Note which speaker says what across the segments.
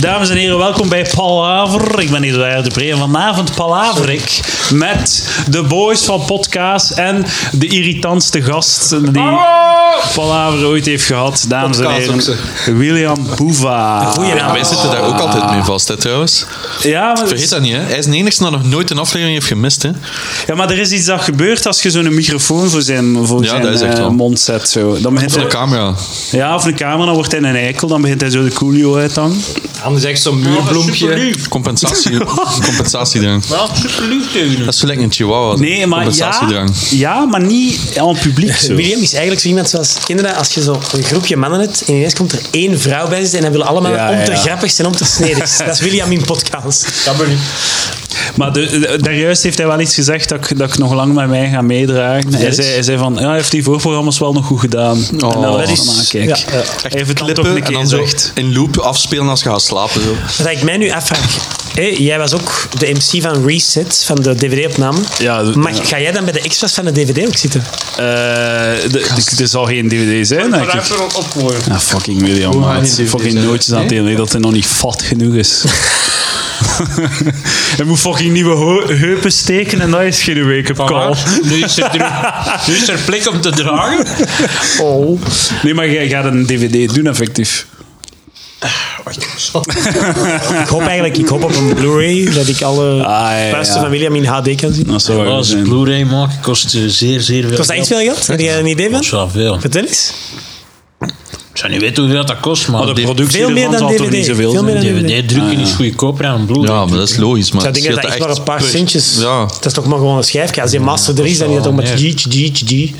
Speaker 1: Dames en heren, welkom bij Palaver. Ik ben Eduard de Pre en vanavond palaver ik met de boys van podcast en de irritantste gast die Palaver ooit heeft gehad. Dames en
Speaker 2: Podcast ook
Speaker 1: heren, William Boeva.
Speaker 3: Ja, wij zitten daar ook altijd mee vast, hè, trouwens.
Speaker 1: Ja maar,
Speaker 3: Vergeet dat niet, hè. Hij is de enigste die nog nooit een aflevering heeft gemist, hè.
Speaker 1: ja, maar er is iets dat gebeurt als je zo'n microfoon voor zijn, voor
Speaker 3: Ja,
Speaker 1: zijn
Speaker 3: dat is echt
Speaker 1: eh,
Speaker 3: wel.
Speaker 1: mond zet. Zo. Dan begint
Speaker 3: Van de
Speaker 1: hij-
Speaker 3: camera.
Speaker 1: ja, of een camera, dan wordt hij een eikel, dan begint hij zo de coolio uit te hangen.
Speaker 2: Han is echt zo'n muurbloempje.
Speaker 3: Compensatie. Compensatiedrang.
Speaker 2: Wel super lief
Speaker 3: Dat is zo lekker een chihuahua.
Speaker 1: Nee, maar ja,
Speaker 3: Compensatiedrang.
Speaker 1: ja, maar niet aan het publiek zo.
Speaker 4: William is eigenlijk zo iemand zoals kinderen, als je zo een groepje mannen hebt en ineens komt er één vrouw bij zitten en dan willen allemaal
Speaker 1: Ja,
Speaker 4: om
Speaker 1: ja.
Speaker 4: te grappig zijn, om te snedig. Dat is William in podcast.
Speaker 2: Dat ben ik.
Speaker 1: Maar de, de- daarjuist heeft hij wel iets gezegd dat ik, dat ik nog lang met mij ga meedragen. Hij
Speaker 4: Yes.
Speaker 1: zei, hij zei van, ja, hij heeft die voorprogramma's wel nog goed gedaan. en dat is... Van, ah, kijk.
Speaker 4: ja, ja.
Speaker 1: Hij heeft het dan toch een
Speaker 3: Klippen en
Speaker 1: keer
Speaker 3: dan zo
Speaker 1: gezegd.
Speaker 3: in loop afspelen als je gaat slapen. Zo.
Speaker 4: Wat ik mij nu afvraag, hé, jij was ook de MC van Reset, van de DVD-opname.
Speaker 1: Ja, de-
Speaker 4: maar
Speaker 1: ja.
Speaker 4: ga jij dan bij de extras van de DVD ook zitten?
Speaker 1: Eh, de- de- er zal geen dvd zijn, denk ik.
Speaker 2: even opgooien.
Speaker 1: Ah, fucking William,
Speaker 3: gaan
Speaker 1: man.
Speaker 3: die DVD's
Speaker 1: Fucking
Speaker 3: uit?
Speaker 1: nootjes aan het delen, dat hij nog niet vat genoeg is. hij moet fucking nieuwe ho- heupen steken en dat is geen week op call.
Speaker 2: Nu is, er, druk- nu is er plek om te dragen.
Speaker 4: Oh.
Speaker 1: Nee, maar jij gaat een dvd doen, effectief.
Speaker 4: Ik hoop eigenlijk ik hoop op een Blu-ray, dat ik alle
Speaker 1: Ah, ja, ja.
Speaker 4: puisten van William in HD kan zien.
Speaker 1: Dat zou wel
Speaker 5: Oh, Als
Speaker 1: zijn.
Speaker 5: een Blu-ray maken kost eh, zeer, zeer veel.
Speaker 4: Kost dat echt
Speaker 5: geld.
Speaker 4: veel geld? Heb jij een idee van?
Speaker 5: Kost wel veel.
Speaker 4: Vertel eens.
Speaker 5: Ik zou niet weten hoeveel dat kost,
Speaker 4: Oh,
Speaker 5: maar,
Speaker 1: Maar de
Speaker 5: de
Speaker 1: productie
Speaker 4: Veel meer
Speaker 1: ervan
Speaker 4: dan
Speaker 1: zal toch
Speaker 4: DVD.
Speaker 1: niet zoveel
Speaker 4: Veel meer
Speaker 1: zijn?
Speaker 4: dan
Speaker 5: DVD-drukken is goedkoper dan een Blu-ray.
Speaker 3: Ah, Ja, maar dat is logisch. Maar
Speaker 4: Ik denk dat
Speaker 3: scheelt
Speaker 4: dat echt maar
Speaker 3: echt
Speaker 4: een paar
Speaker 3: per-
Speaker 4: centjes...
Speaker 3: Ja.
Speaker 4: Dat is toch maar gewoon een schijfje. Als je master er is, dan is dat toch met
Speaker 5: Ja.
Speaker 4: jeetje, jeetje, jeetje.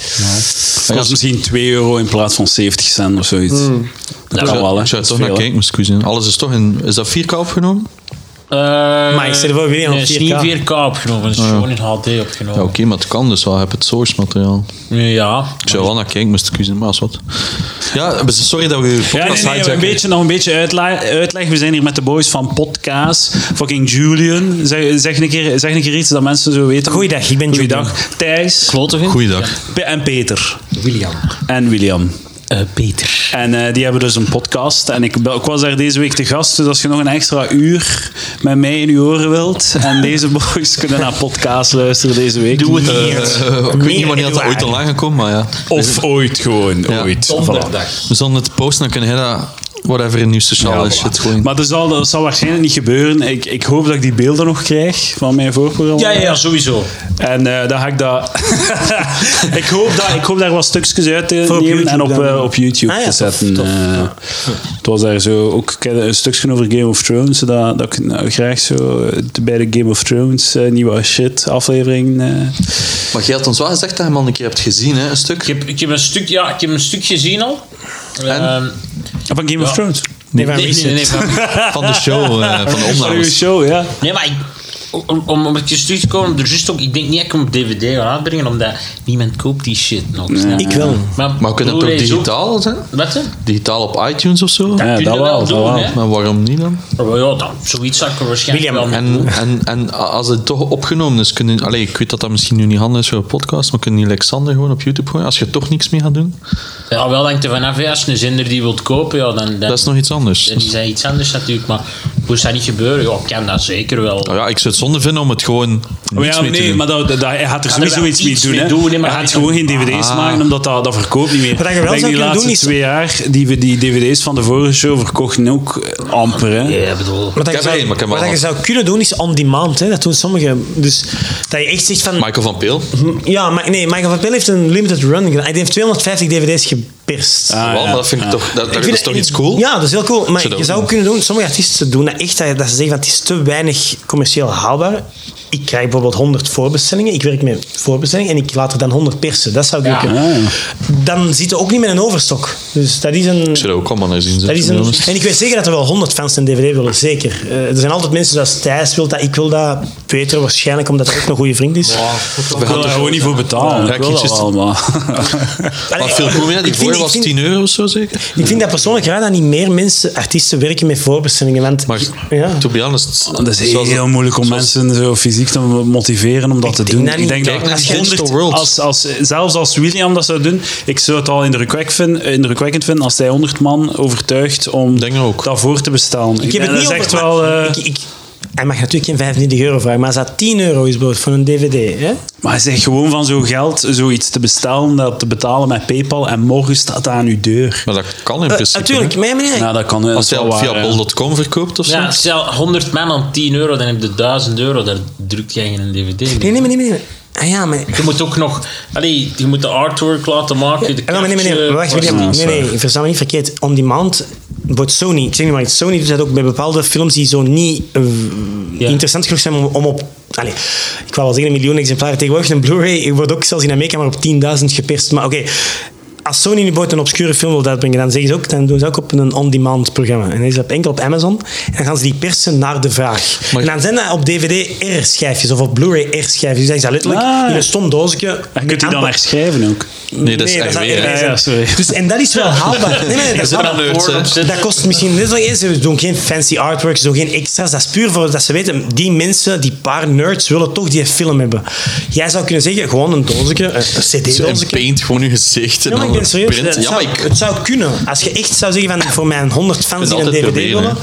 Speaker 1: Dat kost misschien 2 euro in plaats van 70 cent of zoiets.
Speaker 4: Hmm.
Speaker 1: Dat
Speaker 3: Ik
Speaker 1: kan wel, hè.
Speaker 3: zou- Ik zou
Speaker 1: Dat is
Speaker 3: toch naar
Speaker 1: veel, hè.
Speaker 3: kijken, moest ik u zien. Alles is toch in... Is dat 4K opgenomen?
Speaker 5: maar
Speaker 4: ik zit er wel weer aan op
Speaker 5: Het Eh, is
Speaker 4: 4K.
Speaker 5: niet 4K opgenomen, het is gewoon in HD
Speaker 3: Ah, Ja,
Speaker 5: opgenomen.
Speaker 3: oké, maar het kan dus wel. Heb het source materiaal.
Speaker 5: Nee, Ja,
Speaker 3: Ik zou wel naar kijken, moest ik u zien, maar is wat. Ja, sorry dat we uw podcast
Speaker 1: Ja, nee, nee,
Speaker 3: hijacken.
Speaker 1: een beetje, nog een beetje uitla- uitleg. We zijn hier met de boys van Podcast. Fucking Julian. Zeg, zeg, een keer, zeg een keer iets dat mensen zo weten.
Speaker 4: Goeiedag, ik ben Julian.
Speaker 1: Goeiedag. Thijs
Speaker 5: klote
Speaker 3: Goeiedag.
Speaker 1: Pe- en Peter.
Speaker 4: William.
Speaker 1: En William.
Speaker 5: Peter.
Speaker 1: En eh, die hebben dus een podcast. En ik, be- ik was daar deze week te gast. Dus als je nog een extra uur met mij in uw oren wilt. En deze boys kunnen naar podcast luisteren deze week.
Speaker 5: Doe het
Speaker 3: Eh, eh, ik
Speaker 5: hier.
Speaker 3: weet niet
Speaker 4: Meer
Speaker 3: wanneer dat
Speaker 4: Eduard.
Speaker 3: ooit online gekomen, maar ja.
Speaker 1: Of ooit gewoon.
Speaker 3: Ja.
Speaker 1: Ooit. Voilà.
Speaker 3: We zullen het posten, dan kunnen hij dat whatever in nieuw sociale
Speaker 1: Ja,
Speaker 3: shit
Speaker 1: voilà.
Speaker 3: gooien.
Speaker 1: Maar dat zal, dat zal waarschijnlijk niet gebeuren. Ik, ik hoop dat ik die beelden nog krijg van mijn voorprogramma.
Speaker 5: Ja, ja, ja, sowieso.
Speaker 1: En eh, dan ga ik dat... ik, hoop dat ik hoop daar wat stukjes uit te
Speaker 4: Voor op
Speaker 1: nemen
Speaker 4: YouTube
Speaker 1: en op,
Speaker 4: dan,
Speaker 1: eh,
Speaker 4: ja.
Speaker 1: op YouTube
Speaker 4: Ah, ja,
Speaker 1: te
Speaker 4: tof,
Speaker 1: zetten.
Speaker 4: tof.
Speaker 1: Eh, Het was daar zo... Ook ik heb een stukje over Game of Thrones. Dat, dat ik nou, graag zo eh, bij de Game of Thrones eh, nieuwe shit aflevering... eh,
Speaker 3: Maar jij had ons wel gezegd dat je hem al een keer hebt gezien, hè, een stuk.
Speaker 5: Ik heb, ik heb, een, stuk, ja, ik heb een stuk gezien al. Ehm,
Speaker 1: van Game of
Speaker 5: Ja.
Speaker 1: Thrones.
Speaker 4: Nee, maar
Speaker 5: nee, nee, nee, nee, maar-
Speaker 3: Van de show, eh, van de
Speaker 1: Van uw
Speaker 3: opnames.
Speaker 1: show, ja.
Speaker 5: nee, maar ik, om, om, om het terug te komen, er juist ook, ik denk niet dat ik hem op DVD ga uitbrengen, omdat niemand koopt die shit nog. snap je?
Speaker 4: Ik wel.
Speaker 3: Maar we kunnen het ook
Speaker 5: Blu-ray is
Speaker 3: digitaal, hè?
Speaker 5: Wat? hè?
Speaker 3: Digitaal op iTunes of zo.
Speaker 1: Ja,
Speaker 5: kun je
Speaker 1: dat
Speaker 5: wel
Speaker 1: wel, dat
Speaker 5: doen,
Speaker 1: wel.
Speaker 5: hè?
Speaker 3: Maar waarom niet dan?
Speaker 5: Oh, ja, dan, zoiets zou ik er waarschijnlijk
Speaker 4: William,
Speaker 5: wel mee
Speaker 3: En, en, en als het toch opgenomen is, kunnen... Allee, ik weet dat dat misschien nu niet handig is voor een podcast, maar kunnen die Alexander gewoon op YouTube gooien, als je toch niks mee gaat doen?
Speaker 5: Ja, wel hangt er vanaf. hè. Als je een zender die wilt kopen, ja, dan, dan,
Speaker 3: Dat is nog iets anders.
Speaker 5: dan is dat iets anders natuurlijk. Maar moest dat niet gebeuren, ja, kan dat zeker wel.
Speaker 3: Nou ja, ik zou het zonde vinden om het gewoon
Speaker 1: Maar
Speaker 3: niets
Speaker 1: Oh ja,
Speaker 3: mee te
Speaker 1: nee,
Speaker 3: doen.
Speaker 1: maar dat, dat, hij gaat er
Speaker 5: er
Speaker 1: sowieso
Speaker 5: wel
Speaker 1: iets mee
Speaker 5: iets
Speaker 1: doen.
Speaker 5: mee
Speaker 1: hè.
Speaker 5: doen, hè, maar
Speaker 1: hij
Speaker 5: hij
Speaker 1: gaat
Speaker 5: kan-
Speaker 1: gewoon geen dvd's maken, omdat dat, dat verkoopt niet meer.
Speaker 4: Ah. Wat je wel
Speaker 1: Like die
Speaker 4: zou kunnen
Speaker 1: laatste
Speaker 4: doen, is-
Speaker 1: twee jaar, die, die dvd's van de vorige show verkochten ook amper. Hè.
Speaker 5: Ja, ik bedoel.
Speaker 4: Wat, dat je
Speaker 3: heb er één,
Speaker 4: zou,
Speaker 3: maar ik heb
Speaker 4: wat
Speaker 3: wel
Speaker 4: dat je
Speaker 3: wat.
Speaker 4: zou kunnen doen is on demand. Hè. Dat doen sommigen. Dus dat je echt zegt van.
Speaker 3: Michael van Peel.
Speaker 1: Ah,
Speaker 4: Ja, maar, nee, Michael van Peel heeft een limited run gedaan. Hij heeft 250 DVD's geperst.
Speaker 1: Ah,
Speaker 3: wel,
Speaker 1: ja.
Speaker 3: maar dat vind ik toch, dat, dat
Speaker 4: Ik vind
Speaker 3: is toch iets cool?
Speaker 4: Ja, dat is heel cool. Maar
Speaker 3: Zou dat
Speaker 4: je
Speaker 3: ook
Speaker 4: zou
Speaker 3: doen?
Speaker 4: kunnen doen, sommige artiesten doen dat echt, dat dat ze zeggen van het is te weinig commercieel haalbaar. Ik krijg bijvoorbeeld 100 voorbestellingen, ik werk met voorbestellingen en ik laat er dan 100 persen. Dat zou ik ook kunnen.
Speaker 1: Ah, ja.
Speaker 4: Dan zit je ook niet met een overstok. Dus dat is een...
Speaker 3: Ik zou dat ook allemaal naar zien
Speaker 4: Dat is
Speaker 3: zitten.
Speaker 4: een,
Speaker 3: jongens.
Speaker 4: en ik weet zeker dat er wel 100 fans een DVD willen, zeker. Eh, er zijn altijd mensen zoals Thijs wil dat, ik wil dat. Peter waarschijnlijk, omdat hij ook een goede vriend is.
Speaker 1: Ik wil daar gewoon niet voor betalen.
Speaker 3: Ja,
Speaker 1: ik wil dat
Speaker 3: kies-
Speaker 1: wel, maar...
Speaker 4: Allee,
Speaker 3: Maar veel cool, ja, die
Speaker 4: ik vind-
Speaker 3: voor
Speaker 4: ik
Speaker 3: was
Speaker 4: vind-
Speaker 3: 10 euro of zo zeker.
Speaker 4: Ik vind dat persoonlijk raar dat niet meer mensen, artiesten, werken met voorbestellingen. Want,
Speaker 3: Maar
Speaker 4: ja. Oh,
Speaker 3: to be honest,
Speaker 1: Dat is
Speaker 3: zoals-
Speaker 1: heel moeilijk om mensen zo fysiek fysiek te motiveren om dat
Speaker 4: Ik
Speaker 1: te
Speaker 4: denk
Speaker 1: doen.
Speaker 4: dat
Speaker 1: ik
Speaker 4: niet.
Speaker 1: denk
Speaker 4: Kijk
Speaker 1: dat
Speaker 4: naar die
Speaker 1: honderd-
Speaker 3: Digital World.
Speaker 1: als, als, zelfs als William dat zou doen, ik zou het al indrukwekkend vinden, indrukwekkend vinden als hij 100 man overtuigt om
Speaker 3: Denk dat ook.
Speaker 1: dat voor te bestellen.
Speaker 4: Ik heb
Speaker 1: denk
Speaker 4: het niet
Speaker 1: dat is
Speaker 4: over...
Speaker 1: echt
Speaker 4: maar
Speaker 1: wel. eh,
Speaker 4: ik, ik, hij mag natuurlijk geen 25 euro vragen, maar als dat 10 euro is bijvoorbeeld voor een dvd, hè?
Speaker 1: Maar hij zegt gewoon van zo'n geld zoiets te bestellen, dat te betalen met PayPal en morgen staat dat aan uw deur.
Speaker 3: Maar dat kan in
Speaker 4: Eh,
Speaker 3: principe.
Speaker 4: natuurlijk,
Speaker 3: hè.
Speaker 4: mijn meneer.
Speaker 1: Ja, dat kan eh,
Speaker 3: Als
Speaker 1: dat
Speaker 3: hij
Speaker 1: is wel
Speaker 3: op via
Speaker 1: waar, ja.
Speaker 3: bol.com verkoopt of zo.
Speaker 5: Ja, stel 100 man aan 10 euro, dan heb je 1000 euro. Daar drukt jij geen DVD.
Speaker 4: Nee, nee, meneer, meneer. Ah ja, maar...
Speaker 5: Je moet ook nog... Allee, je moet de artwork laten maken. De
Speaker 4: Ah, maar meneer, meneer,
Speaker 5: kaartje,
Speaker 4: wacht, meneer.
Speaker 5: plastic.
Speaker 4: Nee, nee, verstaan me niet verkeerd. Om die maand wordt Sony, ik zeg niet maar, iets, Sony doet dat ook bij bepaalde films die zo niet eh,
Speaker 5: Ja.
Speaker 4: interessant genoeg zijn om, om op... Allee, ik wou wel zeggen een miljoen exemplaren tegenwoordig. Een Blu-ray wordt ook zelfs in Amerika maar op 10.000 geperst. Maar oké, als Sony nu bijvoorbeeld een obscure film wil uitbrengen, dan, zeggen ze ook, dan doen ze ook op een on-demand programma. En dan is dat enkel op Amazon. En dan gaan ze die persen naar de vraag.
Speaker 3: Maar-
Speaker 4: en dan zijn dat op DVD-R-schijfjes of op Blu-ray-R-schijfjes. Dus dat is dat letterlijk
Speaker 1: Ah, ja.
Speaker 4: in een stom doosje.
Speaker 1: En kunt u dan
Speaker 4: aanpak-
Speaker 1: herschrijven ook?
Speaker 3: Nee, dat is
Speaker 4: Nee,
Speaker 3: RW.
Speaker 4: dat is
Speaker 3: hè.
Speaker 4: RW.
Speaker 1: Ja, ja, sorry.
Speaker 4: Dus, en dat is wel haalbaar. Nee, nee, dat,
Speaker 3: zit aan nerds, hè.
Speaker 4: dat, dat kost misschien net zo eens. Ze doen geen fancy artwork, ze doen geen extra's. Dat is puur voor dat ze weten, die mensen, die paar nerds, willen toch die film hebben. Jij zou kunnen zeggen, gewoon een doosje, een
Speaker 3: Zo, En
Speaker 4: cd-doosje.
Speaker 3: paint gewoon je gezicht. en
Speaker 4: Ja, maar ik
Speaker 3: dan
Speaker 4: ben serieus. eh,
Speaker 3: print.
Speaker 4: Het
Speaker 3: Ja, maar
Speaker 4: zou,
Speaker 3: ik...
Speaker 4: het zou kunnen. Als je echt zou zeggen, van, voor mijn 100 fans
Speaker 3: Het
Speaker 4: die
Speaker 3: is
Speaker 4: een dvd
Speaker 3: altijd proberen,
Speaker 4: willen...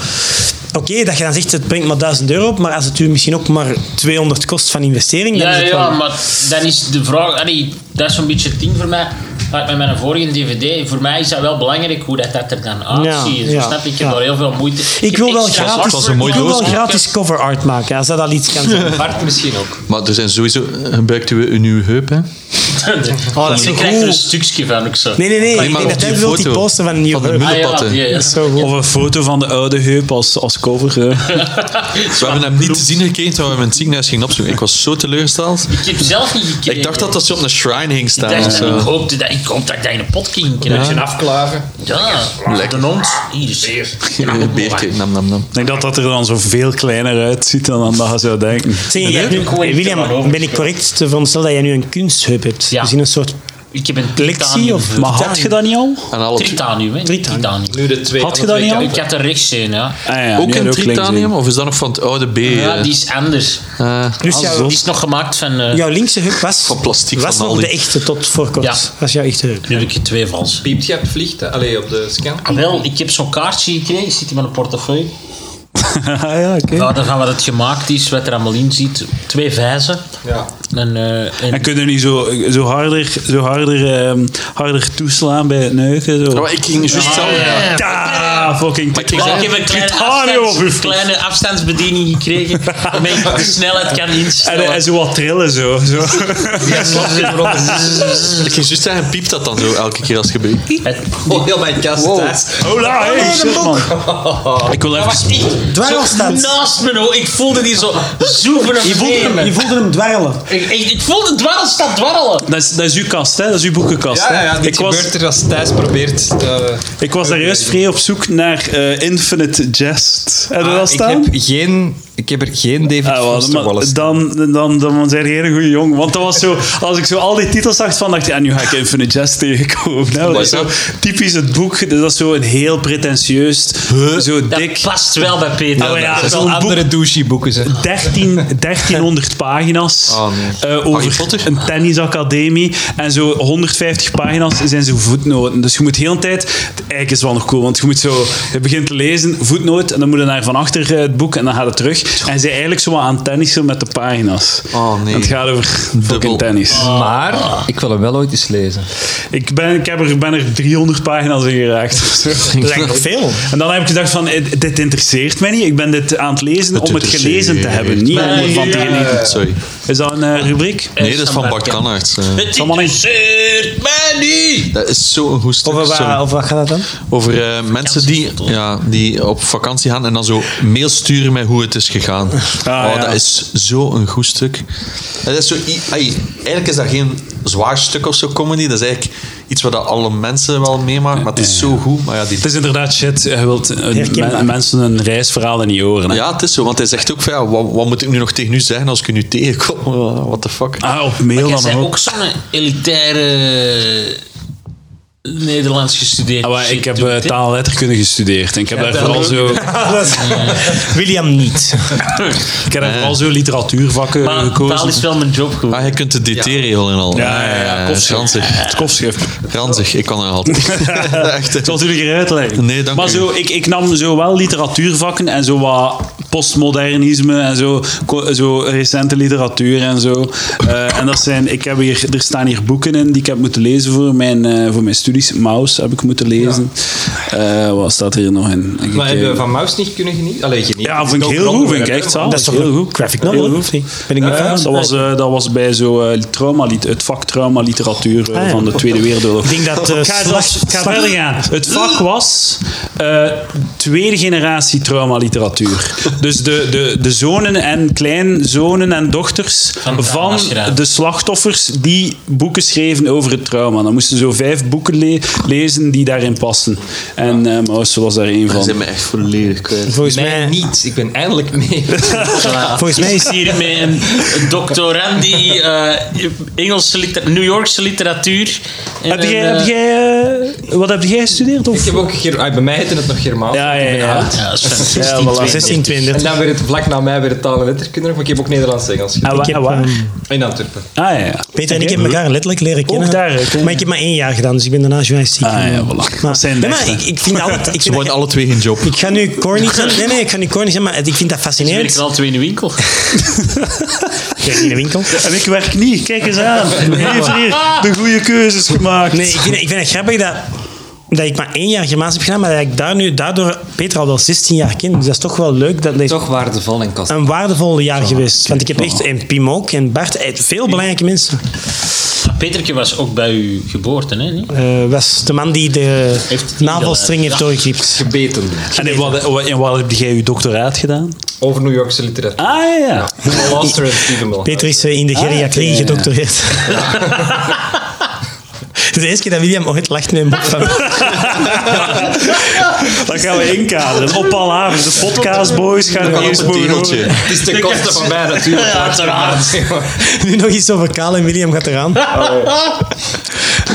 Speaker 4: Oké, dat je dan zegt, het brengt maar 1000 euro op, maar als het u misschien ook maar 200 kost van investering, dan
Speaker 5: Ja,
Speaker 4: is het
Speaker 5: ja,
Speaker 4: wel-
Speaker 5: maar dan is de vraag... Allee, dat is zo'n beetje het ding voor mij. Maar met mijn vorige DVD, voor mij is dat wel belangrijk hoe dat, dat er dan uitziet.
Speaker 4: Ja,
Speaker 5: Dus
Speaker 4: ja,
Speaker 5: snap je? Ik heb
Speaker 4: ja.
Speaker 5: daar heel veel moeite...
Speaker 4: Ik wil wel gratis,
Speaker 3: een mooi
Speaker 4: ik wil wel
Speaker 3: doosje.
Speaker 4: gratis cover art maken, als dat al iets kan zijn.
Speaker 5: Hart misschien ook.
Speaker 3: Maar er zijn sowieso... eh, Gebruikt u een uw heup, hè?
Speaker 5: Oh,
Speaker 4: dat is
Speaker 5: ik
Speaker 4: goed.
Speaker 5: krijg er een stukje van ook zo.
Speaker 4: Nee, nee, nee. ik
Speaker 3: maar
Speaker 4: denk
Speaker 3: op
Speaker 4: dat hij
Speaker 3: die
Speaker 4: wil die
Speaker 3: foto
Speaker 4: poster van Nieuw
Speaker 3: van de
Speaker 4: York.
Speaker 3: muur.
Speaker 5: Ah, ja,
Speaker 3: Middelpatten.
Speaker 5: ja, ja.
Speaker 4: Dat is zo goed.
Speaker 1: Of een foto van de oude heup als, als cover. eh.
Speaker 3: We hebben hem niet te zien gekregen terwijl we hem in het ziekenhuis gingen opzoeken. Ik was zo teleurgesteld.
Speaker 5: Ik heb zelf niet gekregen.
Speaker 3: Ik dacht dat dat ze op een shrine ging
Speaker 5: Ik
Speaker 3: staan.
Speaker 5: dacht
Speaker 3: of
Speaker 5: dat- eh, ik
Speaker 3: zo.
Speaker 5: hoopte dat ik hoopte dat ik dat in een pot ging krijgen. Ja,
Speaker 6: afklagen.
Speaker 5: ja.
Speaker 3: Lekker.
Speaker 5: de hond. Hier is
Speaker 3: Eh, Beertje, nam, nam, nam.
Speaker 1: Ik denk dat dat er dan zo veel kleiner uitziet dan, dan dat je zou denken.
Speaker 4: Zeg, jij hebt nu-
Speaker 5: Gewoon iets
Speaker 4: William,
Speaker 5: erover.
Speaker 4: ben ik correct te veronderstellen dat jij nu een kunsthub hebt?
Speaker 5: Ja.
Speaker 4: Dus in een soort
Speaker 5: Ik heb een
Speaker 4: collectie?
Speaker 5: titanium.
Speaker 4: Of
Speaker 1: Maar had je dat niet al?
Speaker 3: En alle twee-
Speaker 5: Tritanium, hè?
Speaker 4: Tritanium.
Speaker 5: Tritanium.
Speaker 6: Nu de twee.
Speaker 1: Had je
Speaker 6: alle
Speaker 1: dat
Speaker 6: twee
Speaker 1: niet al?
Speaker 5: Ik
Speaker 6: kanten.
Speaker 5: had er rechts een, ja.
Speaker 1: Ah ja, die
Speaker 3: Ook
Speaker 1: had
Speaker 3: in
Speaker 1: links
Speaker 3: tritanium? Of is dat nog van het oude B?
Speaker 5: Ja,
Speaker 3: eh?
Speaker 5: die is anders.
Speaker 3: Eh,
Speaker 1: Ah,
Speaker 4: Dus
Speaker 5: Die
Speaker 4: jouw,
Speaker 5: is nog gemaakt van... eh
Speaker 4: jouw linkse hub was,
Speaker 3: Van plastic,
Speaker 4: was
Speaker 3: van
Speaker 4: nog
Speaker 3: al
Speaker 4: de
Speaker 3: die-
Speaker 4: echte tot voor kort.
Speaker 5: Ja.
Speaker 4: was jouw echte hub.
Speaker 5: Nu heb ik er twee vals.
Speaker 6: Piept je op het vliegtuig? Allee, op de scan?
Speaker 5: Ah, Wel, ik heb zo'n kaartje gekregen. Ik zit in mijn portefeuille.
Speaker 1: Ah ja, oké.
Speaker 5: Ja, daarvan wat het gemaakt is, wat er allemaal in zit. Twee vijzen.
Speaker 6: Ja.
Speaker 5: En, eh, en-
Speaker 1: En kunnen niet zo, zo harder, zo harder, ehm, harder toeslaan bij het neuken? Zo.
Speaker 3: Ja, maar ik ging juist zelf...
Speaker 5: Ah, Ja.
Speaker 1: Da, fucking
Speaker 3: Oh, ik
Speaker 5: Wel, ik heb een kleine, afstands,
Speaker 1: En,
Speaker 5: kleine afstandsbediening gekregen, waarmee ik de snelheid kan instellen.
Speaker 1: en zo wat trillen zo. zo.
Speaker 5: Ja, soms zit er ook-
Speaker 3: Ik ging juist zeggen, piept dat dan zo elke keer als het gebeurt?
Speaker 5: Het-
Speaker 6: Oh, heel mijn kast thuis.
Speaker 1: Hola, hey, shit, man. Ik wil even...
Speaker 5: was echt
Speaker 4: Dwarrelstand.
Speaker 5: zo naast me, hoor. ik voelde die zo zoeven
Speaker 4: Je voelde hem, je
Speaker 5: ik,
Speaker 4: voelde hem dwarrelen.
Speaker 5: ik, ik voelde dwarrelstad dwarrelen.
Speaker 1: Dat is, dat is uw kast, hè? Dat is uw boekenkast.
Speaker 6: Ja, ja, ja.
Speaker 1: hè?
Speaker 6: Dit
Speaker 1: ik, was,
Speaker 6: gebeurt er als Thijs probeert eh, te...
Speaker 1: ik was daar juist vrij op zoek naar eh, Infinite Jest. Heb je
Speaker 6: Ah,
Speaker 1: dat
Speaker 6: ik,
Speaker 1: staan?
Speaker 6: heb geen, ik heb er geen David
Speaker 1: Ah, wel,
Speaker 6: Foster
Speaker 1: maar
Speaker 6: Wallace.
Speaker 1: dan, dan, dan, dan zijn je een hele goede jong. Want dat was zo, als ik zo al die titels zag, van, dacht ik, en nu ga ik Infinite Jest tegenkomen. hè. dat is zo typisch het boek, dat is zo een heel pretentieus, zo
Speaker 5: Dat
Speaker 1: dik.
Speaker 5: past wel bij Peter.
Speaker 1: Oh ja,
Speaker 6: dat
Speaker 1: zo'n
Speaker 6: zijn
Speaker 1: boek
Speaker 6: andere douchey boeken, zeg.
Speaker 1: 13, 1300 pagina's
Speaker 3: Oh, nee.
Speaker 1: eh,
Speaker 3: Harry
Speaker 1: over
Speaker 3: Potter?
Speaker 1: een tennisacademie. En zo 150 pagina's zijn zo voetnoten. Dus je moet heel de tijd... het- Eigenlijk is wel nog cool, want je moet zo... Je begint te lezen, voetnoot, en dan moet je naar van achter eh, het boek en dan gaat het terug. En ze zijn eigenlijk zo wat aan het tennissen met de pagina's.
Speaker 3: Oh, nee.
Speaker 1: En Het gaat over
Speaker 3: Dubbel.
Speaker 1: fucking tennis.
Speaker 6: Maar ik wil hem wel ooit eens lezen.
Speaker 5: Eh,
Speaker 1: Ik, ben, ik heb er, ben er 300 pagina's in geraakt. of zo.
Speaker 4: Dat is eigenlijk veel.
Speaker 1: En dan heb ik gedacht van, eh, dit interesseert mij niet. Ik ben dit aan het lezen
Speaker 3: Het
Speaker 1: om het gelezen te hebben. Niet om
Speaker 5: mij
Speaker 1: ervan te
Speaker 5: niet.
Speaker 1: genieten.
Speaker 3: Eh, Sorry.
Speaker 1: Is dat een eh, rubriek?
Speaker 3: Nee, dat is van Bart Kannaerts. eh.
Speaker 5: Het interesseert mij niet.
Speaker 3: Dat is zo'n goed stuk.
Speaker 4: Over,
Speaker 3: sorry.
Speaker 4: waar, over wat gaat dat dan?
Speaker 3: Over eh, mensen die, ja, die op vakantie gaan en dan zo mail sturen met hoe het is gegaan. oh,
Speaker 1: ja.
Speaker 3: Dat is zo'n goed stuk. Dat is zo, i- ai, eigenlijk is dat geen zwaar stuk of zo comedy. Dat is eigenlijk iets wat dat alle mensen wel meemaken. Maar het is zo goed. Maar ja, die,
Speaker 1: Het is inderdaad shit. Je wilt eh,
Speaker 4: Herkenbaar.
Speaker 1: men- mensen hun reisverhaal niet horen. hè.
Speaker 3: ja, het is zo. Want hij zegt ook van, ja, wat, wat moet ik nu nog tegen u zeggen als ik u nu tegenkom? What the fuck?
Speaker 1: Ah, op mail
Speaker 5: Jij
Speaker 1: dan
Speaker 5: bent
Speaker 1: ook.
Speaker 5: ook zo'n elitaire eh, Nederlands gestudeerd.
Speaker 1: Ah, maar
Speaker 5: shit
Speaker 1: ik heb
Speaker 5: doet,
Speaker 1: eh,
Speaker 5: hè.
Speaker 1: taal en letterkunde gestudeerd. En ik heb daar vooral zo,
Speaker 4: William niet.
Speaker 1: ik heb daar vooral zo literatuurvakken
Speaker 5: Maar taal
Speaker 1: gekozen.
Speaker 5: is wel mijn job goed.
Speaker 3: Ah, je kunt de DT-regel en al.
Speaker 1: Ja, ja, ja, kofschrift.
Speaker 3: Ranzig.
Speaker 1: Het kofschrift.
Speaker 3: Ranzig, ik kan er altijd. De echte.
Speaker 1: Het was natuurlijk uitleggen.
Speaker 3: Nee, dank
Speaker 1: maar
Speaker 3: u.
Speaker 1: zo, ik, ik nam zo wel literatuurvakken en zo wat postmodernisme en zo, ko- zo recente literatuur en zo. Eh, en dat zijn, ik heb hier, er staan hier boeken in die ik heb moeten lezen voor mijn, eh, voor mijn studies. Maus heb ik moeten lezen. Eh, wat staat er hier nog in? Ik,
Speaker 6: Maar
Speaker 1: eh,
Speaker 6: hebben we van Maus niet kunnen genieten? Allee, genieten.
Speaker 1: ja,
Speaker 6: Het
Speaker 1: vind
Speaker 6: is
Speaker 1: ik
Speaker 6: een
Speaker 1: heel goed.
Speaker 6: onderwerp,
Speaker 1: Vind ik echt
Speaker 6: hè,
Speaker 1: zaal.
Speaker 4: Dat is toch
Speaker 1: heel goed.
Speaker 4: graphic novel,
Speaker 1: Heel goed.
Speaker 4: of niet? Ben ik
Speaker 1: Ja,
Speaker 4: een
Speaker 1: dat,
Speaker 4: fan?
Speaker 1: was, eh, dat was bij zo, eh, trauma, lit- het vak trauma literatuur eh,
Speaker 4: Ah, ja.
Speaker 1: van de Tweede Wereldoorlog.
Speaker 4: Ik denk dat, eh,
Speaker 1: Ik ga
Speaker 4: slag-
Speaker 1: zelfs- ik ga
Speaker 4: slag-
Speaker 1: verder gaan. Het vak was eh, tweede generatie trauma literatuur. Dus de, de, de zonen en kleinzonen en dochters
Speaker 5: Van
Speaker 1: van
Speaker 5: trauma's
Speaker 1: de slachtoffers die boeken schreven over het trauma. Dan moesten ze zo vijf boeken le- lezen die daarin pasten. En eh Maus was daar één
Speaker 3: Ze
Speaker 1: van.
Speaker 3: zijn me echt volledig kwijt.
Speaker 4: Volgens
Speaker 6: Mij
Speaker 4: mij,
Speaker 6: niet. Ik ben eindelijk mee.
Speaker 4: volgens mij is
Speaker 5: Is hier met een doctorand die eh, Engelse liter- New Yorkse literatuur. en
Speaker 1: Heb
Speaker 5: een,
Speaker 1: jij,
Speaker 5: eh,
Speaker 1: heb jij, eh, wat heb jij gestudeerd?
Speaker 6: Ik
Speaker 1: Of?
Speaker 6: heb ook Ger- ah, bij mij heette het nog Germaans.
Speaker 1: Ja, ja,
Speaker 6: Ik ben
Speaker 1: ja.
Speaker 6: oud.
Speaker 5: Ja, dat is van
Speaker 1: Ja,
Speaker 5: 16,
Speaker 1: voilà.
Speaker 4: 1632.
Speaker 6: En dan weer het, vlak na mij weer het taal en letterkunde nog, maar ik heb ook Nederlands-Engels gedaan.
Speaker 1: Ah, wa-
Speaker 4: Ik heb,
Speaker 1: ah, wa-
Speaker 4: ehm,
Speaker 6: In Antwerpen.
Speaker 1: ah, ja, ja.
Speaker 4: Peter en ik hebben elkaar letterlijk leren kennen.
Speaker 1: daar, hè, ken je.
Speaker 4: maar ik heb maar één jaar gedaan, dus ik ben daarna journalistiek.
Speaker 1: Ah, ja, voilà. Dat zijn
Speaker 4: nee,
Speaker 1: de
Speaker 4: maar
Speaker 1: echte.
Speaker 4: ik, ik vind altijd... Ik,
Speaker 3: Ze
Speaker 4: vind
Speaker 3: worden
Speaker 4: dat-
Speaker 3: alle twee geen job.
Speaker 4: ik ga nu corny zijn. Nee, nee, ik ga nu corny zijn, maar ik vind dat
Speaker 5: Dus werk
Speaker 4: fascinerend.
Speaker 5: ik wel twee in de winkel.
Speaker 4: Kijk, in de winkel.
Speaker 1: En ik werk niet, kijk eens aan. Hij heeft hier de goede keuzes gemaakt.
Speaker 4: Nee, ik vind, ik vind het grappig dat, dat ik maar één jaar Germaans heb gedaan, maar dat ik daar nu, daardoor Peter al wel 16 jaar ken. Dus dat is toch wel leuk. Dat is
Speaker 6: Toch waardevol en kast.
Speaker 4: een waardevol jaar geweest. Want ik heb echt, en Pim ook, en Bart, eh, veel belangrijke mensen.
Speaker 5: Peterke was ook bij uw geboorte, hè? niet?
Speaker 4: Eh was de man die de
Speaker 5: Heeft-
Speaker 4: navelstring heeft
Speaker 5: Ja.
Speaker 4: doorgeknipt.
Speaker 6: Gebeten.
Speaker 1: En in wat, wat- in wat heb jij je doctoraat gedaan?
Speaker 6: Over New Yorkse literatuur.
Speaker 1: Ah ja, ja.
Speaker 6: Master en Stephen Moll.
Speaker 4: Peter is eh, in de
Speaker 1: Ah,
Speaker 4: geriatrie
Speaker 1: ja, ja, ja.
Speaker 4: gedoctoreerd. Het is de eerste keer dat William ooit lacht met een boek van...
Speaker 1: Dat gaan we inkaderen. Op Palaver, de podcastboys gaan
Speaker 3: Kan op
Speaker 1: eerst
Speaker 3: een
Speaker 1: boven-
Speaker 3: tegeltje.
Speaker 6: Het is ten koste van mij natuurlijk. Ja,
Speaker 4: nu nog iets over Kaal en William gaat eraan.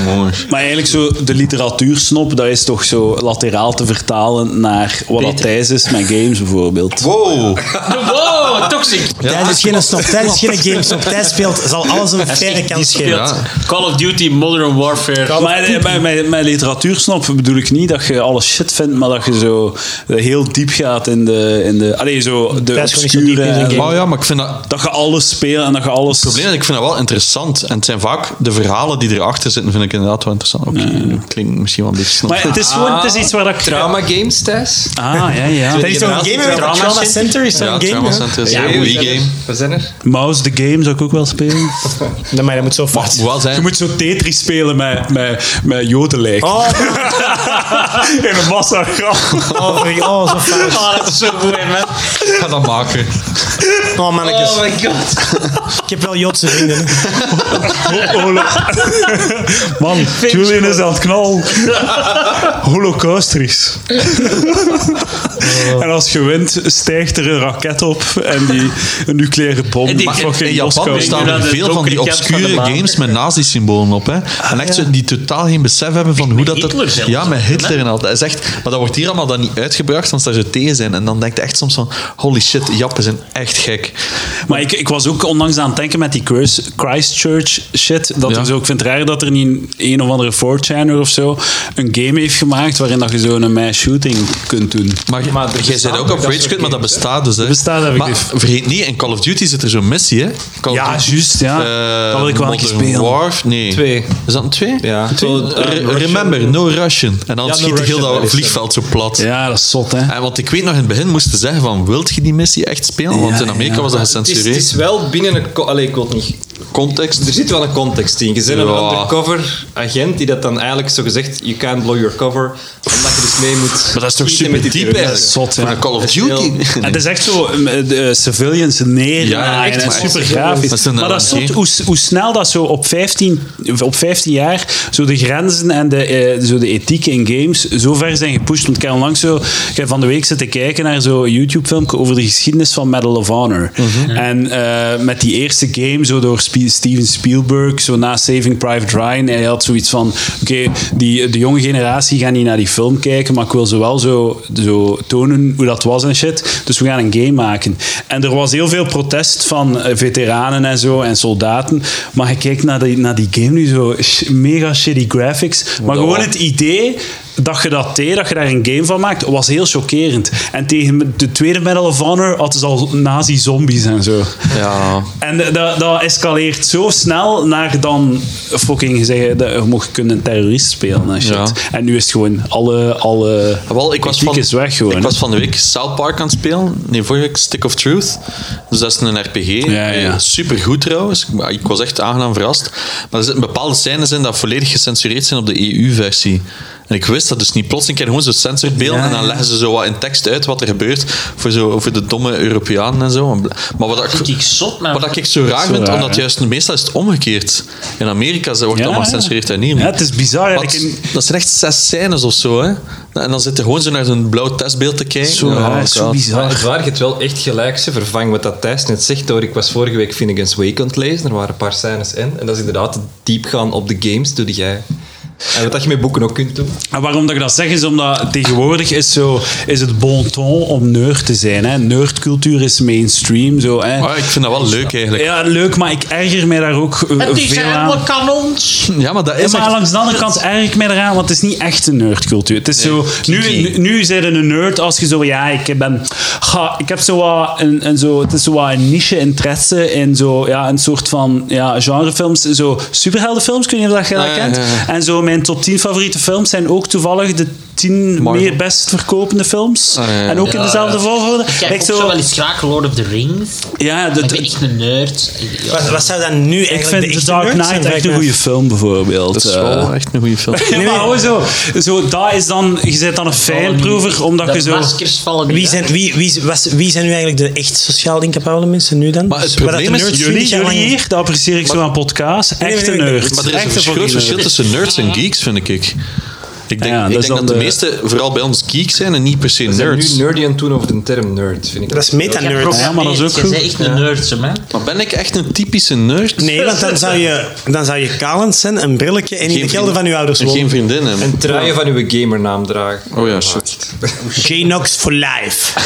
Speaker 3: Mooi.
Speaker 1: Maar eigenlijk zo de literatuursnop, dat is toch zo lateraal te vertalen naar wat dat Thijs is met games bijvoorbeeld.
Speaker 3: Wow.
Speaker 5: Wow, toxic!
Speaker 4: Thijs is geen snop, Thijs is geen gamesnop. Thijs speelt, zal alles een verre kans geven.
Speaker 3: Ja.
Speaker 5: Call of Duty Modern Warfare.
Speaker 1: Maar eh, bij, bij, bij literatuursnop bedoel ik niet dat je alles shit vindt, maar dat je zo eh, heel diep gaat in de... In de allee, zo de
Speaker 4: Dat is gewoon niet zo diep
Speaker 1: obscure...
Speaker 4: in zijn
Speaker 1: en-
Speaker 4: game.
Speaker 3: Maar Oh, ja, maar ik vind dat...
Speaker 1: Dat je alles speelt en dat je alles...
Speaker 3: Het probleem is, ik vind dat wel interessant. En het zijn vaak de verhalen die erachter zitten, vind ik inderdaad wel interessant. Oké, dat klinkt misschien wel een beetje snel.
Speaker 1: Maar het is gewoon het is iets waar dat ik...
Speaker 6: Trauma games, Thijs?
Speaker 1: Ah, ja, ja.
Speaker 4: Dat is toch een game, hè?
Speaker 6: Trauma
Speaker 4: Trauma Center
Speaker 3: ja,
Speaker 4: is zo'n game.
Speaker 3: Trauma
Speaker 4: hè?
Speaker 3: Center is
Speaker 6: Ja,
Speaker 3: een goede
Speaker 6: we zijn er.
Speaker 3: game.
Speaker 6: We zijn er.
Speaker 1: Mouse the Game zou ik ook wel spelen.
Speaker 4: Nee, maar dat moet zo vast.
Speaker 3: Hoewel zijn...
Speaker 1: Je moet zo Tetris spelen met, met, met jodenlijk.
Speaker 4: Oh,
Speaker 1: Ah, In een massa graf.
Speaker 4: oh, sorry. oh, zo fout.
Speaker 5: Oh, dat is zo goed, hè, man.
Speaker 3: Ik ga dat maken.
Speaker 4: Oh, mannetjes.
Speaker 6: my god.
Speaker 4: Ik heb wel Joodse vrienden. hè.
Speaker 1: Man, Julian is aan het knal. Holocaustries. En als je wint, stijgt er een raket op en die een nucleaire bom.
Speaker 5: En die-
Speaker 1: maakt
Speaker 5: in-
Speaker 1: fucking
Speaker 3: In Japan
Speaker 1: Moskou.
Speaker 3: bestaan
Speaker 5: naar
Speaker 3: er
Speaker 5: de
Speaker 3: veel van die
Speaker 5: donkere kant van de
Speaker 3: obscure
Speaker 5: maan.
Speaker 3: games met nazi-symbolen op. Hè.
Speaker 1: Ah,
Speaker 3: En echt zo die totaal geen besef hebben van hoe dat... dat-
Speaker 5: Hitler zelfs.
Speaker 3: Ja, met Hitler en al. Dat is echt... Maar dat wordt hier allemaal dan niet uitgebracht, want ze daar zo tegen zijn. En dan denk je echt soms van... Holy shit, Jappen zijn echt gek.
Speaker 1: Maar ik, ik was ook onlangs aan het denken met die Chris- Christchurch shit. Dat
Speaker 3: Ja.
Speaker 1: er zo, ik vind het raar dat er niet een, een of andere 4chaner of zo een game heeft gemaakt waarin dat je zo'n eh, mass shooting kunt doen.
Speaker 3: Maar,
Speaker 6: Maar er
Speaker 3: jij
Speaker 6: bestaan
Speaker 3: zei ook
Speaker 6: ook
Speaker 3: op
Speaker 6: dat
Speaker 3: Rage
Speaker 6: soort
Speaker 3: Quit, maar dat
Speaker 6: games, hè?
Speaker 3: bestaat dus. Hè.
Speaker 1: bestaat, heb ik
Speaker 3: maar
Speaker 1: dus.
Speaker 3: vergeet niet, in Call of Duty zit er zo'n missie. Hè? Call of
Speaker 1: Ja,
Speaker 3: Duty.
Speaker 1: juist, ja.
Speaker 3: Eh,
Speaker 1: Dat wil ik wel een keer
Speaker 3: Modern
Speaker 1: spelen.
Speaker 3: Warf, nee.
Speaker 6: Twee.
Speaker 3: Is dat een twee?
Speaker 6: Ja.
Speaker 3: Een twee?
Speaker 6: Zo, eh,
Speaker 3: Re-
Speaker 6: Russian.
Speaker 3: remember, no Russian. En dan
Speaker 6: Ja, no
Speaker 3: schiet heel
Speaker 6: Russian, dat
Speaker 3: dat
Speaker 6: is
Speaker 1: eh,
Speaker 3: vliegveld zo plat.
Speaker 1: Ja, dat is zot, hè?
Speaker 3: En want ik weet nog in het begin moesten zeggen van, wilt je die missie echt spelen? Want
Speaker 1: Ja,
Speaker 3: in Amerika
Speaker 1: ja.
Speaker 3: was dat
Speaker 6: Het is,
Speaker 3: gecensureerd.
Speaker 6: het is wel binnen een... co- Allee, ik wil het niet...
Speaker 3: Context.
Speaker 6: Er zit wel een context in. Je bent
Speaker 3: Ja.
Speaker 6: een undercover agent die dat dan eigenlijk zo gezegd... You can't blow your cover. Omdat je dus mee moet...
Speaker 3: maar dat is toch
Speaker 6: schieten met
Speaker 3: super
Speaker 6: die
Speaker 3: diep
Speaker 6: terroristen.
Speaker 3: eigenlijk.
Speaker 1: Zot,
Speaker 3: Voor
Speaker 1: ja.
Speaker 3: een Call of
Speaker 6: Dat is heel-
Speaker 3: Duty.
Speaker 1: En het is echt zo eh, de civilians neer
Speaker 3: Ja, echt,
Speaker 1: en
Speaker 3: maar-
Speaker 1: super grafisch.
Speaker 3: Dat is een
Speaker 1: maar dat is
Speaker 3: LNG.
Speaker 1: zot hoe, hoe snel dat zo op 15, op 15 jaar zo de grenzen en de, eh, zo de ethiek in games zo ver zijn gepusht. Want ik heb onlangs zo, ik heb van de week zitten kijken naar zo'n
Speaker 3: Mhm.
Speaker 1: YouTube-filmpje over de geschiedenis van Medal of Honor. En eh, met die eerste game zo door Spi- Steven Spielberg, zo na Saving Private Ryan. Hij had zoiets van: oké, die, de jonge generatie gaat niet naar die film kijken, maar ik wil ze wel zo, zo tonen hoe dat was en shit. Dus we gaan een game maken. En er was heel veel protest van eh, veteranen en zo en soldaten. Maar je kijkt naar die, naar die game nu zo, sh- mega shitty graphics. Maar gewoon het idee dat je dat deed, dat je daar een game van maakt, was heel chockerend. En tegen de tweede Medal of Honor hadden ze al nazi-zombies en zo.
Speaker 3: Ja.
Speaker 1: En d- dat, dat escaleert zo snel naar dan fucking zeggen, dat je mag kunnen een terrorist spelen en shit.
Speaker 3: Ja.
Speaker 1: En nu is het gewoon alle, alle
Speaker 3: Ah, Wel, ik was
Speaker 1: kritiek
Speaker 3: van,
Speaker 1: is weg gewoon.
Speaker 3: Ik
Speaker 1: hè.
Speaker 3: was van de week South Park aan het spelen. Nee, vorige week Stick of Truth. Dus dat is een RPG.
Speaker 1: Ja, ja.
Speaker 3: Super goed Eh, trouwens. Ik, ik was echt aangenaam verrast. Maar er zitten bepaalde scènes in dat volledig gecensureerd zijn op de EU-versie. En ik wist dat dus niet. Plotseling krijg je gewoon zo'n censored beeld
Speaker 1: Ja,
Speaker 3: en dan
Speaker 1: ja.
Speaker 3: leggen ze zo wat in tekst uit wat er gebeurt voor, zo, voor de domme Europeanen en zo. Maar wat ik,
Speaker 5: Vind ik zot, man.
Speaker 3: wat ik zo raar
Speaker 1: Zo
Speaker 3: vind,
Speaker 1: raar,
Speaker 3: omdat
Speaker 1: hè?
Speaker 3: juist meestal is het omgekeerd. In Amerika ze wordt
Speaker 1: Ja,
Speaker 3: allemaal
Speaker 1: ja.
Speaker 3: gecensureerd en hier niet.
Speaker 1: Ja, het is bizar
Speaker 3: Wat?
Speaker 1: eigenlijk. In-
Speaker 3: Dat zijn echt zes scènes of zo, hè? En dan zit je gewoon zo naar zo'n blauw testbeeld te kijken.
Speaker 1: Zo,
Speaker 3: Ja, oh,
Speaker 1: raar, zo
Speaker 3: God.
Speaker 6: Maar het
Speaker 1: bizar.
Speaker 6: waar, je hebt wel echt gelijk. Ze vervangen wat dat Thijs net zegt door... Ik was vorige week Finnegan's Wake aan het lezen. Er waren een paar scènes in. En dat is inderdaad het diep gaan op de games. Doe die jij. En wat dat je met boeken ook kunt doen.
Speaker 1: En waarom dat ik dat zeg, is omdat tegenwoordig is, zo, is het bon ton om nerd te zijn. Hè. Nerdcultuur is mainstream. Zo, hè.
Speaker 3: Maar Oh, ik vind dat wel leuk eigenlijk.
Speaker 1: Ja, leuk, maar ik erger mij daar ook eh,
Speaker 5: Het is
Speaker 1: veel aan.
Speaker 5: helemaal kanons.
Speaker 3: Ja, maar dat
Speaker 1: Ja,
Speaker 3: is
Speaker 1: maar
Speaker 3: echt...
Speaker 1: langs de andere kant erg ik mij eraan, want het is niet echt een nerdcultuur. Het is zo, nu, nu, nu zijn een nerd als je zo, ja, ik ben, ga, ik heb zo wat een, een zo, het is zo wat een niche interesse in zo, ja, een soort van, ja, genrefilms, zo superheldenfilms, kun je dat je dat
Speaker 3: Ah, ja,
Speaker 1: kent.
Speaker 3: ja, ja.
Speaker 1: En zo mijn top 10 favoriete films zijn ook toevallig de 10
Speaker 3: Marvel.
Speaker 1: meer best verkopende films.
Speaker 3: Ah, ja, ja.
Speaker 1: En ook in
Speaker 5: Ja,
Speaker 1: dezelfde
Speaker 5: ja.
Speaker 1: volgorde.
Speaker 5: Ik kijk
Speaker 1: Like
Speaker 5: ook zo wel eens graag Lord of the Rings.
Speaker 1: ja, de-
Speaker 5: Maar ik
Speaker 1: de-
Speaker 5: ben echt een nerd. Ik- ja.
Speaker 4: Wat, wat zou dan nu
Speaker 1: ik
Speaker 4: eigenlijk
Speaker 1: vind The
Speaker 4: de
Speaker 1: Dark Knight echt een goede film, bijvoorbeeld.
Speaker 3: Dat is
Speaker 1: Eh,
Speaker 3: wel echt een goede film.
Speaker 1: Ja, maar gewoon zo, zo, dat is dan, je bent dan een fijnproever, omdat
Speaker 5: de
Speaker 1: je zo...
Speaker 5: maskers vallen niet
Speaker 4: Wie
Speaker 5: af.
Speaker 4: zijn, wie, wie, was, wie zijn nu eigenlijk de echt sociaal incapabele mensen nu dan?
Speaker 3: Maar het
Speaker 4: Dus waar dat
Speaker 3: probleem is,
Speaker 4: de nerds
Speaker 1: Jullie,
Speaker 4: 20 jaar
Speaker 1: jullie
Speaker 4: lang-
Speaker 1: hier, dat apprecieer ik zo aan podcasts.
Speaker 4: nee,
Speaker 1: Echte
Speaker 4: nee, nee.
Speaker 1: nerds.
Speaker 3: Maar er is
Speaker 1: Echte
Speaker 3: een groot
Speaker 1: fucking
Speaker 3: verschil
Speaker 1: nerds.
Speaker 3: tussen nerds en geeks, vind ik. Ik denk,
Speaker 1: Ja, dat
Speaker 3: ik
Speaker 1: is
Speaker 3: denk
Speaker 1: dan
Speaker 3: dat de
Speaker 1: de-
Speaker 3: meeste vooral bij ons geeks zijn en niet per se
Speaker 6: We zijn
Speaker 3: nerds.
Speaker 6: nu nerdy aan het doen over de term nerd. Vind ik
Speaker 4: Dat is
Speaker 5: Ik heb
Speaker 4: meta-nerds.
Speaker 5: geprogrammeerd.
Speaker 1: Ja, maar dat is ook
Speaker 5: Jij
Speaker 1: goed.
Speaker 5: bent echt een nerd, hè, man.
Speaker 3: Maar ben ik echt een typische nerd?
Speaker 4: Nee, want dan zou je, dan zou je kalend zijn, een brilletje en in de gelden
Speaker 3: vriendin-
Speaker 4: van je ouders
Speaker 3: en Geen
Speaker 4: wonen.
Speaker 3: vriendinnen.
Speaker 6: Een truien van uw gamernaam dragen.
Speaker 3: Oh ja, shit.
Speaker 4: J-Nox for life.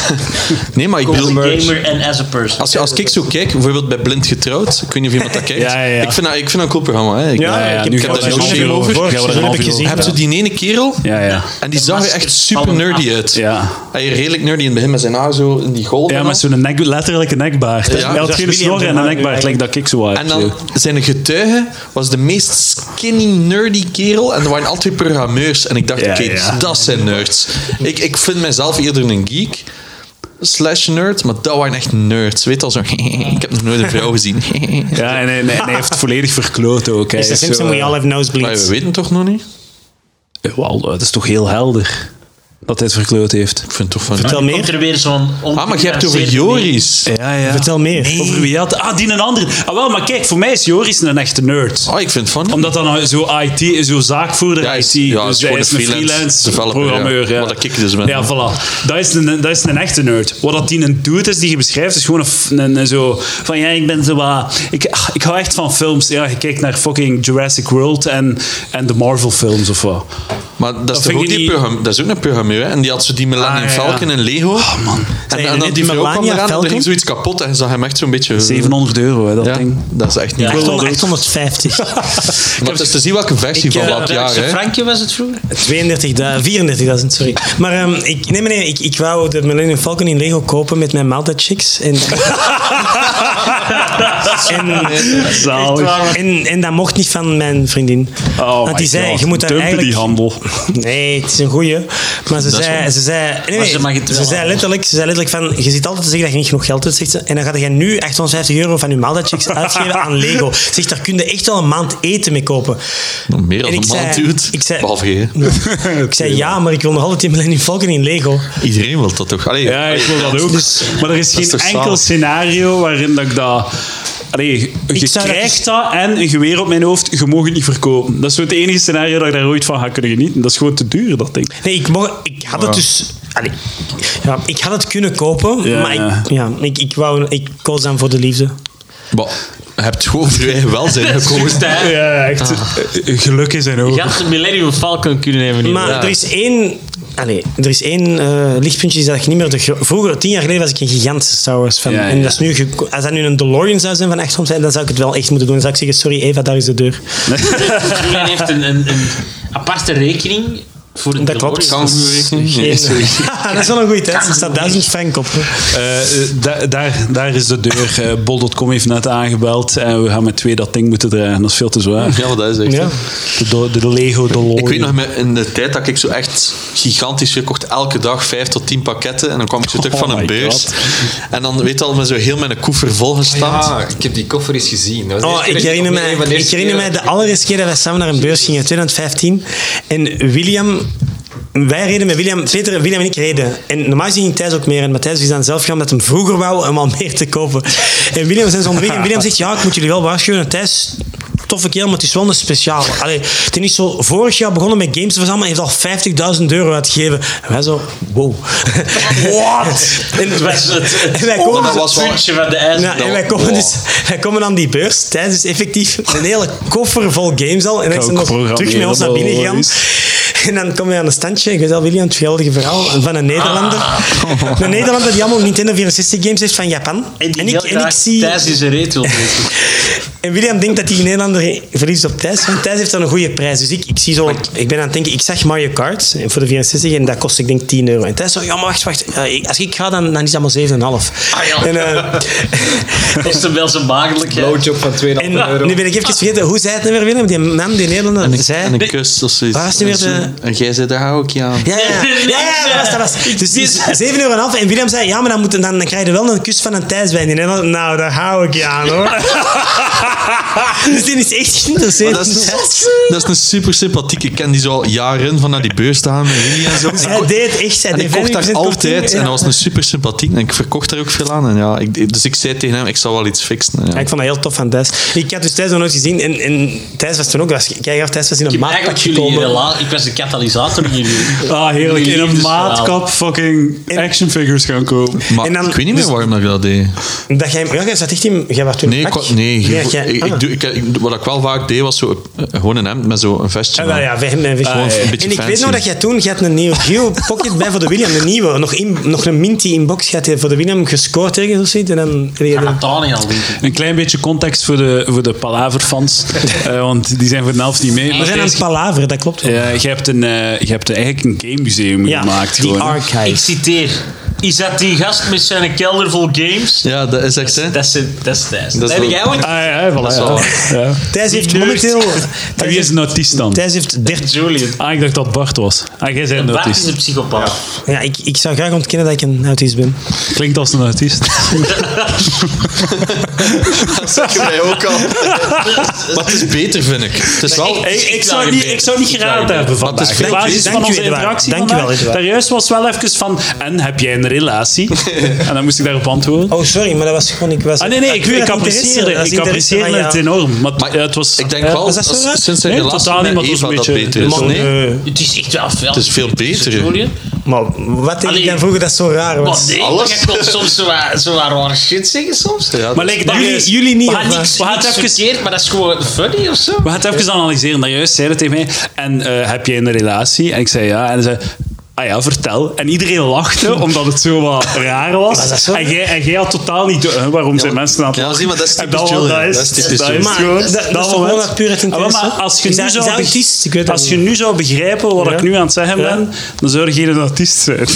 Speaker 3: Nee, maar ik
Speaker 5: Als
Speaker 3: bedoel...
Speaker 5: een gamer en as a person.
Speaker 3: Als, als ik zo kijk, bijvoorbeeld bij Blind Getrouwd, ik weet niet of iemand dat kijkt.
Speaker 1: Ja, ja, ja.
Speaker 3: Ik, vind dat, ik vind dat een cool programma. Hè. Ik-
Speaker 4: Ja,
Speaker 1: Ja, ja,
Speaker 4: ik heb
Speaker 1: nu
Speaker 4: het
Speaker 1: gaat
Speaker 3: daar
Speaker 1: er
Speaker 3: nog
Speaker 1: een
Speaker 3: veel
Speaker 1: uur
Speaker 4: over.
Speaker 1: over. Gaan we er
Speaker 4: Dat
Speaker 1: een half
Speaker 4: heb ik
Speaker 1: uur
Speaker 4: gezien.
Speaker 1: over
Speaker 3: Heb je
Speaker 1: praten.
Speaker 3: die ene kerel?
Speaker 1: Ja, ja.
Speaker 3: En die
Speaker 5: De
Speaker 3: zag er
Speaker 5: maskers
Speaker 3: echt super
Speaker 5: vallen
Speaker 3: nerdy
Speaker 5: af.
Speaker 3: uit.
Speaker 1: Ja.
Speaker 3: Hij redelijk nerdy in het begin met zijn haar zo in die golven.
Speaker 1: Ja,
Speaker 3: en
Speaker 1: met
Speaker 3: al.
Speaker 1: zo'n nek, letterlijk een nekbaard. hè.
Speaker 3: Ja,
Speaker 1: Hij had
Speaker 3: dat
Speaker 4: is
Speaker 1: geen
Speaker 4: William
Speaker 1: snor
Speaker 4: de
Speaker 1: en een
Speaker 4: Maan,
Speaker 1: nekbaard,
Speaker 4: eigenlijk.
Speaker 1: like dat ik zo heb.
Speaker 3: En dan zijn getuige was de meest skinny nerdy kerel. En er waren altijd programmeurs. En ik dacht,
Speaker 1: Ja,
Speaker 3: oké,
Speaker 1: ja.
Speaker 3: dat zijn nerds. Ik, ik vind mezelf eerder een geek. Slash nerd, maar dat waren echt nerds. Weet al zo, ik heb nog nooit een vrouw gezien.
Speaker 1: Ja, en hij, en hij heeft volledig verkloot ook. Hij
Speaker 4: Mr.
Speaker 1: is
Speaker 4: Simpson,
Speaker 1: zo,
Speaker 4: we all have
Speaker 3: Maar we
Speaker 4: nosebleeds.
Speaker 3: weten toch nog niet?
Speaker 1: eh, wauw, dat is toch heel helder dat hij het verkloot heeft.
Speaker 3: Ik vind het toch van...
Speaker 4: Vertel
Speaker 5: Dan komt
Speaker 4: meer.
Speaker 5: er weer zo'n
Speaker 3: Ah, maar je hebt het over Joris.
Speaker 1: Ja, ja.
Speaker 4: Vertel meer.
Speaker 1: Over wie had... Ah, die en een ander. Ah, wel, maar kijk, voor mij is Joris een echte nerd.
Speaker 3: Ah, ik vind het van.
Speaker 1: Omdat dan nou zo IT, zo zaakvoerder
Speaker 3: Ja, hij is-
Speaker 1: IT.
Speaker 3: ja, hij is
Speaker 1: dus hij
Speaker 3: gewoon
Speaker 1: is
Speaker 3: een
Speaker 1: een
Speaker 3: freelance
Speaker 1: freelance
Speaker 3: developer,
Speaker 1: programmeur.
Speaker 3: ja.
Speaker 1: Ja.
Speaker 3: Maar dat kik ik dus met.
Speaker 1: Ja, voilà. Dat is, een, dat is een echte nerd. Wat dat die een doet is die je beschrijft, is gewoon een, f- een, een zo van ja, ik ben zo wat. Ik, ah, ik hou echt van films. Ja, je kijkt naar fucking Jurassic World en, en de Marvel films of wat.
Speaker 3: Maar dat, is
Speaker 1: vind
Speaker 3: toch ook
Speaker 1: ik
Speaker 3: die
Speaker 1: niet-
Speaker 3: programma- dat is ook een programmeur, hè? En die had zo die Melania
Speaker 1: Ah, ja, ja.
Speaker 3: Falcon en Lego. Oh, man. En,
Speaker 4: Zijn
Speaker 3: en
Speaker 4: jullie
Speaker 3: dan
Speaker 4: net
Speaker 3: die vrouw kwam
Speaker 4: Melania
Speaker 3: eraan en er
Speaker 4: Falcon?
Speaker 3: ging zoiets kapot en zag hem echt zo'n beetje...
Speaker 1: 700 euro, hè, dat
Speaker 3: Ja,
Speaker 1: ding.
Speaker 3: dat is echt niet goed.
Speaker 4: 800 850. 32.000,
Speaker 3: Maar het is te zien welke versie van dat jaar, hè?
Speaker 5: Frankje was het vroeger?
Speaker 4: 34.000, sorry. Maar ehm, ik, nee, meneer, ik, ik wou de Millennium Falcon in Lego kopen met mijn Malta Chicks. En, en,
Speaker 1: Zalig.
Speaker 4: en, en dat mocht niet van mijn vriendin.
Speaker 1: Oh
Speaker 4: Want
Speaker 1: my
Speaker 4: die zei,
Speaker 1: God.
Speaker 4: je moet daar
Speaker 1: Dumpen
Speaker 4: eigenlijk...
Speaker 1: die handel.
Speaker 4: Nee, het is een goeie. Maar ze zei, ze zei, nee, nee,
Speaker 5: ze mag het
Speaker 4: ze
Speaker 5: wel
Speaker 4: zei, letterlijk, ze zei letterlijk van, je zit altijd te zeggen dat je niet genoeg geld hebt, zegt ze. En dan gaat jij nu 850 euro van je maaltijdchecks uitgeven aan Lego. Zegt, daar kun je echt wel een maand eten mee kopen.
Speaker 3: Meer dan
Speaker 4: En
Speaker 3: een
Speaker 4: ik
Speaker 3: maand,
Speaker 4: zei-
Speaker 3: dude.
Speaker 4: ik zei-
Speaker 3: Behalve je.
Speaker 4: Ik zei, ja, maar ik wil nog altijd die Millennium Falcon in Lego.
Speaker 3: Iedereen wil dat toch? Allee, dus-
Speaker 1: Ja, ik wil Dus dat ook. Maar er is
Speaker 3: is
Speaker 1: geen
Speaker 3: toch
Speaker 1: enkel
Speaker 3: zalig.
Speaker 1: scenario waarin dat ik dat... Allee, je
Speaker 4: Ik zou dat
Speaker 1: krijgt
Speaker 4: dus-
Speaker 1: dat en een geweer op mijn hoofd, je mag het niet verkopen. Dat is zo het enige scenario dat ik daar ooit van ga kunnen genieten. Dat is gewoon te duur, dat ding.
Speaker 4: Nee, ik, mocht, ik had het dus... Allee, ja, ik had het kunnen kopen,
Speaker 1: Ja,
Speaker 4: maar
Speaker 1: ja.
Speaker 4: ik, ja, ik, ik, wou, ik koos dan voor de liefde.
Speaker 3: Bah, hebt gewoon voor je eigen welzijn gekozen.
Speaker 2: Stijn,
Speaker 1: Ja, echt. eh, Geluk in zijn
Speaker 2: Je
Speaker 1: ogen.
Speaker 2: had de Millennium Falcon kunnen nemen. hier.
Speaker 4: Maar er is één, allez, er is één eh, lichtpuntje dat ik niet meer... De gro- Vroeger, tien jaar geleden, was ik een gigantische Star Wars fan.
Speaker 1: Ja, ja.
Speaker 4: En dat is nu, ge- als dat nu een DeLorean zou zijn van 800 zijn, dan zou ik het wel echt moeten doen. Dan zou ik zeggen, sorry Eva, daar is de deur.
Speaker 5: Julian Dus heeft een, een, een aparte rekening voor een
Speaker 4: Dat klopt.
Speaker 5: DeLorean.
Speaker 4: Geen- dat is wel een goede tijd. Er staat duizend frank op.
Speaker 1: Eh, eh, da- daar, daar is de deur. Eh, Bol.com heeft net aangebeld en we gaan met twee dat ding moeten dragen. Dat is veel te zwaar.
Speaker 3: Ja, maar dat is echt.
Speaker 4: Ja.
Speaker 1: De, do- de Lego DeLorean.
Speaker 3: Ik weet nog, met- in de tijd dat ik zo echt gigantisch gekocht, elke dag vijf tot tien pakketten. En dan kwam ik zo terug
Speaker 1: Oh
Speaker 3: van
Speaker 1: my
Speaker 3: een beurs.
Speaker 1: God.
Speaker 3: En dan, weet je al, met zo heel mijn koffer volgestampt.
Speaker 6: Ah, ik heb die koffer eens gezien. Dat was de
Speaker 4: Oh,
Speaker 6: eerste
Speaker 4: ik
Speaker 6: keer-
Speaker 4: herinner
Speaker 6: nee, van
Speaker 4: mij,
Speaker 6: de
Speaker 4: ik
Speaker 6: eerste
Speaker 4: herinner
Speaker 6: keer
Speaker 4: mij de
Speaker 6: dat
Speaker 4: allereerste keer dat wij samen naar een beurs gingen, in 2015. En William... Wij reden met William, Peter, William en ik reden. En normaal gezien ging Thijs ook meer. En Matthijs is dan zelf gaan omdat hem vroeger wou om al meer te kopen. En William zijn zo onderweg. En William zegt, ja, ik moet jullie wel waarschuwen. En Thijs, toffe kerel, maar het is wel een speciaal. Allee, het is niet zo... Vorig jaar begonnen met games te verzamelen. en heeft al 50.000 euro uitgegeven. En wij zo, wow. What? En,
Speaker 5: Het was het, het, Oh,
Speaker 4: en wij komen
Speaker 3: dat
Speaker 4: zo-
Speaker 3: was wel-
Speaker 5: puntje van de ijzer.
Speaker 4: ja, en wij komen, dus, wij komen aan die beurs. Thijs is effectief een hele koffer vol games al. En dan
Speaker 1: ook
Speaker 4: zijn we terug
Speaker 1: programmeren,
Speaker 4: met ons naar binnen
Speaker 1: maar
Speaker 4: gegaan. En dan kom je aan een standje. Ik weet al, William, het geweldige verhaal van een Nederlander. Een Nederlander die allemaal Nintendo 64 games heeft van Japan. En,
Speaker 5: Ah. die
Speaker 4: ik,
Speaker 5: heel
Speaker 4: en ik
Speaker 5: graag
Speaker 4: zie...
Speaker 5: Thijs is een reet wil weten.
Speaker 4: En William denkt dat die Nederlander verliest op Thijs. Want Thijs heeft dan een goede prijs. Dus ik, ik, zie zo, ik ben aan het denken, ik zag Mario Kart voor de 64 en dat kost ik denk 10 euro. En Thijs zo, ja maar wacht, wacht. Eh, ik- Als ik ga, dan, dan is dat maar 7,5.
Speaker 5: Ah, ja.
Speaker 4: En, eh,
Speaker 5: Kost hem wel zijn
Speaker 6: ik-
Speaker 5: maagdelijkheid.
Speaker 6: Blowjob van 2,5 euro.
Speaker 4: En nu ben ik even vergeten, hoe zei het nu weer, Willem? Die man, die Nederlander, zei...
Speaker 3: En een kus of zoiets.
Speaker 4: Waar was die weer de-
Speaker 3: En jij zei, daar hou ik je aan.
Speaker 4: Ja, ja, ja, ja, ja, dat was, dat was. Dus, dus 7,5 euro. En, half. en Willem zei, ja, maar dan, moet, dan, dan krijg je wel een kus van een Thijs bij. En die Nederlander, nou, daar hou ik je aan, hoor. dus die is echt geïnteresseerd. Dus
Speaker 3: Maar dat, is
Speaker 4: in
Speaker 3: een,
Speaker 4: Thijs.
Speaker 3: dat is een super sympathieke. Ik ken die zo al jaren van naar die beurs te gaan met jullie en zo.
Speaker 4: Hij deed echt... Hij
Speaker 3: En ik
Speaker 4: deed
Speaker 3: kocht
Speaker 4: 50%
Speaker 3: daar altijd
Speaker 4: korting.
Speaker 3: en dat was
Speaker 4: Ja.
Speaker 3: een super sympathiek. En ik verkocht daar ook veel aan. En ja, ik, dus ik zei tegen hem, ik zal wel iets fixen. En
Speaker 4: Ja,
Speaker 3: Ja.
Speaker 4: ik vond dat heel tof van Thijs. Ik had dus Thijs nog nooit gezien. En, en Thijs was toen ook... was- Kijk, af, Thijs was in
Speaker 5: Ik
Speaker 4: een
Speaker 5: heb
Speaker 4: maatpak
Speaker 5: eigenlijk jullie
Speaker 4: gekomen.
Speaker 5: rela- Ik was de katalysator in jullie.
Speaker 1: Ah, heerlijk. In een
Speaker 5: Liefdesverhaal.
Speaker 1: maatkap fucking action figures gaan kopen.
Speaker 3: Maar
Speaker 4: En dan- dus-
Speaker 3: ik weet niet meer waarom dat ik dat deed.
Speaker 4: Dat jij, ja, jij zat echt in... Jij was toen
Speaker 3: Nee,
Speaker 4: een
Speaker 3: ik,
Speaker 4: pak.
Speaker 3: wa- nee,
Speaker 4: Ja,
Speaker 3: ik,
Speaker 4: jij-
Speaker 3: ik,
Speaker 4: ah.
Speaker 3: ik doe- ik- ik- wat ik wel vaak deed was zo, eh, gewoon een hemd met zo een vestje.
Speaker 4: Ah, wel
Speaker 3: aan.
Speaker 4: ja, we- we- we-
Speaker 3: Gewoon een beetje
Speaker 4: En ik weet
Speaker 3: fancy.
Speaker 4: nog dat jij toen je had een Neo Geo Pocket bij voor de William, de nieuwe. Nog, in, nog een Minty inbox had je voor de William gescoord ergens of zoiets. En dan kreeg
Speaker 1: Ah,
Speaker 4: je de-
Speaker 5: Catania al, denk ik.
Speaker 1: Een klein beetje context voor de, voor de Palaver-fans, eh, want die zijn voor de helft niet mee.
Speaker 4: We zijn aan het palaver, dat klopt.
Speaker 1: Ja, je hebt, een, eh, je hebt eigenlijk een game museum gemaakt.
Speaker 4: die
Speaker 1: gewoon.
Speaker 4: archive.
Speaker 5: Ik citeer. Is dat die gast met zijn kelder vol games?
Speaker 3: Ja, dat is echt, hè.
Speaker 5: Dat is, dat is Thijs.
Speaker 3: is
Speaker 5: Dat heb
Speaker 3: wel-
Speaker 5: jij ooit
Speaker 1: Ah, ja, voilà, ja. ja.
Speaker 4: Thijs heeft
Speaker 5: die nerd.
Speaker 4: momenteel...
Speaker 1: En wie is een autist dan?
Speaker 4: Thijs heeft 30...
Speaker 5: Julian.
Speaker 1: Ah, ik dacht dat Bart was. Ah, jij bent een
Speaker 5: Bart is
Speaker 1: autist.
Speaker 5: een psychopaat.
Speaker 4: Ja, ik, ik zou graag ontkennen dat ik een autist ben.
Speaker 1: Klinkt als een autist.
Speaker 3: Dat zeggen wij ook al. Maar het is beter, vind ik. Het is wel...
Speaker 1: Ik, ik,
Speaker 5: zou
Speaker 1: zou
Speaker 5: je
Speaker 1: niet,
Speaker 5: beter.
Speaker 1: ik zou niet
Speaker 5: Ik zou je
Speaker 1: geraad
Speaker 5: beter.
Speaker 1: hebben van
Speaker 3: is
Speaker 1: Op
Speaker 3: fijn.
Speaker 1: basis
Speaker 4: Dank
Speaker 1: van
Speaker 4: u,
Speaker 1: onze
Speaker 4: Edouard.
Speaker 1: interactie
Speaker 4: Dank u
Speaker 1: vandaag,
Speaker 4: wel, Edouard.
Speaker 1: Daarjuist was wel even van... En, heb jij een relatie? en dan moest ik daarop antwoorden.
Speaker 4: Oh, sorry, maar dat was gewoon... Ik was,
Speaker 1: Ah, nee, nee, ik,
Speaker 4: wil
Speaker 1: ik
Speaker 4: dat interesse,
Speaker 1: apprecieerde,
Speaker 4: dat is
Speaker 1: ik
Speaker 4: interesse van
Speaker 1: apprecieerde
Speaker 4: jou.
Speaker 1: het enorm. Maar ja, het was,
Speaker 3: Ik denk
Speaker 1: ja.
Speaker 3: wel,
Speaker 4: is dat zo
Speaker 3: als-
Speaker 4: raar?
Speaker 3: sinds zijn
Speaker 1: Nee,
Speaker 3: relatie
Speaker 1: totaal niet,
Speaker 3: met
Speaker 1: maar het was
Speaker 3: Eva
Speaker 1: een
Speaker 3: dat
Speaker 1: beetje-
Speaker 3: beter is.
Speaker 4: Maar,
Speaker 3: Nee,
Speaker 4: nee.
Speaker 5: Het is echt wel veel. Het
Speaker 3: is veel beter, hè.
Speaker 5: Julian.
Speaker 4: maar wat deed ik
Speaker 5: Allee.
Speaker 4: dan vroeger dat zo raar
Speaker 5: Maar
Speaker 4: was?
Speaker 5: nee,
Speaker 3: Alles.
Speaker 5: je kon soms zo waar, zo waar rare shit zeggen soms.
Speaker 3: Ja,
Speaker 1: Maar
Speaker 3: dat-
Speaker 1: lijkt dat
Speaker 4: Jullie-
Speaker 1: juist-
Speaker 4: jullie niet,
Speaker 1: We
Speaker 5: Maar
Speaker 1: gaan
Speaker 5: niks,
Speaker 1: het- we gaan het
Speaker 5: niks
Speaker 1: even-
Speaker 5: verkeerd, maar dat is gewoon funny of zo.
Speaker 1: we gaan het even analyseren. Daar juist zei het tegen mij. En eh, heb jij een relatie? En ik zei ja. En hij zei... Ah ja, vertel. En iedereen lachte, omdat het zo wat raar was.
Speaker 4: dat is zo-
Speaker 1: en, jij, en jij had totaal niet... door, hè, waarom zijn mensen aan het
Speaker 3: ja,
Speaker 1: lachen?
Speaker 3: zie maar, dat is
Speaker 1: En
Speaker 3: typisch
Speaker 1: dat,
Speaker 3: Julian.
Speaker 1: dat is,
Speaker 3: Dat is typisch
Speaker 1: dat
Speaker 3: Julian.
Speaker 1: is
Speaker 4: Maar
Speaker 1: gewoon...
Speaker 4: dat- dat is toch
Speaker 1: moment.
Speaker 4: gewoon uit puur het
Speaker 1: Ah, wel,
Speaker 4: interesse?
Speaker 1: maar als je,
Speaker 4: Is
Speaker 1: nu
Speaker 4: dat-
Speaker 1: zou
Speaker 4: is dat
Speaker 1: beg-
Speaker 4: autistisch? Ik weet dat
Speaker 1: als
Speaker 4: niet.
Speaker 1: je nu zou begrijpen wat
Speaker 4: Ja.
Speaker 1: ik nu aan het zeggen
Speaker 4: Ja.
Speaker 1: ben, dan zou je geen autist zijn.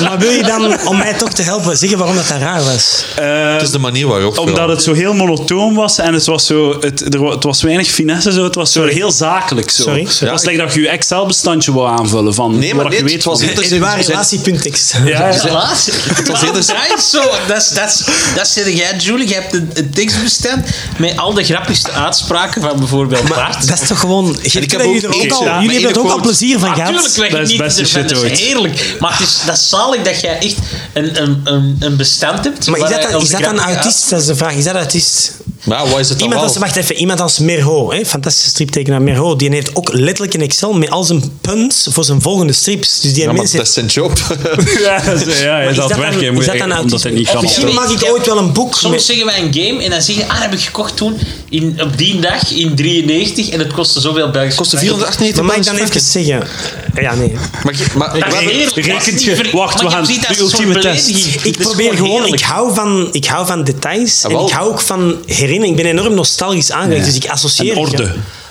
Speaker 4: Maar wil je dan, om mij toch te helpen, zeggen waarom dat, dat raar was?
Speaker 1: Eh,
Speaker 3: Het is de manier waarop.
Speaker 1: omdat het zo heel monotoon was en het was, zo, het, er, wa- het was weinig finesse, zo, het was zo heel zakelijk. Zo.
Speaker 4: Sorry.
Speaker 1: Het
Speaker 4: Ja,
Speaker 1: was slecht dat je je Excel-bestandje wou aanvullen van
Speaker 3: Nee, maar
Speaker 1: wat
Speaker 3: nee,
Speaker 1: je weet
Speaker 3: het was
Speaker 1: van-
Speaker 3: niet-
Speaker 4: In waar relatiepunttekst.
Speaker 1: Ja, ja.
Speaker 5: Relatie. Maar
Speaker 3: eerder-
Speaker 5: dat is zo. Dat, is- dat, is- dat zeg jij, Julie. Je hebt een, een tekstbestand met al de grappigste uitspraken van bijvoorbeeld Bart.
Speaker 4: Dat is toch gewoon...
Speaker 3: ik heb
Speaker 4: jullie
Speaker 3: ook-
Speaker 4: er ook
Speaker 3: ik- ja,
Speaker 4: al- jullie
Speaker 3: maar
Speaker 4: hebben er
Speaker 3: ieder
Speaker 4: ook al
Speaker 3: quote-
Speaker 4: plezier van
Speaker 5: Natuurlijk
Speaker 4: gehad.
Speaker 5: leg
Speaker 1: Dat
Speaker 5: ik
Speaker 1: is
Speaker 5: niet
Speaker 1: beste
Speaker 5: ervan.
Speaker 1: shit
Speaker 5: Dat
Speaker 1: ooit.
Speaker 5: is heerlijk. Maar het is, dat is zalig dat jij echt een, een, een, een bestand hebt.
Speaker 4: Maar is
Speaker 5: waar
Speaker 4: dat,
Speaker 5: hij
Speaker 4: dan- is
Speaker 5: onze
Speaker 4: dat dan
Speaker 5: grappige
Speaker 4: autist? Dat is de vraag. Is dat autist?
Speaker 3: Maar wat is het dan
Speaker 4: Iemand
Speaker 3: wel?
Speaker 4: als, wacht even, iemand als Merho, hè, fantastische striptekenaar Merho, die heeft ook letterlijk in Excel met al zijn punts voor zijn volgende strips. Dus die
Speaker 3: Ja, maar
Speaker 4: mensen...
Speaker 3: dat is zijn job.
Speaker 1: Ja, dat is- ja, is
Speaker 4: is
Speaker 1: dat
Speaker 4: dat
Speaker 1: werken,
Speaker 4: dan-
Speaker 1: moet
Speaker 4: is dat
Speaker 1: je-
Speaker 4: dan
Speaker 1: omdat
Speaker 4: autisme?
Speaker 1: hij niet
Speaker 4: Of
Speaker 1: kan.
Speaker 4: misschien
Speaker 1: optellen.
Speaker 4: mag ik ooit wel een boek
Speaker 5: Soms
Speaker 4: met-
Speaker 5: zeggen wij een game en dan zeggen we, ah, dat heb ik gekocht toen in, op die dag in 93 en het kostte zoveel Belgische
Speaker 3: Kostte
Speaker 5: frank.
Speaker 3: 498
Speaker 4: Maar mag ik
Speaker 3: Belgische
Speaker 4: dan even
Speaker 3: franken.
Speaker 4: zeggen... Ja, nee.
Speaker 3: Maar je- maar-
Speaker 5: Dat is
Speaker 3: maar-
Speaker 5: eerlijk, dat is
Speaker 1: Rekent
Speaker 5: niet
Speaker 1: je-
Speaker 5: ver-
Speaker 1: wacht, we
Speaker 5: maar je
Speaker 1: gaan
Speaker 5: ziet dat
Speaker 1: de
Speaker 5: als een soort
Speaker 1: ultieme
Speaker 5: belediging.
Speaker 1: test.
Speaker 5: Dat is
Speaker 4: Ik probeer gewoon...
Speaker 5: heerlijk.
Speaker 4: Ik hou, van, ik hou van details en
Speaker 3: wel.
Speaker 4: ik hou ook van herinnering. Ik ben enorm nostalgisch aangelegd, dus ik associeer...
Speaker 1: En orde.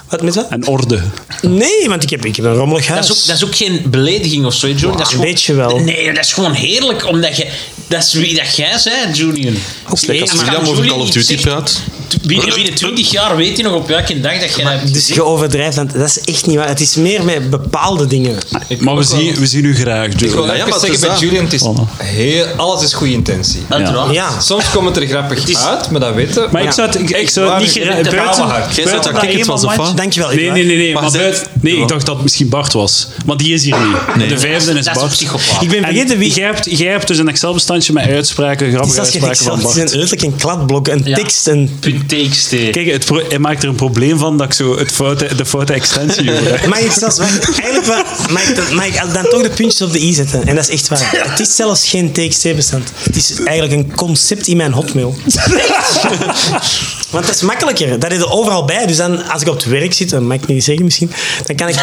Speaker 4: Wat met wat?
Speaker 1: En orde.
Speaker 4: Nee, want ik heb, ik heb een rommelig
Speaker 5: Dat
Speaker 4: huis.
Speaker 5: is, ook, dat is ook geen belediging of zo, hè, Junior. dat is
Speaker 4: een
Speaker 5: gewoon-
Speaker 4: beetje wel.
Speaker 5: Nee, dat is gewoon heerlijk, omdat je... Dat is wie dat jij bent, Junior.
Speaker 4: Slecht als
Speaker 5: Eerst
Speaker 3: Julian
Speaker 5: gaat
Speaker 3: over
Speaker 5: Junior
Speaker 3: Call of Duty
Speaker 5: iets zeggen.
Speaker 3: praat.
Speaker 5: T- Binnen, binnen 20 jaar weet je nog op welke dag dat jij dat hebt
Speaker 4: Dus
Speaker 5: gezien.
Speaker 4: je overdrijft, want dat is echt niet waar. Het is meer met bepaalde dingen.
Speaker 1: Maar we zien, we zien u graag,
Speaker 6: Ik wil
Speaker 1: Joe.
Speaker 3: ja,
Speaker 6: even
Speaker 3: maar het
Speaker 6: zeggen
Speaker 3: is
Speaker 6: bij
Speaker 3: dat.
Speaker 6: Julian, het is
Speaker 1: Oh.
Speaker 6: heel, alles is goede intentie.
Speaker 5: Uiteraard.
Speaker 4: Ja.
Speaker 6: Soms komt het er grappig uit, maar dat weten
Speaker 1: Maar ik zou het, ik, ik zou het
Speaker 6: Waar-
Speaker 1: niet
Speaker 6: je
Speaker 1: gera-
Speaker 6: bent de
Speaker 1: buiten,
Speaker 6: bouwenhard.
Speaker 3: Jij zou dat
Speaker 1: dat
Speaker 3: ticket
Speaker 1: eenmaal
Speaker 3: was, of
Speaker 1: match-
Speaker 3: wat?
Speaker 4: Dankjewel.
Speaker 1: Nee, nee, nee. nee
Speaker 3: Maar
Speaker 1: maar
Speaker 3: zij-
Speaker 1: buiten, nee ik dacht dat het misschien Bart was. Maar die is hier niet. De vijfde is
Speaker 5: Dat is een
Speaker 1: Bart.
Speaker 5: psychopaat.
Speaker 4: Ik ben
Speaker 1: En
Speaker 4: vergeten wie...
Speaker 1: Jij hebt, jij hebt dus een Excel-bestandje met uitspraken,
Speaker 4: Het is
Speaker 1: grappige
Speaker 4: als je in
Speaker 1: uitspraken
Speaker 4: Excel
Speaker 1: van
Speaker 4: het is
Speaker 1: Bart.
Speaker 4: een, letterlijk een kladblok, een
Speaker 5: Ja.
Speaker 4: tekst, een...
Speaker 5: Punt TXT.
Speaker 1: Kijk, het pro- hij maakt er een probleem van dat ik zo het foute, de foute extensie hoor.
Speaker 4: Mag ik zelfs... Mag, ik- eigenlijk wel, mag, ik, dan- mag ik dan toch de puntjes op de i zetten? En dat is echt waar. Het is zelfs geen txt-bestand. Het is eigenlijk een concept in mijn hotmail. Want dat is makkelijker. Dat is er overal bij. Dus dan, als ik op het werk zit, dat mag ik niet zeggen misschien, dan kan ik,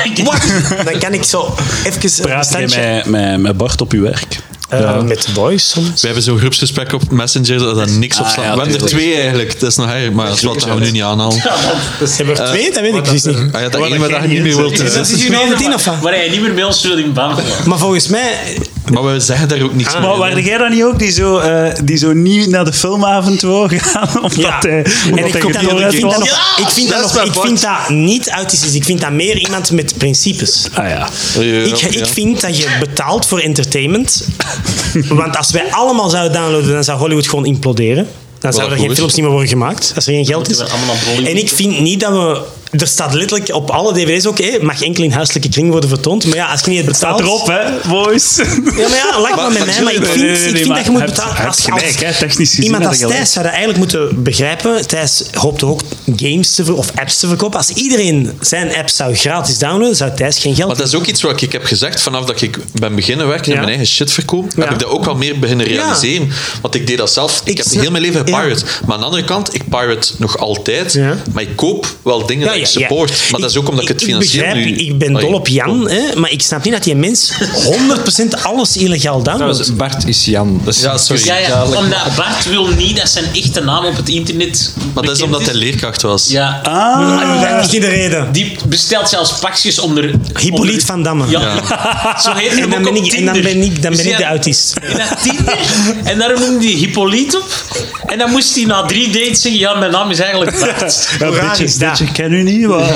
Speaker 4: dan kan ik zo even een
Speaker 1: Praat jij
Speaker 4: standje... Eh,
Speaker 1: met, met, met Bart op je werk?
Speaker 4: Met de boys soms.
Speaker 3: We hebben zo'n groepsgesprek op Messenger dat er niks op
Speaker 1: Ah,
Speaker 3: staat.
Speaker 1: ja,
Speaker 3: we hebben er
Speaker 1: tuurlijk.
Speaker 3: twee eigenlijk. Dat is nog erg, maar dat is wat dat gaan we nu niet aanhalen.
Speaker 4: Ze hebben er twee, dat weet ik dus niet.
Speaker 3: Ah, ja, dat ene wat je niet meer wilt.
Speaker 4: Dat is hier over tien of wat?
Speaker 5: Waar hij niet meer bij ons wil in band komen.
Speaker 4: Maar volgens mij...
Speaker 3: Maar we zeggen daar ook niks meer.
Speaker 1: Ah. Maar waren jij dan niet ook die zo, eh, die zo niet naar de filmavond wou gaan? Omdat
Speaker 4: Ja.
Speaker 1: hij, omdat
Speaker 4: en ik,
Speaker 1: hij
Speaker 4: kom daar- ik
Speaker 1: gedood
Speaker 4: vind dat
Speaker 1: was?
Speaker 4: nog- ik vind dat
Speaker 3: Dat is
Speaker 4: nog-
Speaker 3: mijn
Speaker 4: ik
Speaker 3: bord.
Speaker 4: vind dat niet autistisch. Ik vind dat meer iemand met principes.
Speaker 1: Ah ja.
Speaker 4: Ik, ik vind dat je betaalt voor entertainment. Want als wij allemaal zouden downloaden, dan zou Hollywood gewoon imploderen. Dan zouden
Speaker 3: dat
Speaker 4: er geen
Speaker 3: goed is.
Speaker 4: films niet meer worden gemaakt, als er geen geld is.
Speaker 5: we allemaal naar Bollywood.
Speaker 4: En ik vind niet dat we... Er staat letterlijk op alle dvd's ook, hé, mag enkel in huiselijke kring worden vertoond. Maar ja, als je niet het betaalt...
Speaker 1: Staat erop, hè, boys.
Speaker 4: Ja, maar ja, lach maar
Speaker 3: Maar-
Speaker 4: met mij. Maar ik
Speaker 3: Nee,
Speaker 4: vind,
Speaker 1: nee, nee,
Speaker 4: ik
Speaker 1: nee,
Speaker 4: vind
Speaker 1: maar
Speaker 4: dat je moet
Speaker 1: heb-
Speaker 4: betalen.
Speaker 1: heb
Speaker 4: Als,
Speaker 1: gelijk,
Speaker 4: als
Speaker 1: hè, technisch gezien
Speaker 4: iemand
Speaker 1: heb
Speaker 4: als
Speaker 1: je gelijk.
Speaker 4: Thijs zou dat eigenlijk moeten begrijpen. Thijs hoopt ook games te ver- of apps te verkopen. Als iedereen zijn app zou gratis downloaden, zou Thijs geen geld
Speaker 3: Maar dat is ook iets wat ik heb gezegd vanaf dat ik ben beginnen werken en
Speaker 4: Ja.
Speaker 3: mijn eigen shit verkoop. Heb
Speaker 4: Ja.
Speaker 3: ik dat ook wel meer beginnen realiseren. Want ik deed dat zelf. Ik,
Speaker 4: Ik
Speaker 3: heb
Speaker 4: snap-
Speaker 3: heel mijn leven
Speaker 4: ja.
Speaker 3: gepirate. Maar aan de andere kant, ik pirate nog altijd.
Speaker 4: Ja.
Speaker 3: Maar ik koop wel dingen dat ik support. Maar dat is ook omdat ik het financieel
Speaker 4: begrijp,
Speaker 3: nu... Oh.
Speaker 4: Ik ben
Speaker 3: Allee,
Speaker 4: dol op Jan, hè, maar ik snap niet dat die mens 100% alles illegaal downloadt.
Speaker 6: Trouwens, Bart is Jan. Dat is
Speaker 3: Ja, sorry.
Speaker 5: Dus Ja, ja, omdat Bart wil niet dat zijn echte naam op het internet
Speaker 3: Maar dat is omdat hij leerkracht was.
Speaker 5: Ja.
Speaker 1: Ah.
Speaker 4: Ah. Dat is niet de reden.
Speaker 5: Die bestelt zelfs pakjes onder...
Speaker 4: Hypoliet
Speaker 5: onder-
Speaker 4: van Damme. Ah,
Speaker 5: Ja. Zo heet hem
Speaker 4: En dan
Speaker 5: ook
Speaker 4: ben
Speaker 5: op
Speaker 4: ik, en dan
Speaker 5: Tinder.
Speaker 4: ben ik, dan
Speaker 5: Dus
Speaker 4: ben ik de
Speaker 5: ja,
Speaker 4: autist.
Speaker 5: in dat Tinder. En daar noemde hij Hippolyte op. En dan moest hij na drie dates zeggen, ja, mijn naam is eigenlijk Bart.
Speaker 1: Ja,
Speaker 4: Hoe raar
Speaker 1: beetje,
Speaker 4: is dat?
Speaker 1: beetje ken u niet, maar...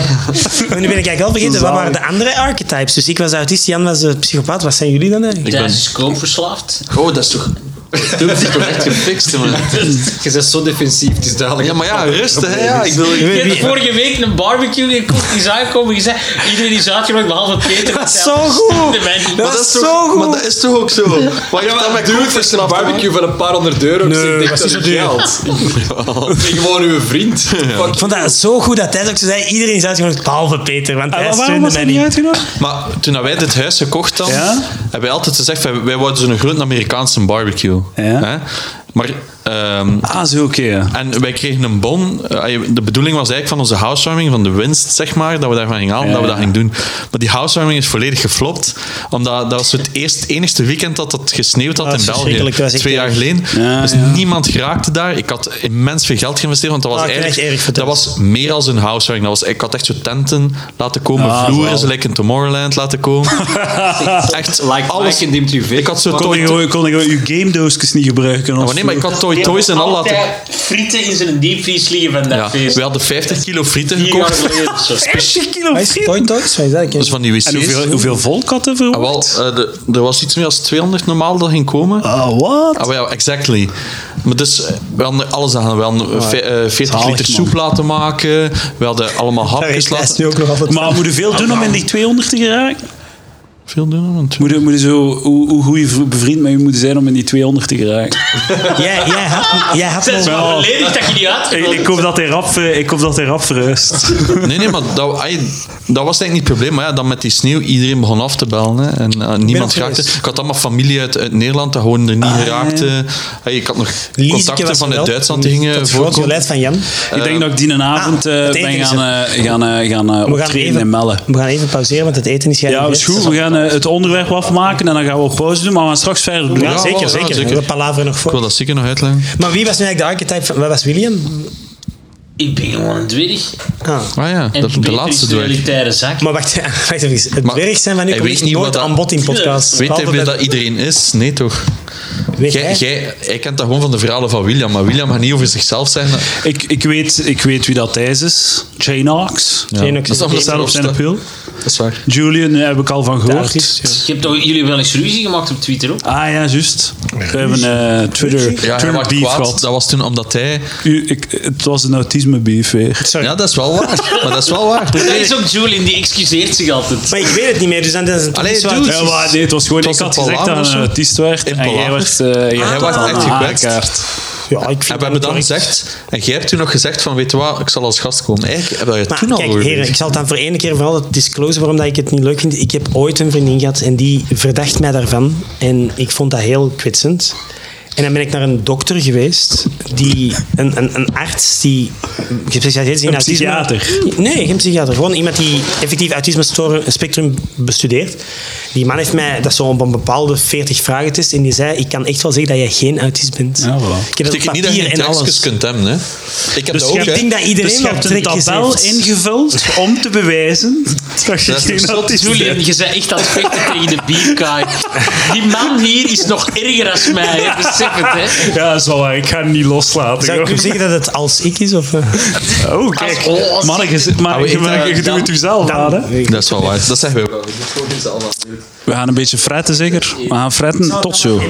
Speaker 4: Maar nu ben ik eigenlijk wel vergeten, wat waren de andere archetypes? Dus ik was autist, Jan was eh, psychopaat. Wat zijn jullie dan eigenlijk?
Speaker 5: Thijs is koopverslaafd.
Speaker 3: Oh, dat is toch... Dat is toch echt gefixt, man.
Speaker 6: Je bent zo defensief, het is duidelijk.
Speaker 3: Ja, maar ja, rust, hè. Ja, ik wil...
Speaker 5: Ik heb
Speaker 4: Wie-
Speaker 5: vorige week een barbecue gekocht, die is aankomen gezegd. Iedereen is uitgenodigd, behalve Peter.
Speaker 4: Dat is zo goed.
Speaker 5: Dat mij niet.
Speaker 4: Dat
Speaker 3: dat
Speaker 4: is
Speaker 3: is
Speaker 4: zo
Speaker 3: toch,
Speaker 4: goed.
Speaker 3: maar dat is toch ook zo? Wat
Speaker 6: Ja,
Speaker 3: ik dan
Speaker 6: maar
Speaker 3: met
Speaker 6: dude, het is een
Speaker 3: koopverslaafd
Speaker 6: barbecue van een paar honderd euro. Nee,
Speaker 4: Nee,
Speaker 6: ik denk
Speaker 4: was
Speaker 6: dat is
Speaker 4: niet zo duur.
Speaker 6: geld. Ik ben gewoon uw vriend. Fuck.
Speaker 4: Ik vond dat zo goed dat Thijs ook zo zei, iedereen is uitgenodigd, behalve Peter, want hij
Speaker 1: Ah, waarom
Speaker 4: steunde
Speaker 1: was
Speaker 4: mij
Speaker 1: hij niet
Speaker 4: niet.
Speaker 1: uitgenodigd?
Speaker 3: Maar toen wij dit huis gekocht hadden,
Speaker 1: Ja?
Speaker 3: hebben wij altijd gezegd, wij, wij wouden zo'n grote Amerikaanse barbecue.
Speaker 1: Ja.
Speaker 3: Hè? Maar, ehm,
Speaker 1: Ah, zo, oké. ja.
Speaker 3: en wij kregen een bon. Eh, De bedoeling was eigenlijk van onze housewarming, van de winst, zeg maar, dat we daarvan gingen halen,
Speaker 1: Ja,
Speaker 3: dat we dat
Speaker 1: ja.
Speaker 3: gingen doen. Maar die housewarming is volledig geflopt, omdat dat was het eerst, enigste weekend dat het gesneeuwd had
Speaker 4: Dat
Speaker 3: in
Speaker 4: is
Speaker 3: België.
Speaker 4: verschrikkelijk, dat was echt
Speaker 3: Twee jaar
Speaker 4: erg.
Speaker 3: geleden.
Speaker 1: Ja,
Speaker 3: dus
Speaker 1: ja.
Speaker 3: niemand geraakte daar. Ik had immens veel geld geïnvesteerd, want dat was
Speaker 4: Ah, ik krijg
Speaker 3: eigenlijk...
Speaker 4: erg
Speaker 3: dat
Speaker 4: verteld.
Speaker 3: was meer als een housewarming. Dat was, ik had echt zo tenten laten komen,
Speaker 1: Ah,
Speaker 3: vloeren,
Speaker 1: wel.
Speaker 3: ze like in Tomorrowland laten komen. echt
Speaker 6: Like
Speaker 3: alles.
Speaker 6: Mike en Dimitri V.
Speaker 3: Ik had zo
Speaker 1: Kon
Speaker 3: Toy
Speaker 1: ik
Speaker 3: Toy...
Speaker 1: gewoon- kon ik gewoon uw gamedoosjes niet gebruiken?
Speaker 3: Maar
Speaker 1: Of
Speaker 3: Oh, nee, maar ik had Toy Toys en al laten...
Speaker 5: Altijd frieten in zijn diepvries liggen van dat
Speaker 3: Ja,
Speaker 5: feest.
Speaker 3: we hadden 50 kilo frieten
Speaker 5: Vier jaar
Speaker 3: gekocht.
Speaker 5: geleden of zo.
Speaker 1: 50 kilo friet.
Speaker 4: Toys? Wat is dat?
Speaker 3: Dat is van die wc's.
Speaker 1: En hoeveel, hoeveel volk had er voor?
Speaker 3: Ah, wel, eh, de- er was iets meer als 200 normaal dat ging komen. Ah,
Speaker 1: Ah, wat?
Speaker 3: wel, ja, exactly. Maar dus, eh, we hadden alles aan. We hadden eh, ve- eh, 40
Speaker 1: Ah, Zalig,
Speaker 3: liter
Speaker 1: man.
Speaker 3: soep laten maken. We hadden allemaal
Speaker 4: Daar
Speaker 3: hapjes
Speaker 4: is Thijs
Speaker 3: laten...
Speaker 4: nu ook nog altijd
Speaker 1: Maar moet je veel doen om in die 200 te geraken?
Speaker 3: veel doen. Want...
Speaker 1: Moet je, moet je zo, hoe, hoe goed je v- bevriend met je moet zijn om in die 200 te geraken.
Speaker 4: Jij, jij had, jij had
Speaker 5: Het is
Speaker 4: nog- Oh,
Speaker 1: Wel.
Speaker 5: wel lelijk dat je die uit.
Speaker 1: ik, ik hoop dat hij rap, eh, ik hoop dat hij rap verhuist.
Speaker 3: Nee, nee, maar dat, ai, dat was eigenlijk niet het probleem. Maar ja, dan met die sneeuw, iedereen begon af te bellen. Hè, en eh, niemand
Speaker 4: het
Speaker 3: raakte.
Speaker 4: geweest.
Speaker 3: Ik had allemaal familie uit, uit Nederland, dat gewoon er
Speaker 1: Ah,
Speaker 3: niet geraakt. eh. Ai, ik had nog
Speaker 4: Lieseke
Speaker 3: contacten vanuit
Speaker 4: was geweld.
Speaker 3: Duitsland die gingen
Speaker 4: Dat grote
Speaker 3: voorkomen.
Speaker 4: beleid van Jan.
Speaker 1: ik denk dat ik die een avond eh,
Speaker 4: Ah, het eten
Speaker 1: ben
Speaker 4: is
Speaker 1: gaan, eh, gaan, eh, gaan eh,
Speaker 4: We gaan,
Speaker 1: optreden
Speaker 4: even,
Speaker 1: in Melle.
Speaker 4: we gaan even pauzeren, want het eten is
Speaker 1: Ja, dat is goed. We gaan eh, het onderwerp afmaken en dan gaan we ook pauze doen. Maar we gaan straks verder doen.
Speaker 4: Ja,
Speaker 3: Ja,
Speaker 4: zeker,
Speaker 3: ja,
Speaker 4: zeker.
Speaker 3: zeker.
Speaker 4: We palaveren nog
Speaker 3: Ik wil
Speaker 4: voor.
Speaker 3: dat zeker nog uitleggen.
Speaker 4: Maar wie was nu eigenlijk de archetype van... Wat was William?
Speaker 5: Ik ben gewoon een dwerg.
Speaker 4: Ah.
Speaker 3: Ah ja,
Speaker 5: En
Speaker 3: dat,
Speaker 5: die
Speaker 3: de
Speaker 5: beter
Speaker 3: laatste
Speaker 5: is de
Speaker 3: dwerg.
Speaker 5: elitaire zak.
Speaker 4: Maar wacht, wacht even. Het
Speaker 3: Maar
Speaker 4: dwerg zijn van nu
Speaker 3: hij
Speaker 4: komt
Speaker 3: weet
Speaker 4: echt
Speaker 3: niet
Speaker 4: nooit
Speaker 3: wat dat-
Speaker 4: aan bod in podcasts.
Speaker 3: Weet hij
Speaker 4: Behalve
Speaker 3: wie
Speaker 4: bij-
Speaker 3: dat iedereen is? Nee, toch?
Speaker 4: Weet
Speaker 3: Jij,
Speaker 4: jij?
Speaker 3: jij, jij kent dat gewoon van de verhalen van William, maar William gaat niet over zichzelf zijn.
Speaker 1: Ik, ik, weet, ik weet wie dat Thijs is. Jane Knox.
Speaker 4: Jane Knox
Speaker 3: Dat is
Speaker 4: is
Speaker 3: allemaal
Speaker 1: Dat staat op zijn
Speaker 3: zelf.
Speaker 1: appeal.
Speaker 3: Dat is waar.
Speaker 1: Julian daar heb ik al van gehoord.
Speaker 4: artiest, ja.
Speaker 5: Je hebt toch jullie wel eens ruzie gemaakt op Twitter ook?
Speaker 1: Ah ja, juist. We hebben eh, Twitter,
Speaker 3: Ja, hij
Speaker 1: Twitter
Speaker 3: was
Speaker 1: beef
Speaker 3: kwaad.
Speaker 1: gehad.
Speaker 3: Dat was toen omdat hij...
Speaker 1: U, ik, het was een autisme beef weer.
Speaker 3: Ja, dat is wel waar. Maar dat is wel waar.
Speaker 5: Dat is ook Julian, die excuseert zich altijd.
Speaker 4: Maar ik weet het niet meer, dus dan is het toch
Speaker 3: Allee,
Speaker 4: niet zo
Speaker 3: dude.
Speaker 4: uit-
Speaker 1: Ja, maar nee, het was gewoon,
Speaker 3: Het was
Speaker 1: ik had
Speaker 3: een
Speaker 1: gezegd dat
Speaker 3: palaver
Speaker 1: hij een
Speaker 3: of zo.
Speaker 1: autist werd.
Speaker 3: Een
Speaker 1: En jij
Speaker 3: palaver.
Speaker 1: werd, eh, jij
Speaker 3: Hij
Speaker 1: werd
Speaker 3: was
Speaker 1: dan
Speaker 3: echt gekwetst.
Speaker 1: aangekaart.
Speaker 4: Ja, ik
Speaker 3: En
Speaker 4: vind dat
Speaker 3: we hebben
Speaker 4: ook
Speaker 3: dan
Speaker 4: wel-
Speaker 3: gezegd... En jij hebt toen nog gezegd van, weet je wat, ik zal als gast komen. Eigenlijk hebben we het
Speaker 4: Maar
Speaker 3: toen al
Speaker 4: kijk,
Speaker 3: over
Speaker 4: heren, ik
Speaker 3: gezegd.
Speaker 4: zal het dan voor één keer vooral het disclosen waarom dat ik het niet leuk vind. Ik heb ooit een vriendin gehad en die verdacht mij daarvan. En ik vond dat heel kwetsend. En dan ben ik naar een dokter geweest, die, een, een, een arts die gespecialiseerd is in
Speaker 1: Een
Speaker 4: autisme.
Speaker 1: psychiater.
Speaker 4: Nee, geen psychiater. Gewoon iemand die effectief autisme storen- spectrum bestudeert. Die man heeft mij, dat is zo op een bepaalde 40 vragen test, en die zei, ik kan echt wel zeggen dat jij geen autist bent.
Speaker 1: Ja, voilà.
Speaker 4: Ik heb dat op
Speaker 3: betekent niet dat
Speaker 4: papier
Speaker 3: je
Speaker 4: en alles.
Speaker 3: tekstjes kunt hebben, hè. Ik heb dat ook,
Speaker 4: ik
Speaker 3: hè.
Speaker 4: denk dat iedereen
Speaker 1: Dus je
Speaker 4: wel
Speaker 1: hebt een
Speaker 4: trekjes
Speaker 1: tabel
Speaker 4: heeft.
Speaker 1: ingevuld Dus om te bewijzen dat dus je
Speaker 3: Dat is
Speaker 1: geen
Speaker 3: een
Speaker 1: autist
Speaker 5: Julian,
Speaker 1: bent.
Speaker 5: je bent echt aan het vechten tegen de bierkaai. Die man hier is nog erger als mij, hè. besef het hè.
Speaker 1: Ja, dat is wel waar. Ik ga hem niet loslaten.
Speaker 4: Zou ik
Speaker 1: joh.
Speaker 4: nu zeggen dat het als ik is? Of, eh?
Speaker 1: Oh, kijk.
Speaker 5: Als- als-
Speaker 1: Mannen, je, maar,
Speaker 3: Ah, we
Speaker 1: je,
Speaker 3: eten,
Speaker 1: je, je
Speaker 5: dan-
Speaker 1: doet het jezelf aan, hè.
Speaker 3: Dat is wel waar. Dat zeggen we wel.
Speaker 1: We gaan een beetje fretten, zeker? We gaan fretten. Tot zo.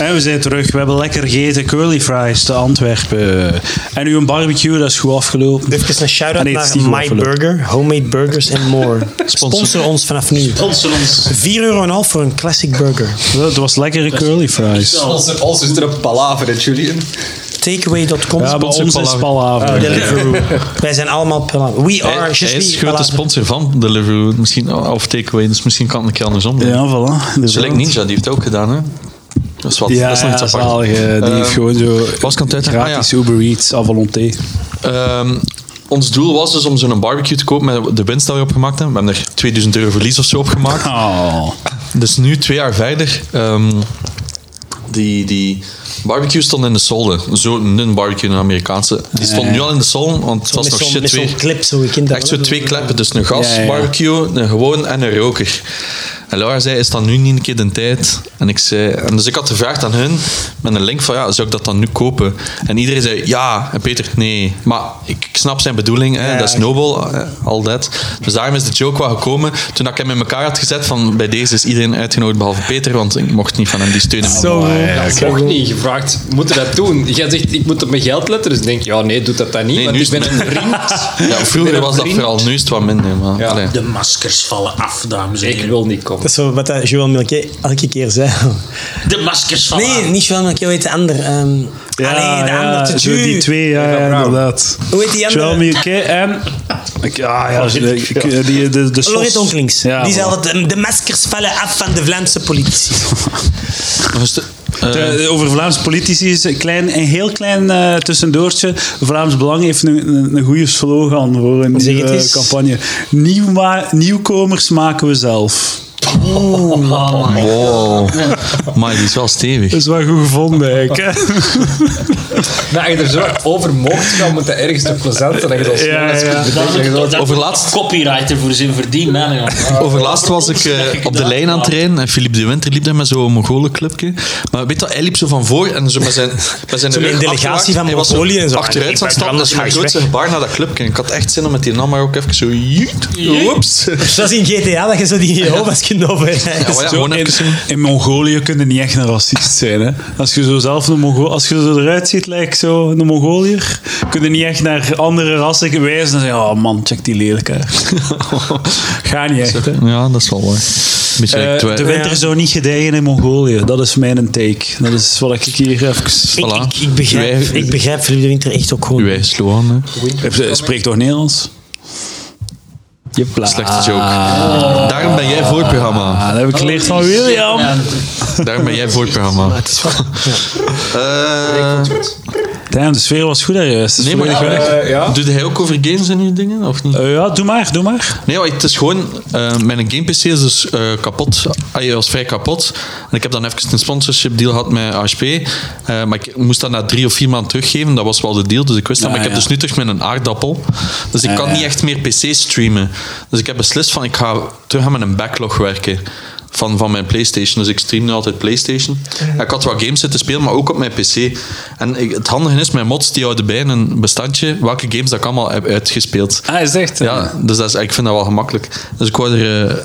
Speaker 1: En we zijn terug. We hebben lekker gegeten curly fries te Antwerpen. En nu een barbecue, dat is goed afgelopen.
Speaker 4: Even een shout-out
Speaker 1: Ah, nee, het is
Speaker 4: naar
Speaker 1: niet goed
Speaker 4: My
Speaker 1: afgelopen.
Speaker 4: Burger, Homemade Burgers and More. Sponsor ons vanaf nu.
Speaker 5: Sponsor ons.
Speaker 4: 4,5 euro voor een classic burger.
Speaker 1: Het was lekkere curly fries.
Speaker 6: Onze, onze is er een palaver, hè, Julian.
Speaker 4: Takeaway.com.
Speaker 1: Ja, bij ons is Palaver.
Speaker 4: Deliveroo. Wij zijn allemaal Palaver. We
Speaker 3: Hij,
Speaker 4: are
Speaker 3: hij is
Speaker 4: just we
Speaker 3: grote
Speaker 4: Palaver.
Speaker 3: sponsor van Deliveroo. Misschien, of Takeaway, dus misschien kan het een keer andersom. doen.
Speaker 1: Ja, voilà. Dus
Speaker 3: Select
Speaker 1: inderdaad.
Speaker 3: Ninja, die heeft het ook gedaan, hè? Dat is wat.
Speaker 1: Ja,
Speaker 3: dat is nog iets apart.
Speaker 1: zalige. Die heeft
Speaker 3: Ehm,
Speaker 1: gewoon zo
Speaker 3: was ik aan het uitleggen? Ah, ja.
Speaker 1: gratis Uber Eats à volonté.
Speaker 3: Ehm, ons doel was dus om zo'n barbecue te kopen met de winst die we opgemaakt hebben. We hebben er 2000 euro verlies of zo opgemaakt.
Speaker 1: Oh.
Speaker 3: Dus nu, twee jaar verder, ehm, die, die barbecue stond in de solden. Zo'n barbecue, een Amerikaanse. Die stond nu al in de solden, want het was
Speaker 4: Met
Speaker 3: nog
Speaker 4: zo'n-
Speaker 3: shit
Speaker 4: met
Speaker 3: twee.
Speaker 4: zo'n clip, zo gekend.
Speaker 3: Echt zo twee kleppen, dus een gas,
Speaker 1: Ja, ja, ja.
Speaker 3: barbecue, een gewoon en een roker. En Laura zei, is dat nu niet een keer de tijd? En ik zei, en dus ik had gevraagd aan hun, met een link van, ja, zou ik dat dan nu kopen? En iedereen zei, ja, en Peter, nee. Maar ik, ik snap zijn bedoeling, hè, dat is nobel, eh, al dat. Dus daarom is de joke wel gekomen. Toen ik hem in elkaar had gezet van, bij deze is iedereen uitgenodigd, behalve Peter, want ik mocht niet van hem die steunen.
Speaker 6: Oh, Ik mocht niet gevraagd, moet je dat doen? Jij zegt, ik moet op mijn geld letten. Dus ik denk, ja, nee, doet dat dan niet.
Speaker 3: Nee,
Speaker 6: want
Speaker 3: nu
Speaker 6: ik ben
Speaker 3: is
Speaker 6: een
Speaker 3: het-
Speaker 6: vriend.
Speaker 3: Ja, vroeger
Speaker 6: Met
Speaker 3: was dat
Speaker 6: vriend.
Speaker 3: vooral, nu is het wat minder. Maar,
Speaker 6: Ja.
Speaker 3: allee.
Speaker 5: De maskers vallen af, dames en
Speaker 6: Ik
Speaker 5: heren.
Speaker 6: wil niet komen.
Speaker 4: Dat is zo wat dat Joël Milquet elke keer zei.
Speaker 5: De maskers vallen
Speaker 4: Nee,
Speaker 5: af.
Speaker 4: niet Joël Milquet, hoe heet de ander? Ehm
Speaker 1: Ah. Ja,
Speaker 4: allee, de
Speaker 1: ja,
Speaker 4: ander, de
Speaker 1: zo
Speaker 4: Jew.
Speaker 1: die twee, ja, ja, inderdaad.
Speaker 4: Hoe heet die andere?
Speaker 1: Joel Mierke en... Ik, ah, ja, de, ik- die, de, de, de sos-
Speaker 4: Lorette Onklings.
Speaker 1: Ja,
Speaker 4: die
Speaker 1: voilà.
Speaker 4: zei altijd, de maskers vallen af van de Vlaamse politici.
Speaker 3: Nog een stu- eh,
Speaker 1: De- de- over Vlaams politici is een, klein, een heel klein eh, tussendoortje. Vlaams Belang heeft een, een, een goede slogan voor een
Speaker 4: Zeg het
Speaker 1: nieuwe
Speaker 4: eens.
Speaker 1: campagne. Nieuw ma- nieuwkomers maken we zelf.
Speaker 3: Wow. Maar die is wel stevig.
Speaker 1: Dat is wel goed gevonden, eigenlijk. hè.
Speaker 6: Dat je er zo over mocht gaan, moet dat ergens toch plezant zijn. Dat je dat snel
Speaker 1: Ja,
Speaker 6: eens
Speaker 1: ja.
Speaker 6: kunt
Speaker 5: Daar
Speaker 6: bedenken.
Speaker 5: moet
Speaker 6: Dat-
Speaker 5: toch- daar
Speaker 3: Overlaatst-
Speaker 5: moet toch Copywriter voor zijn verdiend, man. joh.
Speaker 3: Overlast was ik eh, op de lijn aan het rijden en Philippe de Winter liep daar met zo'n Mongolenclubje. Maar weet je, hij liep zo van voor en zo met zijn, met zijn
Speaker 4: Zo met een
Speaker 3: rug
Speaker 4: delegatie
Speaker 3: achterwaarts.
Speaker 4: van
Speaker 3: Hij was zo
Speaker 4: Mongolië en zo.
Speaker 3: Achteruit zat
Speaker 4: Ik ben
Speaker 3: staan, dat is mijn
Speaker 4: anders
Speaker 3: grootste gebaar naar dat clubje. Ik had echt zin om met die nam maar ook even zo... Joet,
Speaker 5: Jeet.
Speaker 3: Oeps.
Speaker 4: Dat is in GTA dat je zo die Jehovah's kunnen overrijden.
Speaker 3: maar
Speaker 1: Zo,
Speaker 3: ja, gewoon
Speaker 1: in,
Speaker 3: even zien.
Speaker 1: in Mongolië kun je niet echt een racist zijn. Hè? Als je zo zelf een Mongo als je zo eruit ziet, lijkt zo een Mongoliër, kun je niet echt naar andere rassen wijzen en zeggen: Oh man, check die lelijkaard. Ga niet echt. hè.
Speaker 3: Ja, dat is wel waar. Een beetje like
Speaker 1: Eh,
Speaker 3: twi-
Speaker 1: de winter zou niet gedijen in Mongolië. Dat is mijn take. Dat is wat ik hier even...
Speaker 4: Ik,
Speaker 3: Voilà.
Speaker 4: ik, ik begrijp,
Speaker 3: Wij-
Speaker 4: ik begrijp Philippe de Winter echt ook gewoon.
Speaker 3: Uw eigen slogan, hè.
Speaker 1: eh, Spreek toch Nederlands? Je plaat.
Speaker 3: Slechte joke. Daarom ben jij voor het programma.
Speaker 1: Ah, dat heb ik geleerd van William.
Speaker 5: Oh, Ja,
Speaker 3: Daarom ben jij voor het programma. Eh,
Speaker 1: Damn, de sfeer was goed daar juist.
Speaker 3: nee, maar
Speaker 6: Eh, ja.
Speaker 3: doet hij ook over games en uw dingen, of niet?
Speaker 1: Eh, ja, doe maar, doe maar.
Speaker 3: Nee, maar het is gewoon... eh, mijn game-pc is dus eh, kapot. Hij was vrij kapot. En ik heb dan even een sponsorship deal gehad met HP. Eh, maar ik moest dat na drie of vier maanden teruggeven. Dat was wel de deal, dus ik wist dat.
Speaker 1: Ja,
Speaker 3: maar ik
Speaker 1: ja.
Speaker 3: heb dus nu terug met een aardappel. Dus ik kan niet echt meer pc streamen. Dus ik heb beslist van, ik ga terug aan mijn backlog werken. Van, van mijn Playstation. Dus ik stream nu altijd Playstation. En Ik had wat games zitten spelen, maar ook op mijn PC. En ik- het handige is, mijn mods die houden bij in een bestandje welke games dat ik allemaal heb uitgespeeld.
Speaker 1: Ah, is echt. eh,
Speaker 3: Ja, dus dat is, ik vind dat wel gemakkelijk. Dus ik wou er... eh,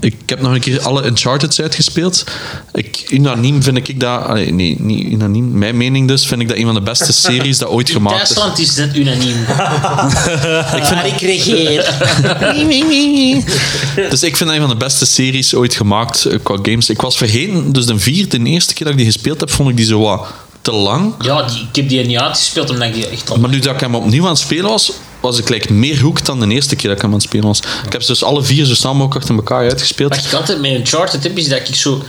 Speaker 3: ik heb nog een keer alle Uncharted's uitgespeeld. Ik, unaniem vind ik dat... allee, nee, niet unaniem. Mijn mening dus, vind ik dat een van de beste series dat ooit
Speaker 5: in
Speaker 3: gemaakt is.
Speaker 5: Duitsland is dat unaniem. Maar ik regeer.
Speaker 3: Dus ik vind dat een van de beste series ooit gemaakt eh, qua games. Ik was vergeten, dus de vierde, de eerste keer dat ik die gespeeld heb, vond ik die zo wat te lang.
Speaker 5: Ja, die, ik heb die niet uitgespeeld omdat ik die echt al...
Speaker 3: Maar nu dat ik hem opnieuw aan het spelen was, was ik like, meer hoek dan de eerste keer dat ik hem aan het spelen was. Ik heb ze dus alle vier zo snel mogelijk achter elkaar uitgespeeld.
Speaker 5: Wat ik altijd met Uncharted heb, is dat ik zo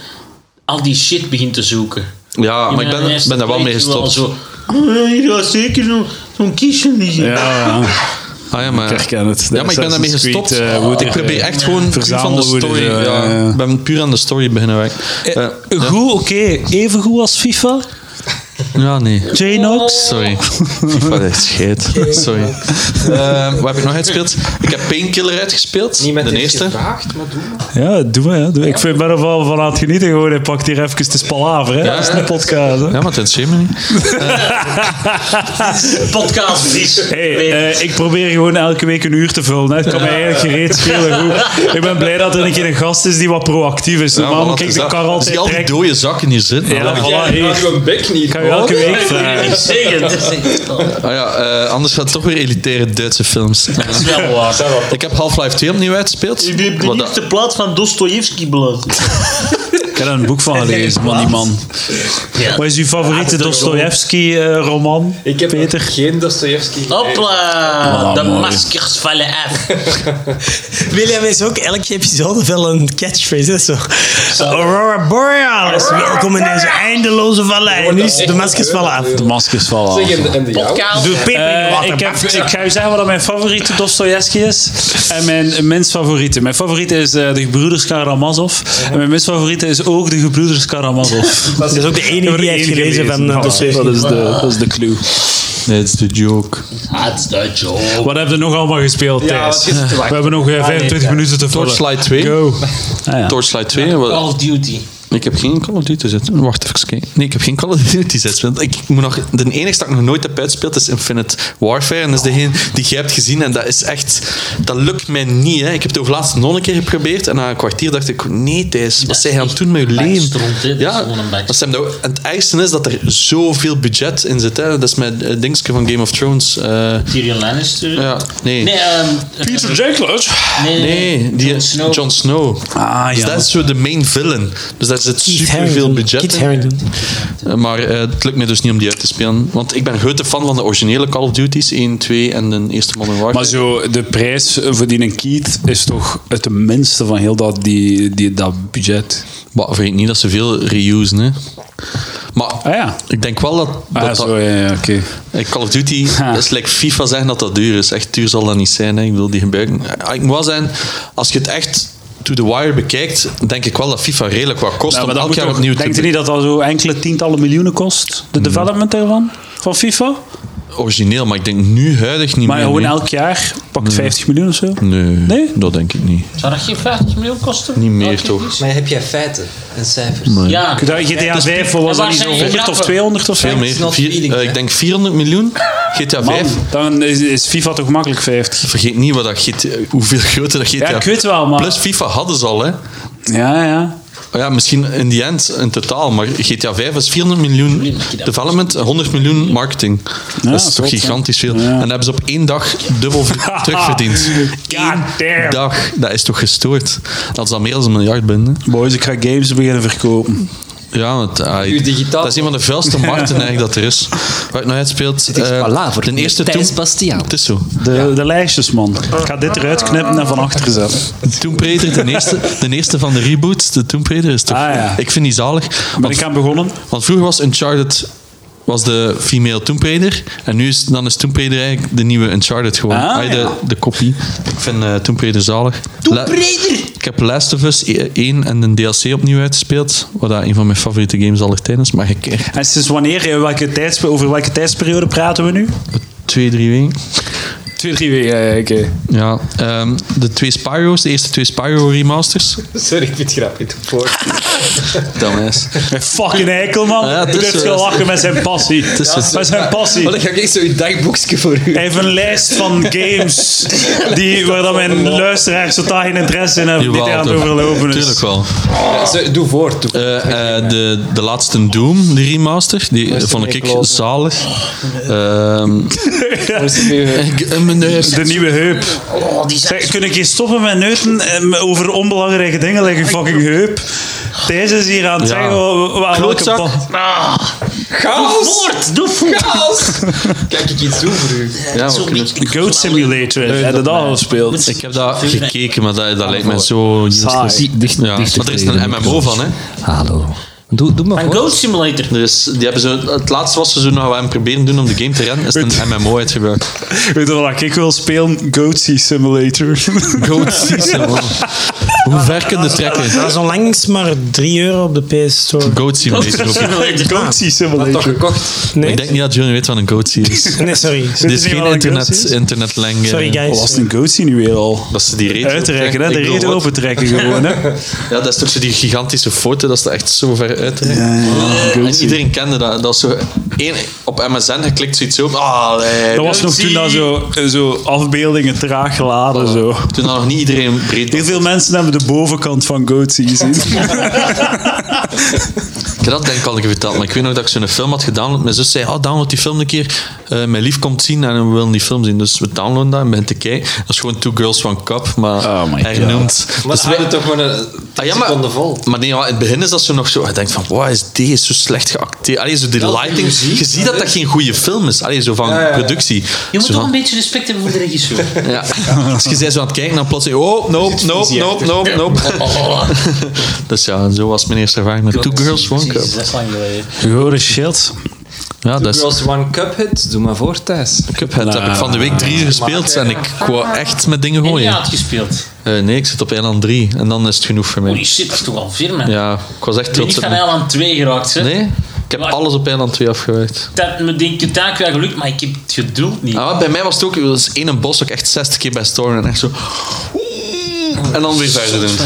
Speaker 5: al die shit begin te zoeken.
Speaker 3: Ja, Ah, maar ik
Speaker 5: mijn
Speaker 3: ben,
Speaker 5: eerste
Speaker 3: ben daar wel mee
Speaker 5: playthrough al
Speaker 3: gestopt.
Speaker 5: Zo, "Oh, hier gaat zeker nog zo'n kistje liggen.
Speaker 1: eh. Ja, ja.
Speaker 3: Ah ja, maar,
Speaker 1: Ik herken het.
Speaker 3: Ja, maar ik ben daarmee gestopt.
Speaker 1: Assassin's Creed, eh,
Speaker 3: ik
Speaker 1: woede,
Speaker 3: probeer
Speaker 1: eh,
Speaker 3: echt gewoon puur van de
Speaker 1: verzamelwoede, eh,
Speaker 3: story. ja,
Speaker 1: ja.
Speaker 3: Ik ben puur aan de story beginnen werken. Eh,
Speaker 1: Goed, oké. Even goed als FIFA.
Speaker 3: ja, nee.
Speaker 1: J-Nox.
Speaker 3: Sorry. Wat is scheet. Sorry. Eh, wat heb ik nog uitgespeeld? Ik heb Painkiller uitgespeeld.
Speaker 6: Niemand
Speaker 3: de
Speaker 6: heeft
Speaker 3: eerste.
Speaker 6: gevraagd, maar doe maar.
Speaker 1: Ja, doe maar. Ja, doe. maar. Ik vind, ben er wel van aan het genieten. Gewoon. Hij pakt hier even de palaver. Hè.
Speaker 3: Ja,
Speaker 1: dat is een
Speaker 3: ja.
Speaker 1: podcast. Hè.
Speaker 3: Ja, maar het is me niet.
Speaker 5: Podcast is.
Speaker 1: Hey, eh, ik probeer gewoon elke week een uur te vullen. Hè. Het kan mij eigenlijk gereed schelen. Goed. Ik ben blij dat er een keer een gast is die wat proactief is.
Speaker 3: Ja,
Speaker 1: Normaal
Speaker 3: maar
Speaker 1: kijk
Speaker 3: is
Speaker 1: ik de
Speaker 3: dat?
Speaker 1: kar altijd
Speaker 3: Zie je al die
Speaker 1: direct.
Speaker 3: dode zakken hier zitten?
Speaker 1: Ja, Oh.
Speaker 3: Ah,
Speaker 1: voilà, hier.
Speaker 6: Hou je bek niet.
Speaker 1: Kan je elke week eh,
Speaker 5: Ik
Speaker 1: vragen.
Speaker 5: niet zeggen. Dat is echt- oh, dat
Speaker 3: Ah ja, eh, anders gaat het toch weer elitaire Duitse films.
Speaker 5: is wel waar.
Speaker 3: ik heb Half-Life 2 opnieuw uitgespeeld. Wat dat-
Speaker 5: plaats van Dostoevsky beland.
Speaker 1: Ik heb er een boek van gelezen, man. Die man.
Speaker 5: Ja.
Speaker 1: Wat is uw favoriete Dostoevsky-roman,
Speaker 6: Ik heb
Speaker 1: Peter?
Speaker 6: geen Dostoevsky.
Speaker 5: Hopla,
Speaker 1: Ah,
Speaker 5: de
Speaker 1: mooi.
Speaker 5: maskers vallen af.
Speaker 4: William is ook elke episode wel een catchphrase. Hè? Zo. Aurora Borealis. Welkom in deze eindeloze vallei. Nu is de maskers vallen af.
Speaker 1: De maskers vallen af.
Speaker 6: Zeg, en, en de jouwe?
Speaker 5: Podcast.
Speaker 4: Doe peper in
Speaker 1: Eh,
Speaker 4: je water.
Speaker 1: ik, heb,
Speaker 4: Bam.
Speaker 1: ik ga u zeggen wat mijn favoriete Dostoevsky is. En mijn minst favoriete. Mijn favoriete is eh, de gebroeders Karamazov. En mijn minst favoriete is ook de gebroeders Karamazov.
Speaker 4: Dat is ook de enige die heeft gelezen van eh,
Speaker 1: Voilà,
Speaker 4: Dostoevsky.
Speaker 1: dat, is de, dat is de clue.
Speaker 3: That's the joke.
Speaker 5: That's the joke.
Speaker 1: Wat hebben we nog allemaal gespeeld, Thijs?
Speaker 6: wat is het te
Speaker 1: we hebben
Speaker 4: Ah,
Speaker 1: nog eh, 25 minuten te vullen.
Speaker 3: Torchlight 2.
Speaker 1: Go. Ah, ja.
Speaker 3: Torchlight 2. wat-
Speaker 5: Call of Duty.
Speaker 3: Ik heb geen Call of Duty zet. Wacht even kijken. Nee, ik heb geen Call of Duty zet. Want ik moet nog, de enige dat ik nog nooit heb uitgespeeld is Infinite Warfare. En dat is degene die jij hebt gezien. En dat is echt... Dat lukt mij niet. Hè. Ik heb het over laatst nog een keer geprobeerd. En na een kwartier dacht ik... Nee, Thijs. Wat
Speaker 5: is
Speaker 3: zijn jij aan het
Speaker 5: echt
Speaker 3: doen met je
Speaker 5: een
Speaker 3: leven?
Speaker 5: bakstront, hè. Dat is gewoon een bakstront.
Speaker 3: dat zijn de- en het ergste is dat er zoveel budget in zit. Hè. Dat is met het dingetje van Game of Thrones. eh,
Speaker 5: Tyrion Lannister.
Speaker 3: ja, nee.
Speaker 5: Nee, ehm,
Speaker 1: Jenkins.
Speaker 5: nee, nee,
Speaker 3: Nee, die
Speaker 5: Jon Snow.
Speaker 3: Jon Snow.
Speaker 1: Ah,
Speaker 3: Dus
Speaker 1: ja.
Speaker 3: dat is zo de main villain. Dus daar zit
Speaker 4: Keith
Speaker 3: superveel
Speaker 4: Harington.
Speaker 3: budget
Speaker 4: Keith
Speaker 3: in.
Speaker 4: Harington.
Speaker 3: Eh, Maar eh, het lukt me dus niet om die uit te spelen. Want ik ben grote fan van de originele Call of Duty's. 1, 2 en de eerste Modern Warfare.
Speaker 1: Maar zo, de prijs voor die een Keith is toch het minste van heel dat, die, die, dat budget.
Speaker 3: Maar vergeet niet dat ze veel reusen. Hè. Maar
Speaker 1: Ah ja.
Speaker 3: ik denk wel dat... dat,
Speaker 1: Ah,
Speaker 3: dat-
Speaker 1: zo, ja, ja, oké.
Speaker 3: eh, Call of Duty,
Speaker 1: Ha.
Speaker 3: dat is like FIFA zeggen dat dat duur is. Echt duur zal dat niet zijn. Hè. Ik wil die gebruiken. Ah, Ik moet wel zijn, als je het echt to the wire bekijkt, denk ik wel dat FIFA redelijk wat kost
Speaker 1: Ja,
Speaker 3: om
Speaker 1: maar dat
Speaker 3: elk
Speaker 1: moet
Speaker 3: jaar
Speaker 1: toch-
Speaker 3: opnieuw te
Speaker 1: Denkt u niet dat dat zo enkele tientallen miljoenen kost? De development daarvan? Van FIFA?
Speaker 3: Origineel, maar ik denk nu huidig niet
Speaker 1: Maar
Speaker 3: meer.
Speaker 1: gewoon
Speaker 3: nee.
Speaker 1: elk jaar pakt 50 miljoen of zo?
Speaker 3: Nee,
Speaker 1: Nee?
Speaker 3: dat denk ik niet.
Speaker 5: Zou dat geen 50 miljoen kosten?
Speaker 3: Niet meer,
Speaker 5: Elke
Speaker 3: toch?
Speaker 5: keer?
Speaker 6: Maar heb jij feiten en cijfers?
Speaker 5: Ja.
Speaker 1: Dat GTA 5 was
Speaker 5: En
Speaker 1: dat
Speaker 5: waar
Speaker 1: niet
Speaker 5: zijn
Speaker 1: zo
Speaker 5: je
Speaker 1: 100 of
Speaker 5: grappen?
Speaker 1: 200 of zo?
Speaker 3: Veel meer.
Speaker 6: not
Speaker 3: Vier-
Speaker 6: feeding,
Speaker 3: eh,
Speaker 6: hè?
Speaker 3: ik denk 400 miljoen. GTA 5.
Speaker 1: Man, dan is, is FIFA toch makkelijk 50.
Speaker 3: Vergeet niet wat dat GTA, hoeveel groter dat GTA...
Speaker 1: Ja, ik weet wel, maar-
Speaker 3: Plus FIFA hadden ze al, hè.
Speaker 1: Ja, ja.
Speaker 3: Oh Ja, misschien in die end in totaal, maar GTA 5 is 400 miljoen development, 100 miljoen marketing. dat is toch
Speaker 1: klopt, hè.
Speaker 3: gigantisch veel.
Speaker 1: Ja.
Speaker 3: En dat hebben ze op één dag dubbel ver- terugverdiend.
Speaker 1: Ah, God
Speaker 3: Eén
Speaker 1: damn.
Speaker 3: dag, dat is toch gestoord? Dat is dan meer dan een miljard binnen.
Speaker 1: Boys, ik ga games beginnen verkopen.
Speaker 3: Ja, want, ah,
Speaker 6: Uw digitaal-
Speaker 3: dat is een van de vuilste markten eigenlijk dat er is. Waar ik nog uitspeelt. Het
Speaker 7: is palaver.
Speaker 3: De eerste
Speaker 7: Thijs
Speaker 3: Tomb-
Speaker 7: Bastiaan.
Speaker 3: Het is zo.
Speaker 1: De, de lijstjes, man. Ik ga dit eruit knippen en van achter zetten.
Speaker 3: Tomb Raider, de eerste, de eerste van de reboots, de Tomb Raider is toch...
Speaker 1: Ah, ja.
Speaker 3: Ik vind die zalig.
Speaker 1: Ben
Speaker 3: Want,
Speaker 1: ik aan begonnen?
Speaker 3: want vroeger was Uncharted was de female Tomb Raider. En nu is, dan is Tomb Raider eigenlijk de nieuwe Uncharted gewoon.
Speaker 1: Ah,
Speaker 3: de,
Speaker 1: ja.
Speaker 3: de kopie. Ik vind eh Tomb Raider zalig. Tomb Raider! Ik heb Last of Us 1 en een DLC opnieuw uitgespeeld. Wat dat een van mijn favoriete games aller tijden is. Maar ik,
Speaker 1: En sinds wanneer, eh, welke tijds, over welke tijdsperiode praten we nu?
Speaker 3: twee, drie weken.
Speaker 7: Twee, drie weken, ja, ja, oké.
Speaker 1: eh.
Speaker 3: Ja, ehm, de twee Spyro's, de eerste twee Spyro remasters.
Speaker 6: Sorry, ik vind het grappig. Voor.
Speaker 3: Dan is.
Speaker 1: Een fucking eikel, man.
Speaker 3: Ja, het
Speaker 1: Hij
Speaker 3: is
Speaker 1: durft
Speaker 3: zo.
Speaker 1: gelachen met zijn passie.
Speaker 3: is zo.
Speaker 1: met zijn passie.
Speaker 6: Oh, Dan ga ik echt zo'n dagboekje voor u.
Speaker 1: Hij heeft een lijst van games die, waar dat mijn luisteraars totaal geen interesse in hebben, die daar aan het overlopen is.
Speaker 3: Tuurlijk wel.
Speaker 6: Zo, Doe voort. doe-
Speaker 3: Eh, eh, de, de laatste Doom, de remaster, die
Speaker 6: is
Speaker 3: vond
Speaker 6: ermee
Speaker 3: ik
Speaker 6: klaar?
Speaker 3: zalig. Ehm, ik- eh, meneer.
Speaker 1: De nieuwe heup.
Speaker 5: Oh, die zijn
Speaker 1: Zeg, kun ik hier stoppen met neuten eh, over onbelangrijke dingen? Like een fucking heup. Thijs is hier aan het
Speaker 3: Ja.
Speaker 1: zeggen wa- wa- waar welke
Speaker 3: Klootzak.
Speaker 1: pa-
Speaker 6: Ah, Chaos!
Speaker 5: voort, doe voort.
Speaker 6: Chaos! Kijk ik iets doen voor u?
Speaker 3: Ja,
Speaker 5: Zo'n
Speaker 3: we kunnen-
Speaker 5: beetje-
Speaker 1: Goat Simulator. Heb je dat al gespeeld?
Speaker 3: ik heb dat gekeken, maar dat, dat lijkt me zo...
Speaker 1: Saai.
Speaker 7: Dicht,
Speaker 3: Ja, maar er is een MMO van, hè.
Speaker 7: Hallo. Doe, doe maar
Speaker 5: Een
Speaker 7: voor.
Speaker 5: Goat Simulator.
Speaker 3: Er is, die hebben ze, het laatste wat ze zo nog aan het proberen doen om de game te rennen, is een MMO uitgebracht.
Speaker 1: Weet je wat ik wil spelen? Goat Simulator.
Speaker 3: Goat Simulator. Hoe ver kunnen de trekken?
Speaker 4: Dat is onlangs maar 3 euro op de PS Store.
Speaker 3: Goat Simulator. ook.
Speaker 1: Goat
Speaker 6: Toch
Speaker 1: Simulator.
Speaker 6: gekocht?
Speaker 4: Nee,
Speaker 3: Ik denk niet dat Johnny weet wat een goatsie is.
Speaker 4: nee sorry.
Speaker 3: Dit
Speaker 1: is
Speaker 3: is
Speaker 1: niet
Speaker 3: geen
Speaker 1: wat een
Speaker 3: internet,
Speaker 1: goatsie is?
Speaker 3: internetleng. eh,
Speaker 4: Sorry, guys.
Speaker 1: Wat was een goat nu weer al?
Speaker 3: Dat ze die reet
Speaker 1: Uitrekken, hè? De
Speaker 3: Ik bedoel,
Speaker 1: reden
Speaker 3: wat-
Speaker 1: opentrekken gewoon, hè?
Speaker 3: Ja, dat is toch zo die gigantische foto, dat is echt zo ver uitrekken. En iedereen kende dat. Dat was zo één, op MSN geklikt, zoiets zo. Ah, nee.
Speaker 1: Dat was nog toen dat zo, zo afbeeldingen traag geladen, zo.
Speaker 3: Toen dat nog niet iedereen breed
Speaker 1: Heel veel mensen hebben de bovenkant van Goatsy gezien.
Speaker 3: Ik heb dat denk ik al verteld, maar ik weet nog dat ik zo'n film had gedownload. Mijn zus zei, oh, download die film een keer. Eh, mijn lief komt zien en we willen die film zien. Dus we downloaden dat en ben te kijken. Dat is gewoon Two Girls, One Cup, maar
Speaker 1: Oh my
Speaker 3: hernoemd.
Speaker 6: Maar
Speaker 3: Dus
Speaker 6: ze hadden
Speaker 3: wij-
Speaker 6: toch gewoon een
Speaker 3: Ah,
Speaker 6: ja,
Speaker 3: ja, maar,
Speaker 6: seconde vol.
Speaker 3: maar nee, ja, in het begin is dat zo nog zo. Je denkt van, wow, is die is zo slecht geacteerd. Allee, zo die
Speaker 6: die
Speaker 3: lighting.
Speaker 6: muziek,
Speaker 3: Je ziet dat dat geen goede film is. Allee, zo van
Speaker 6: ja, ja.
Speaker 3: productie.
Speaker 5: Je moet
Speaker 3: Zo
Speaker 5: toch
Speaker 3: van-
Speaker 5: een beetje respect hebben voor de regisseur.
Speaker 3: ja. Als je zei zo aan het kijken, dan plots oh, nope, nope, nope, nope, nope. Dus ja, zo was mijn eerste ervaring met Oh, Two Girls, One Cup.
Speaker 5: Jezus, dat is lang geleden.
Speaker 1: Holy shit.
Speaker 3: Ja, dat is...
Speaker 6: Girls One Cuphead, doe maar voor Thijs.
Speaker 3: Cuphead heb ik van de week drie gespeeld en ik wou echt met dingen
Speaker 5: En je
Speaker 3: gooien.
Speaker 5: had gespeeld.
Speaker 3: Eh, nee, ik zit op eiland 3 en dan is het genoeg voor
Speaker 5: Holy
Speaker 3: mij.
Speaker 5: shit, dat is toch al firm, hè?
Speaker 3: Ja, ik was echt
Speaker 5: Ik ben
Speaker 3: trots
Speaker 5: niet
Speaker 3: op
Speaker 5: van
Speaker 3: me.
Speaker 5: Eiland 2 geraakt, hè?
Speaker 3: Nee, ik heb
Speaker 5: Maar-
Speaker 3: alles op eiland 2 afgewerkt.
Speaker 5: Dat me denk ik taak wel gelukt, maar ik heb het geduld niet.
Speaker 3: Ah, maar bij mij was het ook, er was één een bos ook echt 60 keer bij stormen en echt zo... En dan weer verder doen.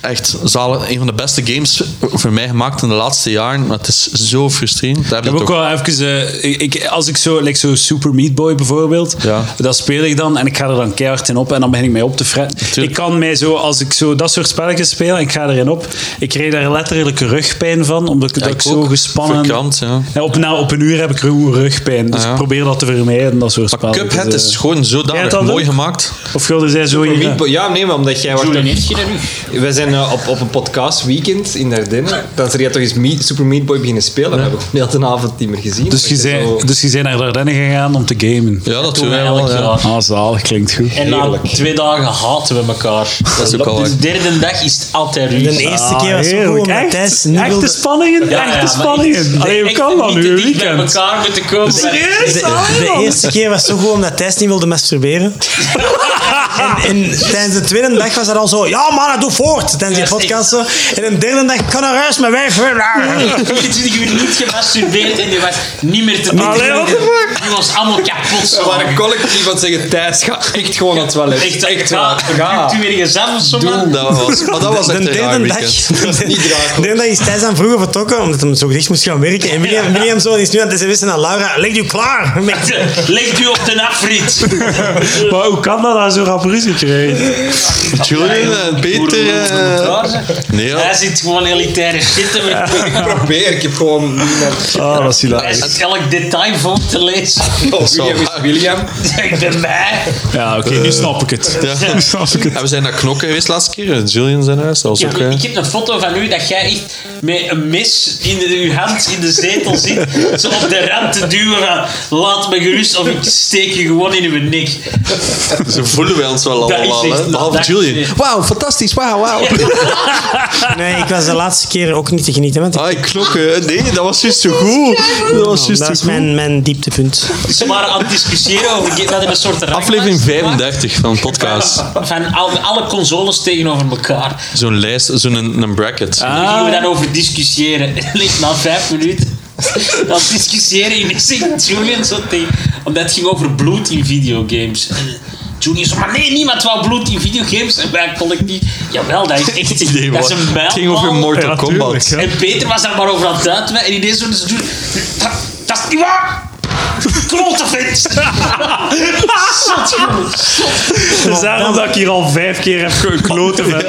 Speaker 3: Echt, zalig, een van de beste games voor mij gemaakt in de laatste jaren. Maar het is zo frustrerend. Daar
Speaker 1: Ik
Speaker 3: heb
Speaker 1: heb
Speaker 3: je
Speaker 1: ook
Speaker 3: het ook.
Speaker 1: wel even... eh, ik- ik, als ik zo, like zo Super Meat Boy bijvoorbeeld,
Speaker 3: Ja.
Speaker 1: dat speel ik dan en ik ga er dan keihard in op en dan begin ik mij op te fretten. Ik kan mij zo, als ik zo dat soort spelletjes speel en ik ga erin op, ik kreeg daar letterlijk rugpijn van, omdat ik, dat
Speaker 3: ik
Speaker 1: ik zo
Speaker 3: ook.
Speaker 1: gespannen...
Speaker 3: Verkrampt, ja.
Speaker 1: Ja, op, na, op een uur heb ik ruwe rugpijn, dus
Speaker 3: Ah, ja.
Speaker 1: ik probeer dat te vermijden, dat soort spelletjes.
Speaker 3: Cuphead
Speaker 1: eh.
Speaker 3: is gewoon
Speaker 1: Jij
Speaker 3: zodanig
Speaker 1: had dat
Speaker 3: mooi
Speaker 1: ook?
Speaker 3: gemaakt.
Speaker 1: Of wilde zij zo
Speaker 6: Voor
Speaker 1: hier...
Speaker 6: Meatball- Ja, nee, maar omdat jij...
Speaker 5: Julian
Speaker 6: Wacht,
Speaker 5: heeft geen rug.
Speaker 6: we zijn eh, op, op een podcast weekend in Dardenne. Dan is er jij toch eens Meat- Super Meat Boy beginnen spelen. Dat hebben we heel de avond niet meer gezien.
Speaker 1: Dus je,
Speaker 6: Dat zo-
Speaker 1: zei, dus je zei naar Dardenne gegaan om te gamen.
Speaker 3: Ja, dat
Speaker 5: Toen
Speaker 3: doe
Speaker 5: eigenlijk
Speaker 3: wel. Ja.
Speaker 5: ja.
Speaker 1: Ah, zalig, klinkt goed.
Speaker 5: En na twee dagen haten we elkaar.
Speaker 3: Dat is ook al
Speaker 5: De
Speaker 3: waar.
Speaker 5: derde dag is het altijd ruzie.
Speaker 4: De
Speaker 8: Ah,
Speaker 4: eerste keer was het
Speaker 1: Heerlijk,
Speaker 4: goed, omdat
Speaker 1: echt,
Speaker 4: Thijs niet
Speaker 1: echte
Speaker 4: wilde...
Speaker 1: spanningen,
Speaker 5: Ja, ja,
Speaker 1: echte
Speaker 5: maar
Speaker 1: spanningen.
Speaker 5: echt-
Speaker 1: Allee, hoe
Speaker 5: echt
Speaker 1: kan dat
Speaker 5: niet
Speaker 1: nu,
Speaker 5: te
Speaker 1: een
Speaker 5: dicht bij
Speaker 1: weekend?
Speaker 5: elkaar moeten komen.
Speaker 1: Serieus?
Speaker 4: De, de eerste keer was zo goed omdat Thijs niet wilde masturberen. En, en tijdens de tweede dag was dat al zo... Ja, man, doe voort! Tijdens die
Speaker 5: Ja,
Speaker 4: podcast zo. En de derde dag... Kan naar huis, mijn wijf...
Speaker 5: 24 uur niet gemasturbeerd en die was niet meer te doen.
Speaker 1: Allee, what the
Speaker 5: Die was allemaal kapot.
Speaker 6: We
Speaker 5: zo.
Speaker 6: waren collectief aan het zeggen, Thijs, ga echt gewoon aan het toilet.
Speaker 5: Echt, echt
Speaker 6: waar.
Speaker 5: waar.
Speaker 6: Ga.
Speaker 5: Doe weer jezelf of zo, man.
Speaker 3: Dat was, maar dat was
Speaker 4: De
Speaker 3: echt een raar
Speaker 4: derde dag...
Speaker 3: weekend.
Speaker 6: niet raar.
Speaker 4: De derde dag is Thijs aan vroeger vertrokken, omdat hij zo gedicht moest gaan werken. En William, William zo is nu aan het sms'en naar Laura. Leg je klaar!
Speaker 5: Legt u op de afrit.
Speaker 1: Maar hoe kan dat daar zo rap ruzie krijgen?
Speaker 3: Julian en Peter. eh, Nee,
Speaker 5: Hij
Speaker 3: ja.
Speaker 5: zit gewoon elitaire shit te maken.
Speaker 6: Probeer, ik heb gewoon niemand.
Speaker 8: Ah, dat is
Speaker 5: Hij
Speaker 8: hilarisch.
Speaker 5: zit elk detail voor te lezen.
Speaker 6: Oh,
Speaker 3: zal
Speaker 6: William is
Speaker 3: waar.
Speaker 6: William.
Speaker 5: Ik ben mij.
Speaker 8: Ja, oké, nu snap ik het.
Speaker 3: Ja.
Speaker 8: Nu snap ik het.
Speaker 3: En we zijn naar Knokke geweest laatste keer. Julian zijn huis. Dat was ook...
Speaker 5: Ik,
Speaker 3: eh,
Speaker 5: ik heb een foto van u dat jij echt met een mes in de- uw hand in de zetel zit. Zo op de rand te duwen van laat me gerust of ik steek je gewoon in uw nek.
Speaker 3: Ze voelen wij ons wel
Speaker 5: Dat is
Speaker 3: allemaal,
Speaker 5: echt-
Speaker 3: hè? Behalve
Speaker 5: dat is-
Speaker 3: Julian. Wauw, fantastisch. Wauw, wauw.
Speaker 4: Nee, ik was de laatste keer ook niet te genieten. Want ik- Nou,
Speaker 3: Ah, knokken. Nee, dat was juist zo goed. Ah. Dat was juist
Speaker 4: dat
Speaker 3: zo
Speaker 4: is
Speaker 3: goed.
Speaker 4: mijn, mijn dieptepunt.
Speaker 5: Ze waren aan het discussiëren over we hadden een soort ranglijst
Speaker 3: Aflevering
Speaker 5: gemaakt
Speaker 3: 35 van de podcast.
Speaker 5: Van al- alle consoles tegenover elkaar.
Speaker 3: Zo'n lijst, zo'n een, een bracket.
Speaker 5: Daar gingen we dan over discussiëren. En ligt na vijf minuten aan het discussiëren in zegt Julian zo tegen. Omdat het ging over bloed in videogames. En Julian zo, maar nee, niemand wou bloed in videogames. En wij collectief, jawel, dat is echt
Speaker 3: Nee,
Speaker 5: dat is
Speaker 3: man.
Speaker 5: een
Speaker 3: Het ging over
Speaker 5: mijlpaal.
Speaker 3: Mortal
Speaker 8: Ja, tuurlijk,
Speaker 3: Kombat.
Speaker 8: ja.
Speaker 5: En Peter was daar maar over aan het uitweiden. En ineens zo, dus Julian, dat, dat is niet waar! Klote vent! Zot, jongen, zot.
Speaker 8: Het is daarom dat ik hier al vijf keer heb gekloten met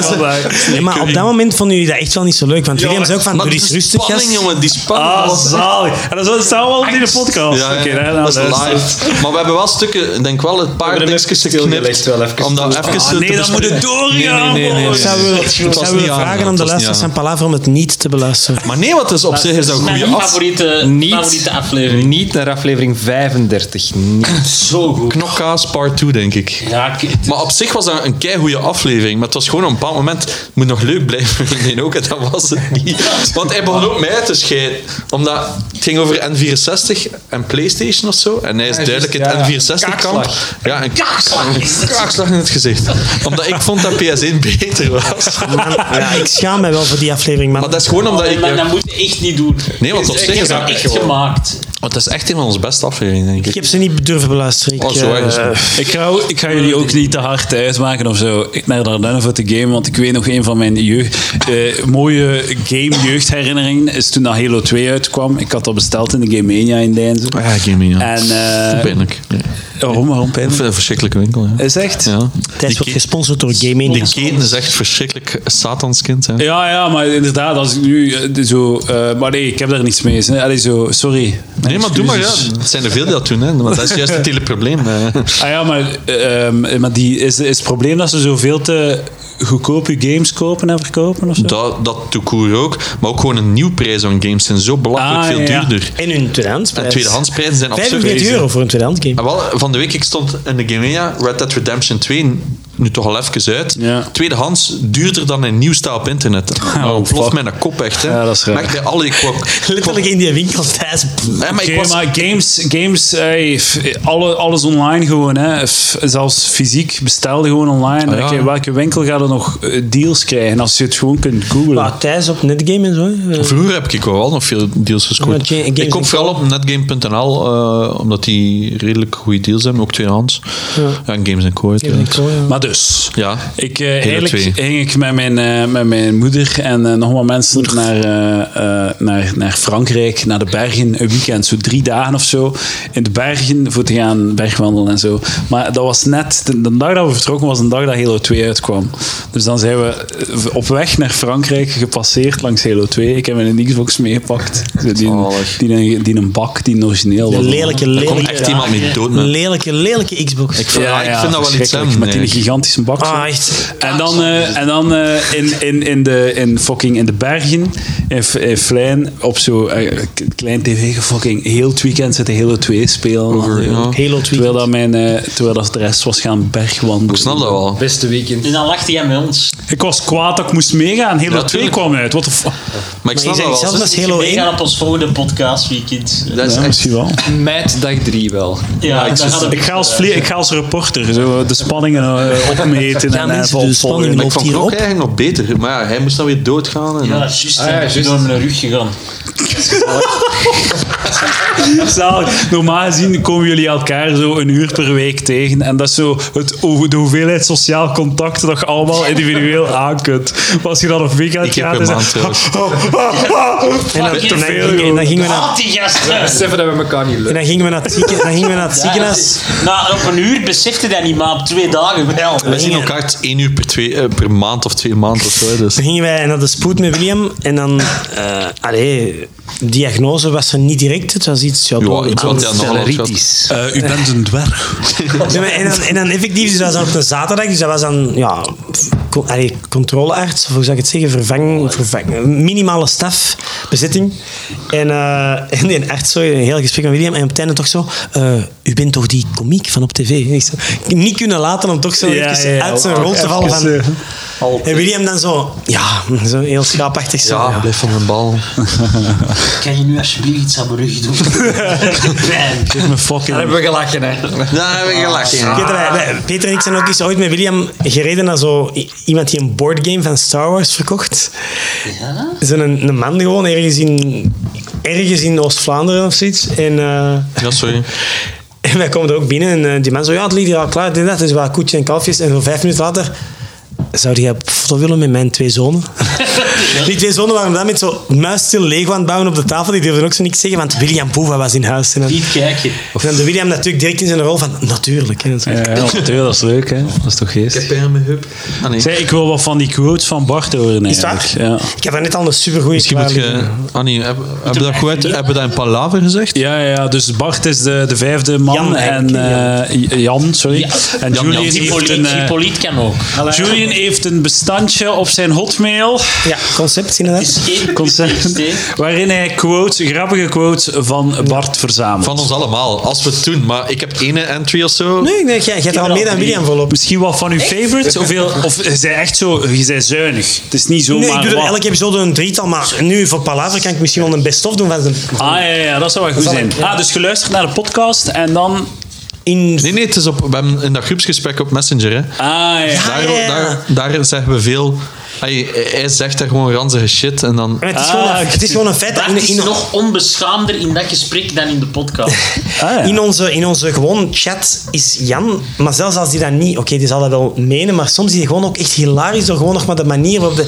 Speaker 8: vandaag.
Speaker 4: Ja, maar op dat moment vonden jullie dat echt wel niet zo leuk. Want William zei ook van,
Speaker 3: Maar
Speaker 4: doe
Speaker 3: die
Speaker 4: eens rustig,
Speaker 3: spanning,
Speaker 4: gast.
Speaker 3: jongen, die spanning.
Speaker 8: Ah,
Speaker 3: was-
Speaker 8: zalig. En dat staat wel in de podcast.
Speaker 3: Ja, ja,
Speaker 8: Oké, daar-
Speaker 3: dat is
Speaker 8: daar-
Speaker 3: live. Maar we hebben wel stukken, ik denk wel een paar
Speaker 6: hebben hem
Speaker 3: dingetjes
Speaker 6: even stilgelegd,
Speaker 3: geknipt.
Speaker 6: wel even
Speaker 3: om dat even
Speaker 8: Ah,
Speaker 3: te
Speaker 8: nee, dan moet
Speaker 3: bespreken.
Speaker 8: het doorgaan.
Speaker 3: Nee, nee, nee, nee.
Speaker 8: boys.
Speaker 4: Ik zou willen-
Speaker 3: Het
Speaker 4: ik
Speaker 3: was
Speaker 4: zou willen
Speaker 3: niet aan,
Speaker 4: vragen
Speaker 3: het
Speaker 4: om de
Speaker 3: was
Speaker 4: luisteraars
Speaker 3: niet
Speaker 4: van Palaver om het niet te beluisteren.
Speaker 3: Maar nee, wat is op zich is dat een
Speaker 5: Mijn
Speaker 3: goede af.
Speaker 5: favoriete,
Speaker 6: Niet.
Speaker 5: favoriete aflevering.
Speaker 6: Niet naar aflevering 35. Niet.
Speaker 5: Zo goed.
Speaker 3: Knokkaas part 2, denk ik.
Speaker 5: Ja, ik-
Speaker 3: Maar op zich was dat een keigoede aflevering. Maar het was gewoon op een bepaald moment... Het moet nog leuk blijven. Nee, ook. En dat was het niet. Want hij begon ook mij te scheiden. Omdat het ging over N64 en Playstation of zo. En hij is duidelijk in
Speaker 6: ja.
Speaker 3: het N64-kamp.
Speaker 6: Kaakslag.
Speaker 3: Ja, een kaakslag. Een kaakslag in het gezicht. Omdat ik vond dat PS1 beter was.
Speaker 4: Ja, ik schaam mij wel voor die aflevering, man.
Speaker 3: Maar dat is gewoon omdat ik...
Speaker 5: maar dat moet je echt niet doen.
Speaker 3: Nee, want op
Speaker 5: Ik
Speaker 3: zich
Speaker 5: heb
Speaker 3: is dat
Speaker 5: echt
Speaker 3: gewoon-
Speaker 5: gemaakt.
Speaker 3: Want dat is echt een van onze beste afleveringen, denk
Speaker 4: ik
Speaker 3: ik.
Speaker 4: heb ze niet durven beluisteren. Ik,
Speaker 3: Oh, zo
Speaker 4: eh,
Speaker 3: erg. is het.
Speaker 1: Ik ga, ik ga jullie ook niet te hard uitmaken of zo. Ik naar Dardenne voor te game, want ik weet nog een van mijn jeugd, eh, mooie game-jeugdherinneringen is toen dat Halo 2 uitkwam. Ik had dat besteld in de Game Mania in Deinzen.
Speaker 3: Ah, Ja, Jimmy, ja.
Speaker 1: En eh
Speaker 3: Pijnlijk. Ja.
Speaker 1: waarom, waarom
Speaker 3: Ik
Speaker 1: pijn?
Speaker 3: vind het een verschrikkelijke winkel, ja.
Speaker 1: Is echt?
Speaker 3: ja.
Speaker 4: Thijs wordt gesponsord door Gaming.
Speaker 3: De keten is echt verschrikkelijk satanskind, hè.
Speaker 1: Ja, ja, maar inderdaad, als ik nu eh, zo... eh, maar nee, ik heb daar niks mee. hè. Allee, zo, sorry. Mijn
Speaker 3: Nee, maar doe maar, ja.
Speaker 1: excuses.
Speaker 3: Het zijn er veel die dat doen, hè. Want dat is juist het hele probleem. hè.
Speaker 1: Ah ja, maar, eh, ehm, maar die, is, is het probleem dat ze zoveel te goedkope games kopen en verkopen of zo?
Speaker 3: Dat, dat to court ook. Maar ook gewoon een nieuw prijs aan games zijn zo belachelijk
Speaker 1: Ah,
Speaker 3: veel
Speaker 1: ja.
Speaker 3: duurder.
Speaker 4: En hun tweedehandsprijs.
Speaker 3: En tweedehandsprijzen zijn absurd. Ah,
Speaker 4: 45 euro voor een tweedehands game.
Speaker 3: En wel, van de week, ik stond in de Gamea Red Dead Redemption 2, nu toch al even uit.
Speaker 1: Ja. Oh,
Speaker 3: Tweedehands duurder dan een nieuw staal op internet. nou, plof
Speaker 1: fuck.
Speaker 3: mijn kop echt, hè.
Speaker 1: Ja, dat is raar.
Speaker 3: Maar ik bij alle... Ik wou- ik wou-
Speaker 4: Letterlijk in die winkel, Thijs.
Speaker 3: hè, maar ik
Speaker 1: Oké,
Speaker 3: was-
Speaker 1: maar games, games ey, f- alle, alles online gewoon. Hè. F- Zelfs fysiek, bestel gewoon online.
Speaker 3: Ah, ja.
Speaker 1: Oké, welke winkel gaat er nog eh, deals krijgen als je het gewoon kunt googlen?
Speaker 4: Maar Thijs op netgame en zo. hè. Eh,
Speaker 3: Vroeger heb ik wel nog veel deals gescoord.
Speaker 4: Omdat je- games
Speaker 3: Ik koop
Speaker 4: niet
Speaker 3: vooral op netgame.nl, eh, omdat die redelijk goede deals hebben, ook tweedehands. Ja, en games en co.
Speaker 4: Ik
Speaker 3: uiteraard.
Speaker 4: hoor, ja.
Speaker 1: Maar dus,
Speaker 3: Ja.
Speaker 1: ik, eh eigenlijk
Speaker 3: twee.
Speaker 1: ging ik met mijn, eh, met mijn moeder en eh, nog wat mensen naar, eh, eh, naar, naar Frankrijk, naar de bergen, een weekend, zo drie dagen of zo, in de bergen voor te gaan bergwandelen en zo. Maar dat was net, de, de dag dat we vertrokken was een dag dat Halo 2 uitkwam. Dus dan zijn we eh, op weg naar Frankrijk gepasseerd langs Halo 2. Ik heb mijn Xbox meegepakt. Die, die, die, die een bak, die een origineel
Speaker 4: De
Speaker 1: was.
Speaker 4: lelijke,
Speaker 3: Daar komt
Speaker 4: lelijke,
Speaker 3: echt iemand mee dood, man.
Speaker 4: lelijke, lelijke Xbox.
Speaker 3: Ik vind, ja, ik vind dat wel iets
Speaker 1: verschrikkelijk,
Speaker 3: hem.
Speaker 1: Met die
Speaker 3: eigenlijk.
Speaker 1: gigantische bak. zo.
Speaker 4: Ah, echt.
Speaker 1: En dan, eh, en dan eh, in, in, in, de, in fucking in de bergen, in, F- in Flijn, op zo'n eh, k- klein tv, fucking heel het weekend zitten hele twee spelen.
Speaker 3: ja.
Speaker 4: Halo 2.
Speaker 1: Terwijl, dat mijn, eh, terwijl dat de rest was gaan bergwandelen.
Speaker 3: Ik snap dat wel.
Speaker 6: Beste weekend.
Speaker 5: En dan lachte jij met ons.
Speaker 8: Ik was kwaad dat ik moest meegaan. Halo 2
Speaker 3: Ja, tuurlijk.
Speaker 8: kwam uit. What the fuck?
Speaker 3: Maar ik
Speaker 4: Maar je
Speaker 3: snap dat
Speaker 4: zegt
Speaker 3: wel.
Speaker 4: zelf- Dat is
Speaker 5: Dus
Speaker 4: Halo
Speaker 5: we gaan
Speaker 4: 1.
Speaker 5: op ons volgende podcast weekend.
Speaker 3: Dat is
Speaker 1: Ja,
Speaker 3: echt...
Speaker 1: misschien wel.
Speaker 6: Meid dag 3 wel.
Speaker 5: Ja, ik daar hadden we-
Speaker 8: Ik ga als, vlie- ik ga als reporter zo de spanningen eh, opmeten
Speaker 4: Ja,
Speaker 8: en even
Speaker 4: mensen, de
Speaker 8: opvolgen.
Speaker 4: spanningen
Speaker 3: Ik vond
Speaker 4: Loopt hier
Speaker 3: Klok
Speaker 4: op?
Speaker 3: eigenlijk nog beter, maar ja, hij moest dan weer doodgaan. En...
Speaker 5: Ja, dat is juist.
Speaker 6: Ah, ja,
Speaker 5: ik ben
Speaker 6: juist.
Speaker 5: door mijn rug gegaan.
Speaker 1: Zalig. Normaal gezien komen jullie elkaar zo een uur per week tegen. En dat is zo het, over de hoeveelheid sociaal contact dat je allemaal individueel aankunt. Maar als je dan op weekend
Speaker 3: Ik heb
Speaker 1: gaat,
Speaker 3: een
Speaker 1: is
Speaker 3: maand
Speaker 1: dat...
Speaker 3: trouwens.
Speaker 4: En
Speaker 5: Ah,
Speaker 4: dan,
Speaker 2: Fucking
Speaker 4: dan-
Speaker 1: veel,
Speaker 4: dan-
Speaker 1: joh.
Speaker 4: en dan gingen we naar,
Speaker 2: Haat die gasten!
Speaker 6: Seven dat we elkaar niet
Speaker 4: en
Speaker 6: leuk.
Speaker 4: dan gingen we naar het zieken- dan gingen we naar het ziekenhuis.
Speaker 2: Nou, op een uur besefte dat niet, maar op twee dagen wel.
Speaker 3: Wij zien
Speaker 4: gingen-
Speaker 3: elkaar één uur per, twee, eh, per maand of twee maanden of zo. hè, Dus.
Speaker 4: Toen gingen wij naar de spoed met William en dan... eh allee, diagnose was er niet direct. Het was iets... Ja,
Speaker 3: Ja, iets wat
Speaker 4: anders.
Speaker 3: hij aan de hand had.
Speaker 1: Eh, u bent een dwerg.
Speaker 4: Ja, maar en, dan, en dan effectief, dus dat was dan op een zaterdag, dus dat was dan, ja, co- allee, controlearts, of hoe zou ik het zeggen, vervang, vervang, minimale staf, bezetting. En, eh en die arts, zo, een heel gesprek met William, en op het einde toch zo, eh, u bent toch die komiek van op tv? En ik zo, niet kunnen laten om toch zo
Speaker 1: Ja,
Speaker 4: even
Speaker 1: ja,
Speaker 4: uit zijn
Speaker 1: ook
Speaker 4: rol te
Speaker 1: even,
Speaker 4: vallen van...
Speaker 1: eh,
Speaker 4: en William dan zo, ja, zo heel schaapachtig zo.
Speaker 3: Ja,
Speaker 4: Ja,
Speaker 3: blijf van mijn bal.
Speaker 2: Kan je nu alsjeblieft iets aan mijn rug doen? Bam.
Speaker 1: Geef me fucking...
Speaker 6: hebben we gelachen, hè.
Speaker 3: Ja, we gelachen.
Speaker 4: Peter, wij- wij- Peter en ik zijn ook eens ooit met William gereden naar zo i- iemand die een boardgame van Star Wars verkocht.
Speaker 2: Ja?
Speaker 4: Zo'n een, een man gewoon ergens in, ergens in Oost-Vlaanderen of zoiets. En, eh,
Speaker 3: Ja, sorry.
Speaker 4: en wij komen er ook binnen en eh, die man zo, ja, het ligt hier al klaar, dit en dat. Dus wat koetje en kalfjes. En zo vijf minuten later, zou jij op foto willen met mijn twee zonen? die twee zonen waren dan met zo muisstil Lego aan het bouwen op de tafel. Die durfden ook zo niks zeggen, want William Boeva was in huis. En dan,
Speaker 2: Niet kijken.
Speaker 4: en dan de William natuurlijk direct in zijn rol van, natuurlijk. Hè, en zo.
Speaker 7: Ja, natuurlijk, dat is leuk, hè? Dat is toch geest.
Speaker 3: Pijn aan mijn heup. Ah, nee.
Speaker 1: Zeg, ik wil wat van die quotes van Bart horen
Speaker 4: Is het
Speaker 1: eigenlijk.
Speaker 4: waar?
Speaker 1: Ja.
Speaker 4: Ik heb daar net al een supergoeie
Speaker 3: Misschien moet je... Annie, hebben hebben we dat goed uit? Hebben we dat in Palaver gezegd?
Speaker 1: Ja, ja, ja, dus Bart is de, de vijfde man
Speaker 4: Jan
Speaker 1: en
Speaker 4: eigenlijk,
Speaker 1: eh, Jan, sorry. En
Speaker 3: Jan,
Speaker 1: Julian,
Speaker 3: Jan.
Speaker 1: Heeft
Speaker 5: Hippolyte,
Speaker 1: een, eh,
Speaker 5: Hippolyte kan ook.
Speaker 1: Julian heeft een bestandje op zijn hotmail
Speaker 4: Ja, concept inderdaad.
Speaker 2: Is geen
Speaker 1: concept, waarin hij quotes, grappige quotes van Bart verzamelt.
Speaker 3: Van ons allemaal, als we het doen. Maar ik heb één entry of zo.
Speaker 4: Nee, nee, jij jij hebt er al meer dan William volop.
Speaker 1: Misschien wat van uw favorites? Of, heel, of je bent echt zo, je bent zuinig. Het is niet
Speaker 4: Nee,
Speaker 1: zomaar
Speaker 4: ik doe er
Speaker 1: wat.
Speaker 4: elke episode een drietal, maar nu voor Palaver kan ik misschien wel een best-of doen van zijn...
Speaker 1: Ah, ja, ja, ja, dat zou wel goed zijn. Ah, dus je luistert naar de podcast en dan...
Speaker 4: In...
Speaker 3: Nee, nee, het is op, we hebben in dat groepsgesprek op Messenger. Hè.
Speaker 1: Ah, ja.
Speaker 3: Daar,
Speaker 4: ja, ja.
Speaker 3: Daar, daar zeggen we veel. Hij, hij zegt daar gewoon ranzige shit en dan...
Speaker 4: Maar het, is
Speaker 1: Ah,
Speaker 4: gewoon een,
Speaker 1: ik
Speaker 4: het is gewoon een feit dat
Speaker 2: Bart
Speaker 4: in,
Speaker 2: is
Speaker 4: in,
Speaker 2: nog onbeschaamder in dat gesprek dan in de podcast.
Speaker 1: Ah, ja.
Speaker 4: in, onze, in onze gewoon chat is Jan, maar zelfs als die dat niet... Oké, die zal dat wel menen, maar soms is die gewoon ook echt hilarisch door gewoon nog maar de manier waarop... De,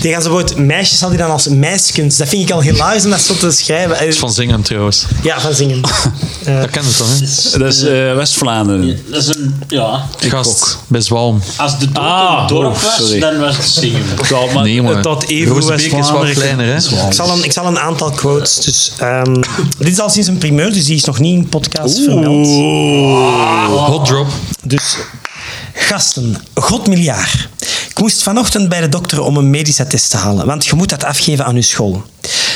Speaker 4: die gaan ze bijvoorbeeld... Meisjes zal die dan als meisjes. Dat vind ik al hilarisch om dat zo te schrijven. Eh,
Speaker 3: is van zingen trouwens.
Speaker 4: Ja, van zingen. Eh,
Speaker 3: Dat ken je toch, hè?
Speaker 1: Dat is eh, West-Vlaanderen.
Speaker 2: Dat is een, ja.
Speaker 3: Gast, bij Zwalm.
Speaker 2: Als de dorp
Speaker 1: Ah,
Speaker 2: een dorp
Speaker 1: oh,
Speaker 2: was,
Speaker 1: sorry.
Speaker 2: dan was het zingen.
Speaker 1: Ja, maar
Speaker 3: Nee, maar
Speaker 1: Ah, dat even
Speaker 3: Rozenbeek is wat
Speaker 1: West-Vlaanderen-
Speaker 3: kleiner, hè?
Speaker 4: Ik zal, een, ik zal een aantal quotes. Dus, ehm, dit is al sinds een primeur, dus die is nog niet in podcast vermeld.
Speaker 3: Hot drop.
Speaker 4: Dus gasten, god miljard. Ik moest vanochtend bij de dokter om een medisch attest te halen, want je moet dat afgeven aan uw school.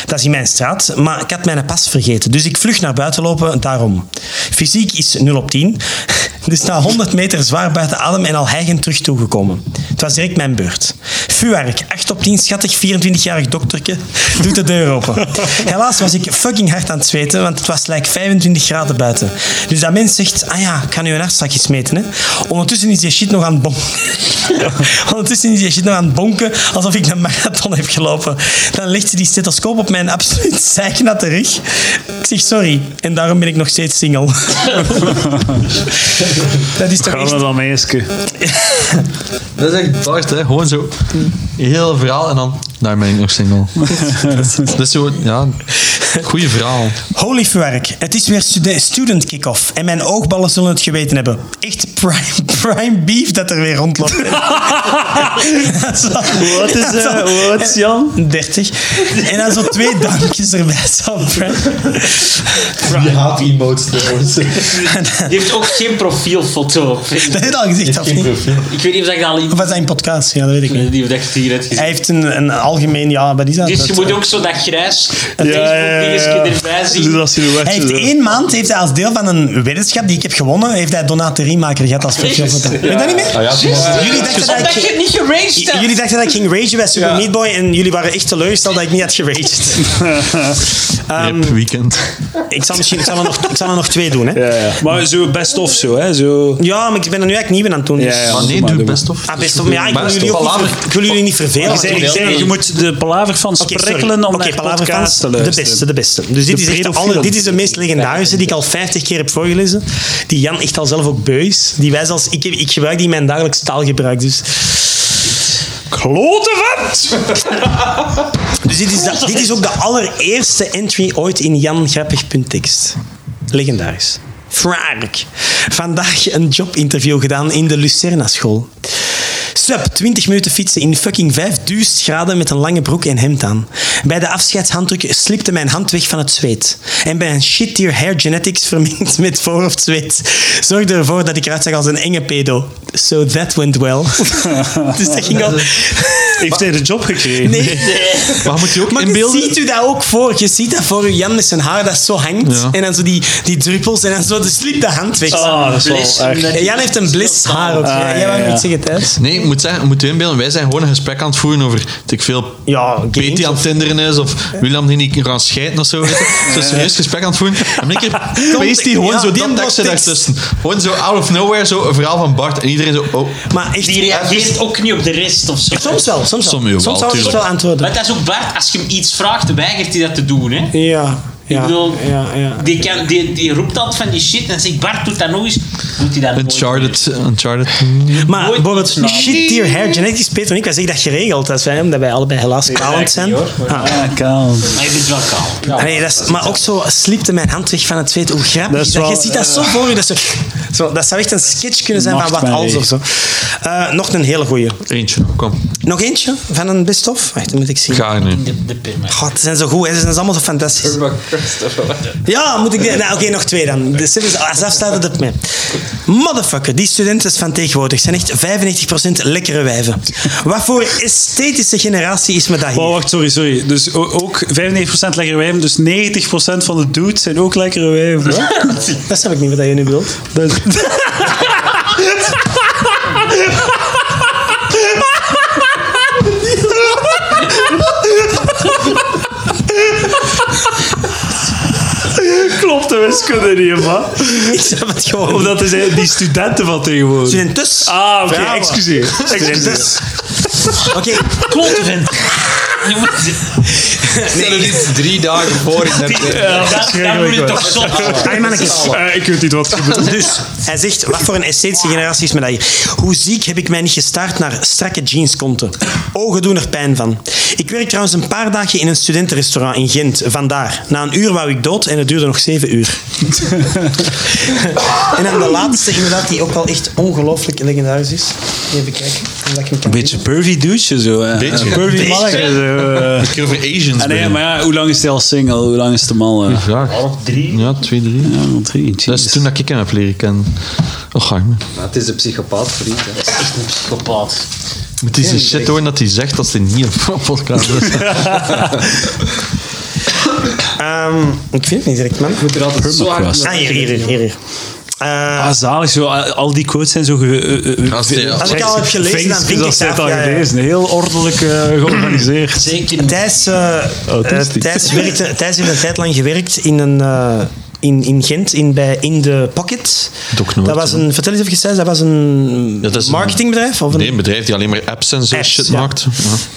Speaker 4: Dat is in mijn straat, maar ik had mijn pas vergeten, dus ik vlug naar buiten lopen, daarom. Fysiek is 0 op 10, dus na 100 meter zwaar buiten adem en al hijgend terug toegekomen. Het was direct mijn beurt. Vuark, 8 op 10, schattig 24-jarig dokterke, doet de deur open. Helaas was ik fucking hard aan het zweten, want het was gelijk 25 graden buiten. Dus dat mens zegt, ah ja, ik ga nu een hartslagjes meten. Hè. Ondertussen is die shit nog aan het bonken. Ondertussen is die shit nog aan het bonken, alsof ik een marathon heb gelopen. Dan legt ze die stethoscoop op mijn absoluut zeiknatte rug. Ik zeg sorry, en daarom ben ik nog steeds single. dat is toch
Speaker 1: Gaan we
Speaker 4: echt...
Speaker 1: dan meisje.
Speaker 3: Dat is echt Bart, hè? Gewoon zo. Heel verhaal en dan. Daar ben ik nog single. dat is zo. Ja. Goeie verhaal.
Speaker 4: Holy verwerk, het is weer stude- student kick-off. En mijn oogballen zullen het geweten hebben. Echt prime, prime beef dat er weer rondloopt.
Speaker 2: eh,
Speaker 4: Wat
Speaker 1: Wat is, eh, wat is Jan?
Speaker 4: 30. En dan zo twee dankjes erbij. Zo, prime.
Speaker 2: Die heeft ook geen profielfoto op.
Speaker 4: Dat heb je al gezegd, of niet?
Speaker 2: Ik weet niet of ik dat al in...
Speaker 4: Of was dat in podcast? Ja, dat weet ik
Speaker 2: Ik weet
Speaker 4: niet.
Speaker 2: niet of ik het hier heb gezien.
Speaker 4: Hij heeft een, een algemeen... Ja, wat is dat?
Speaker 2: Dus je
Speaker 4: Dat,
Speaker 2: moet
Speaker 4: eh,
Speaker 2: ook zo dat grijs
Speaker 1: ja, ja,
Speaker 2: Facebook-dingetje
Speaker 1: ja.
Speaker 2: erbij zien.
Speaker 1: Dus als je de
Speaker 4: Hij
Speaker 1: wedstrijd
Speaker 4: heeft
Speaker 1: doet.
Speaker 4: één maand, heeft hij als deel van een weddenschap die ik heb gewonnen, heeft hij Donate Riemaker gehad als profielfoto. Weet je dat niet meer? Jullie dachten dat
Speaker 2: Omdat je
Speaker 4: ik...
Speaker 2: het niet geraged
Speaker 4: J-
Speaker 2: hebt.
Speaker 4: Jullie dachten dat ik ging ragen bij Super Meat Boy en jullie waren echt teleurgesteld dat ik niet had geraged.
Speaker 3: Rip weekend.
Speaker 4: Ik zal, misschien, ik zal, er, nog, ik zal er nog twee doen. Hè? Ja.
Speaker 1: Ja, ja. Maar zo best of zo, hè? Zo.
Speaker 4: maar ik ben er nu eigenlijk nieuw aan het doen. Dus.
Speaker 1: Ja, ja.
Speaker 3: Maar nee, doe best of.
Speaker 4: Ah, best op, maar ja, ik wil
Speaker 3: Best
Speaker 4: jullie,
Speaker 3: of.
Speaker 4: ook niet,
Speaker 3: Palaver.
Speaker 4: ver- ik wil jullie niet vervelen.
Speaker 1: Ik zei, ik zei, je moet de palaver van
Speaker 4: Oké, sorry.
Speaker 1: sprikkelen om
Speaker 4: Oké,
Speaker 1: naar
Speaker 4: Palaver
Speaker 1: podcasts
Speaker 4: fans,
Speaker 1: te luisteren.
Speaker 4: De beste, de beste. Dus dit
Speaker 1: De
Speaker 4: is echt de,
Speaker 1: pedofielen.
Speaker 4: aller- dit is de meest legendarische die ik al 50 keer heb voorgelezen. Die Jan echt al zelf ook beu is. Die wij zelfs, ik, ik gebruik die in mijn dagelijks taalgebruik. Dus,
Speaker 1: Klote vent!
Speaker 4: dus dit, is de- dit is ook de allereerste entry ooit in Jan Grappig.txt. Legendarisch. Fraark. Vandaag een jobinterview gedaan in de Lucerna school. Sup, 20 minuten fietsen in fucking 5000 graden met een lange broek en hemd aan. Bij de afscheidshanddruk slipte mijn hand weg van het zweet. En bij een shit tier hair genetics vermengd met voorhoofdzweet zorgde ervoor dat ik eruit zag als een enge pedo. So that went well. dus dat ging al...
Speaker 1: Heeft hij de job gekregen?
Speaker 4: Nee.
Speaker 3: Maar moet je ook
Speaker 4: Maar je
Speaker 3: inbeelden?
Speaker 4: ziet u dat ook voor. Je ziet dat voor u Jan met zijn haar dat zo hangt.
Speaker 3: Ja.
Speaker 4: En dan zo die, die druppels en dan zo de slip de hand weg.
Speaker 1: Ah, dat is wel erg.
Speaker 4: En Jan heeft een blis haar ook. Ah, ja, jij wou
Speaker 1: ja.
Speaker 4: iets zeggen, Thijs?
Speaker 3: Nee, ik moet, zeggen, ik moet u inbeelden, wij zijn gewoon een gesprek aan het voeren over weet ik veel
Speaker 4: Ja, games
Speaker 3: Peti aan
Speaker 4: of-
Speaker 3: het tinderen is of William die niet kan scheiden of zo. Weet je. Zo'n serieus gesprek aan het voeren. En een keer paste die gewoon
Speaker 4: Ja,
Speaker 3: zo
Speaker 4: dat
Speaker 3: dat tekstje
Speaker 4: plottekst.
Speaker 3: daartussen. Gewoon zo out of nowhere, zo een verhaal van Bart. En iedereen zo, oh,
Speaker 4: Maar echt... dus
Speaker 2: Die reageert ook niet op de rest of zo.
Speaker 4: Soms wel, soms wel.
Speaker 3: Soms wel,
Speaker 4: soms zou ik
Speaker 3: tuurlijk.
Speaker 4: wel antwoorden.
Speaker 2: Maar dat is ook Bart, als je hem iets vraagt, weigert hij dat te doen. Hè?
Speaker 4: Ja, ja,
Speaker 2: ik bedoel,
Speaker 4: ja, ja.
Speaker 2: Die, kan, die, die roept altijd van die shit en dan zegt Bart, doet dat nog eens. Doet hij dat nooit
Speaker 3: Uncharted. Uncharted.
Speaker 4: Maar
Speaker 2: nooit
Speaker 4: bijvoorbeeld
Speaker 2: iets naam.
Speaker 4: shit tier hair genetics, Peter en ik, wij zeggen dat geregeld. Als wij, omdat wij allebei helaas kalend zijn. Ah.
Speaker 1: Ah, kalend.
Speaker 2: meer. Maar je bent wel kaal.
Speaker 4: Nee, dat is, maar ook zo slipte mijn hand weg van het zweet. Hoe grappig
Speaker 1: Dat
Speaker 4: dat
Speaker 1: is wel,
Speaker 4: Je ziet dat zo voor je. Dat, zo, zo, dat zou echt een sketch kunnen zijn van
Speaker 1: Macht
Speaker 4: wat
Speaker 1: mijn
Speaker 4: als of zo. Eh, nog een hele goeie.
Speaker 3: Eentje, kom.
Speaker 4: Nog eentje van een best of? Wacht, dat moet ik zien.
Speaker 3: Ga er nu.
Speaker 2: De, de perma.
Speaker 4: God, ze zijn zo goed. hè. Ze zijn allemaal zo fantastisch. Ja, moet ik... die- Nou, oké, nog twee dan. De Sims, als afstaat het op mij. Motherfucker, die studenten van tegenwoordig zijn echt 95% lekkere wijven. Wat voor esthetische generatie is me dat
Speaker 1: Oh,
Speaker 4: hier?
Speaker 1: wacht, sorry, sorry. Dus o- ook 95% lekkere wijven, dus 90% van de dudes zijn ook lekkere wijven.
Speaker 4: Dat snap ik niet wat je nu bedoelt.
Speaker 1: Klopt de wiskunde niet, man.
Speaker 4: Ik snap het gewoon niet.
Speaker 1: Omdat er zijn die studenten van tegenwoordig.
Speaker 4: Studentes?
Speaker 1: Ah, oké,
Speaker 4: Bravo.
Speaker 1: excuseer. Excuseer.
Speaker 4: Studentes. Oké,
Speaker 2: Klote vent. Je moet-
Speaker 6: Stel er iets drie dagen voor in de
Speaker 1: Ja,
Speaker 2: Dat, dat moet je toch zot houden.
Speaker 4: Hey, mannetjes.
Speaker 7: Oh.
Speaker 1: Eh, ik weet niet wat er gebeurt.
Speaker 4: Dus hij zegt, wat voor een esthetische generatie is me dat hier? Hoe ziek heb ik mij niet gestaard naar strakke jeanskonten? Ogen doen er pijn van. Ik werk trouwens een paar dagen in een studentenrestaurant in Gent. Vandaar. Na een uur wou ik dood en het duurde nog zeven uur. en dan de laatste, inderdaad, die ook wel echt ongelooflijk legendarisch is. Even kijken. Omdat ik hem kan
Speaker 7: Beetje pervy douche zo. hè.
Speaker 3: Beetje.
Speaker 7: Een pervy mannetje. zo,
Speaker 3: Ik over Asians
Speaker 4: Ah,
Speaker 7: eh. Nee,
Speaker 3: beginnen.
Speaker 7: maar ja, hoe lang is hij al single? Hoe lang is de man? eh?
Speaker 3: Graag.
Speaker 2: Op drie.
Speaker 3: Ja, twee, drie.
Speaker 7: Ja, want eh, drie.
Speaker 3: Dat is
Speaker 7: jeez.
Speaker 3: toen dat ik hem heb leren kennen. Oh, ga ik me.
Speaker 6: Het is een psychopaat, vriend. hè.
Speaker 2: Echt een psychopaat.
Speaker 3: Moet hij zijn shit horen dat hij zegt dat hij niet op een podcast is.
Speaker 4: Ehm, ik vind het niet direct, man.
Speaker 6: Ik moet er altijd zo hard
Speaker 4: Ah, hier, hier, hier. hier. Eh,
Speaker 7: Ah, zalig zo. Al al die quotes zijn zo... Ge, eh, eh,
Speaker 3: Als hij-
Speaker 4: als ik al heb gelezen, dan vind ik
Speaker 1: dat
Speaker 4: het
Speaker 1: zit
Speaker 4: af.
Speaker 1: al
Speaker 4: Ja, ja.
Speaker 1: gelezen. Heel ordelijk eh, georganiseerd.
Speaker 2: Zeker niet.
Speaker 4: Thijs, eh,
Speaker 1: Autistisch.
Speaker 4: eh, Thijs, werkte, Thijs heeft een tijd lang gewerkt in, een, eh, in, in Gent, in, bij In The Pocket.
Speaker 3: ook nooit,
Speaker 4: dat was
Speaker 3: hè.
Speaker 4: een, vertel eens even, Thijs, dat was een
Speaker 3: Dat is een-
Speaker 4: marketingbedrijf? Of een,
Speaker 3: Nee, een bedrijf die alleen maar apps en zo
Speaker 4: Apps,
Speaker 3: shit
Speaker 4: ja.
Speaker 3: maakt.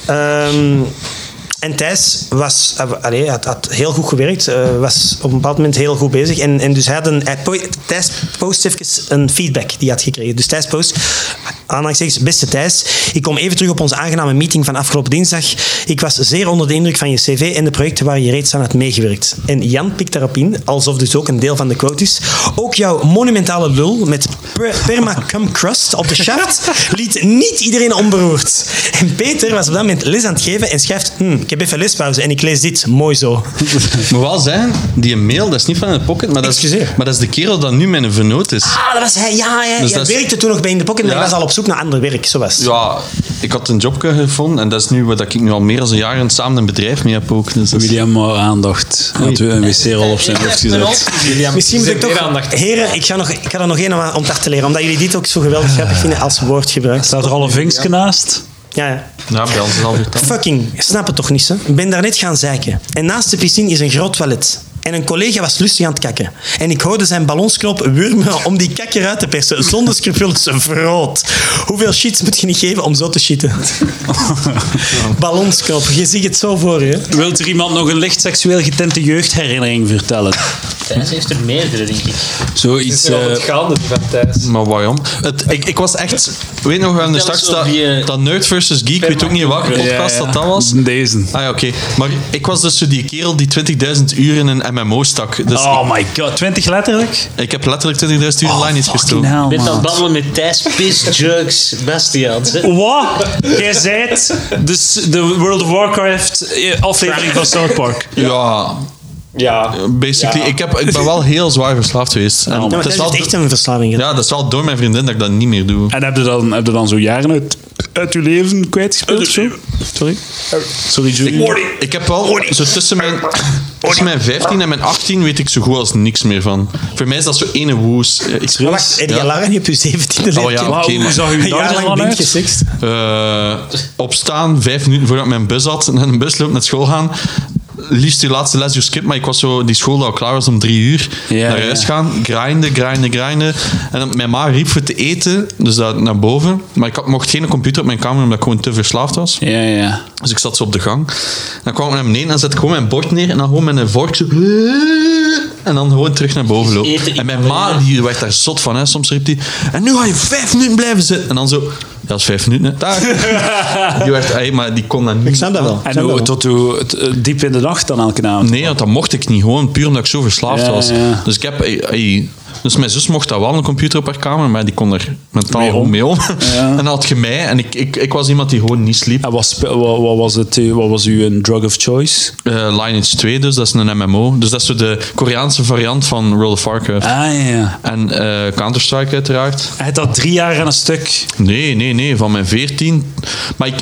Speaker 3: Ja.
Speaker 4: Ehm, en Thijs was, eh, allee, had, had heel goed gewerkt, eh, was op een bepaald moment heel goed bezig. En, en dus hij had een, hij po- Thijs post even een feedback die hij had gekregen. Dus Thijs post, aanhalingstekens, beste Thijs, ik kom even terug op onze aangename meeting van afgelopen dinsdag. Ik was zeer onder de indruk van je cv en de projecten waar je reeds aan had meegewerkt. En Jan pikt daarop in, alsof dus ook een deel van de quote is. Ook jouw monumentale lul met per- permacum crust op de shaft liet niet iedereen onberoerd. En Peter was op dat moment les aan het geven en schrijft "Hmm, ik heb even lespauze en ik lees dit, mooi zo.
Speaker 3: Ik moet wel zeggen, die mail, dat is niet van in de pocket, maar dat, is,
Speaker 4: Excuseer.
Speaker 3: maar dat is de kerel dat nu mijn vernoot is.
Speaker 4: Ah, dat was hij, ja, ja.
Speaker 3: Dus
Speaker 4: jij
Speaker 3: dat is-
Speaker 4: werkte toen nog bij In de Pocket, maar
Speaker 3: Ja.
Speaker 4: hij was al op zoek naar ander werk, zo was het.
Speaker 3: Ja, ik had een job gevonden en dat is nu wat ik nu al meer dan een jaar in samen een bedrijf mee heb ook. Dus dat is-
Speaker 7: William maar aandacht. Had we een wc-rol op zijn hoofd gezet.
Speaker 4: Misschien moet ik
Speaker 6: Zeer
Speaker 4: toch...
Speaker 6: aandacht.
Speaker 4: Heren, ik ga, nog, ik ga er nog één om- om te te leren, omdat jullie dit ook zo geweldig grappig vinden als woordgebruik.
Speaker 7: Staat er al een vinkje naast?
Speaker 4: Ja, ja.
Speaker 3: Ja, bij ons is het al verteld.
Speaker 4: Fucking, snap het toch niet, hè? Ik ben daarnet gaan zeiken. En naast de piscine is een groot toilet. En een collega was lustig aan het kakken. En ik hoorde zijn ballonsknop wurmen om die kakker uit te persen. Zonder scrupules, verrood. Hoeveel shits moet je niet geven om zo te shitten? Ballonsknop, je ziet het zo voor je.
Speaker 1: Wilt er iemand nog een licht seksueel getinte jeugdherinnering vertellen?
Speaker 5: Thijs heeft er meerdere, denk ik.
Speaker 6: Het
Speaker 3: Zoiets.
Speaker 6: is wel
Speaker 3: eh,
Speaker 6: het gaande van Thijs.
Speaker 3: Maar waarom? Het, ik, ik was echt... Weet nog wel, in de
Speaker 2: Vertel
Speaker 3: start
Speaker 2: eens over
Speaker 3: staat
Speaker 2: die, eh,
Speaker 3: dat Nerd versus Geek, ik weet ook niet welke podcast dat dat was.
Speaker 7: Deze.
Speaker 3: Ah ja, oké. Maar ik was dus zo die kerel die 20.000 uur in een MMO stak.
Speaker 4: Ah,
Speaker 3: Dus
Speaker 1: Oh my god, 20 letterlijk? Oh,
Speaker 3: ik, ik heb letterlijk 20.000 uur
Speaker 4: Oh,
Speaker 3: online iets
Speaker 1: Fucking
Speaker 3: gestoken.
Speaker 1: hell,
Speaker 2: Met dat
Speaker 1: man.
Speaker 2: babbelen met Thijs, piss, jugs, Bastiaan.
Speaker 1: Wat? Jij zijt de, de World of Warcraft eh, aflevering van South Park.
Speaker 3: Ja,
Speaker 2: Ja.
Speaker 3: basically. Ik, heb, ik ben wel heel zwaar verslaafd geweest. En
Speaker 4: Ja, maar
Speaker 3: het is
Speaker 4: dat
Speaker 3: wel,
Speaker 4: is echt een verslaving. hè.
Speaker 3: ja, dat is wel door mijn vriendin dat ik dat niet meer doe.
Speaker 7: En heb je dan, heb je dan zo jaren uit, uit je leven kwijtgespeeld of zo? Sorry? Sorry, Julie.
Speaker 3: Ik, ik heb wel zo tussen mijn, tussen mijn 15 en mijn 18 weet ik zo goed als niks meer van. Voor mij is dat zo ene woes. Eh, Ik
Speaker 4: Maar wacht, heb je
Speaker 3: Ja.
Speaker 4: lang op je 17e leeftijd?
Speaker 3: Oh ja, oké.
Speaker 1: Hoe
Speaker 3: maar-
Speaker 1: zag je
Speaker 4: Een
Speaker 1: dag
Speaker 4: jaar
Speaker 1: er
Speaker 4: lang
Speaker 1: dan
Speaker 4: blind
Speaker 1: uit?
Speaker 4: gesext.
Speaker 3: Eh, opstaan, vijf minuten voordat mijn bus had, en een bus loopt naar school gaan. Liefst die laatste lesuur skip, maar ik was zo die school dat al klaar was om drie uur.
Speaker 7: Ja,
Speaker 3: naar
Speaker 7: ja.
Speaker 3: huis gaan, grinden, grinden, grinden. En dan- mijn ma riep voor te eten, dus dat naar boven. Maar ik had, mocht geen computer op mijn kamer, omdat ik gewoon te verslaafd was.
Speaker 7: Ja, ja.
Speaker 3: Dus ik zat zo op de gang. Dan kwam ik naar beneden en dan zet ik gewoon mijn bord neer en dan gewoon met een vork zo... En dan gewoon terug naar boven
Speaker 2: Eten
Speaker 3: lopen.
Speaker 2: in
Speaker 3: En mijn ma, die werd daar zot van. Hè. Soms riep die... En nu ga je vijf minuten blijven zitten. En dan zo... Ja, dat is vijf minuten. Hè. Daar. Die werd... ey, maar die kon dat niet.
Speaker 4: Ik snap dat wel. Ik
Speaker 7: En
Speaker 4: snap dat
Speaker 7: hoe,
Speaker 4: wel.
Speaker 7: tot hoe, het, eh, diep in de nacht dan elke avond?
Speaker 3: Nee, want dat mocht ik niet. Gewoon puur omdat ik zo verslaafd
Speaker 7: Ja,
Speaker 3: was.
Speaker 7: ja.
Speaker 3: Dus ik heb... ey, ey, dus mijn zus mocht dat wel, een computer op haar kamer, maar die kon er mentaal
Speaker 7: Mee
Speaker 3: gewoon
Speaker 7: om.
Speaker 3: mee om.
Speaker 7: Ja.
Speaker 3: En dan had je mij, en ik, ik, ik was iemand die gewoon niet sliep.
Speaker 7: En wat, spe- wat, wat was het, eh, wat was uw drug of choice?
Speaker 3: eh Lineage 2, dus dat is een MMO. Dus dat is zo de Koreaanse variant van World of Warcraft.
Speaker 7: Ah ja.
Speaker 3: En eh, Counter-Strike uiteraard.
Speaker 1: Hij had dat drie jaar aan een stuk.
Speaker 3: Nee, nee, nee, van mijn 14. Maar ik,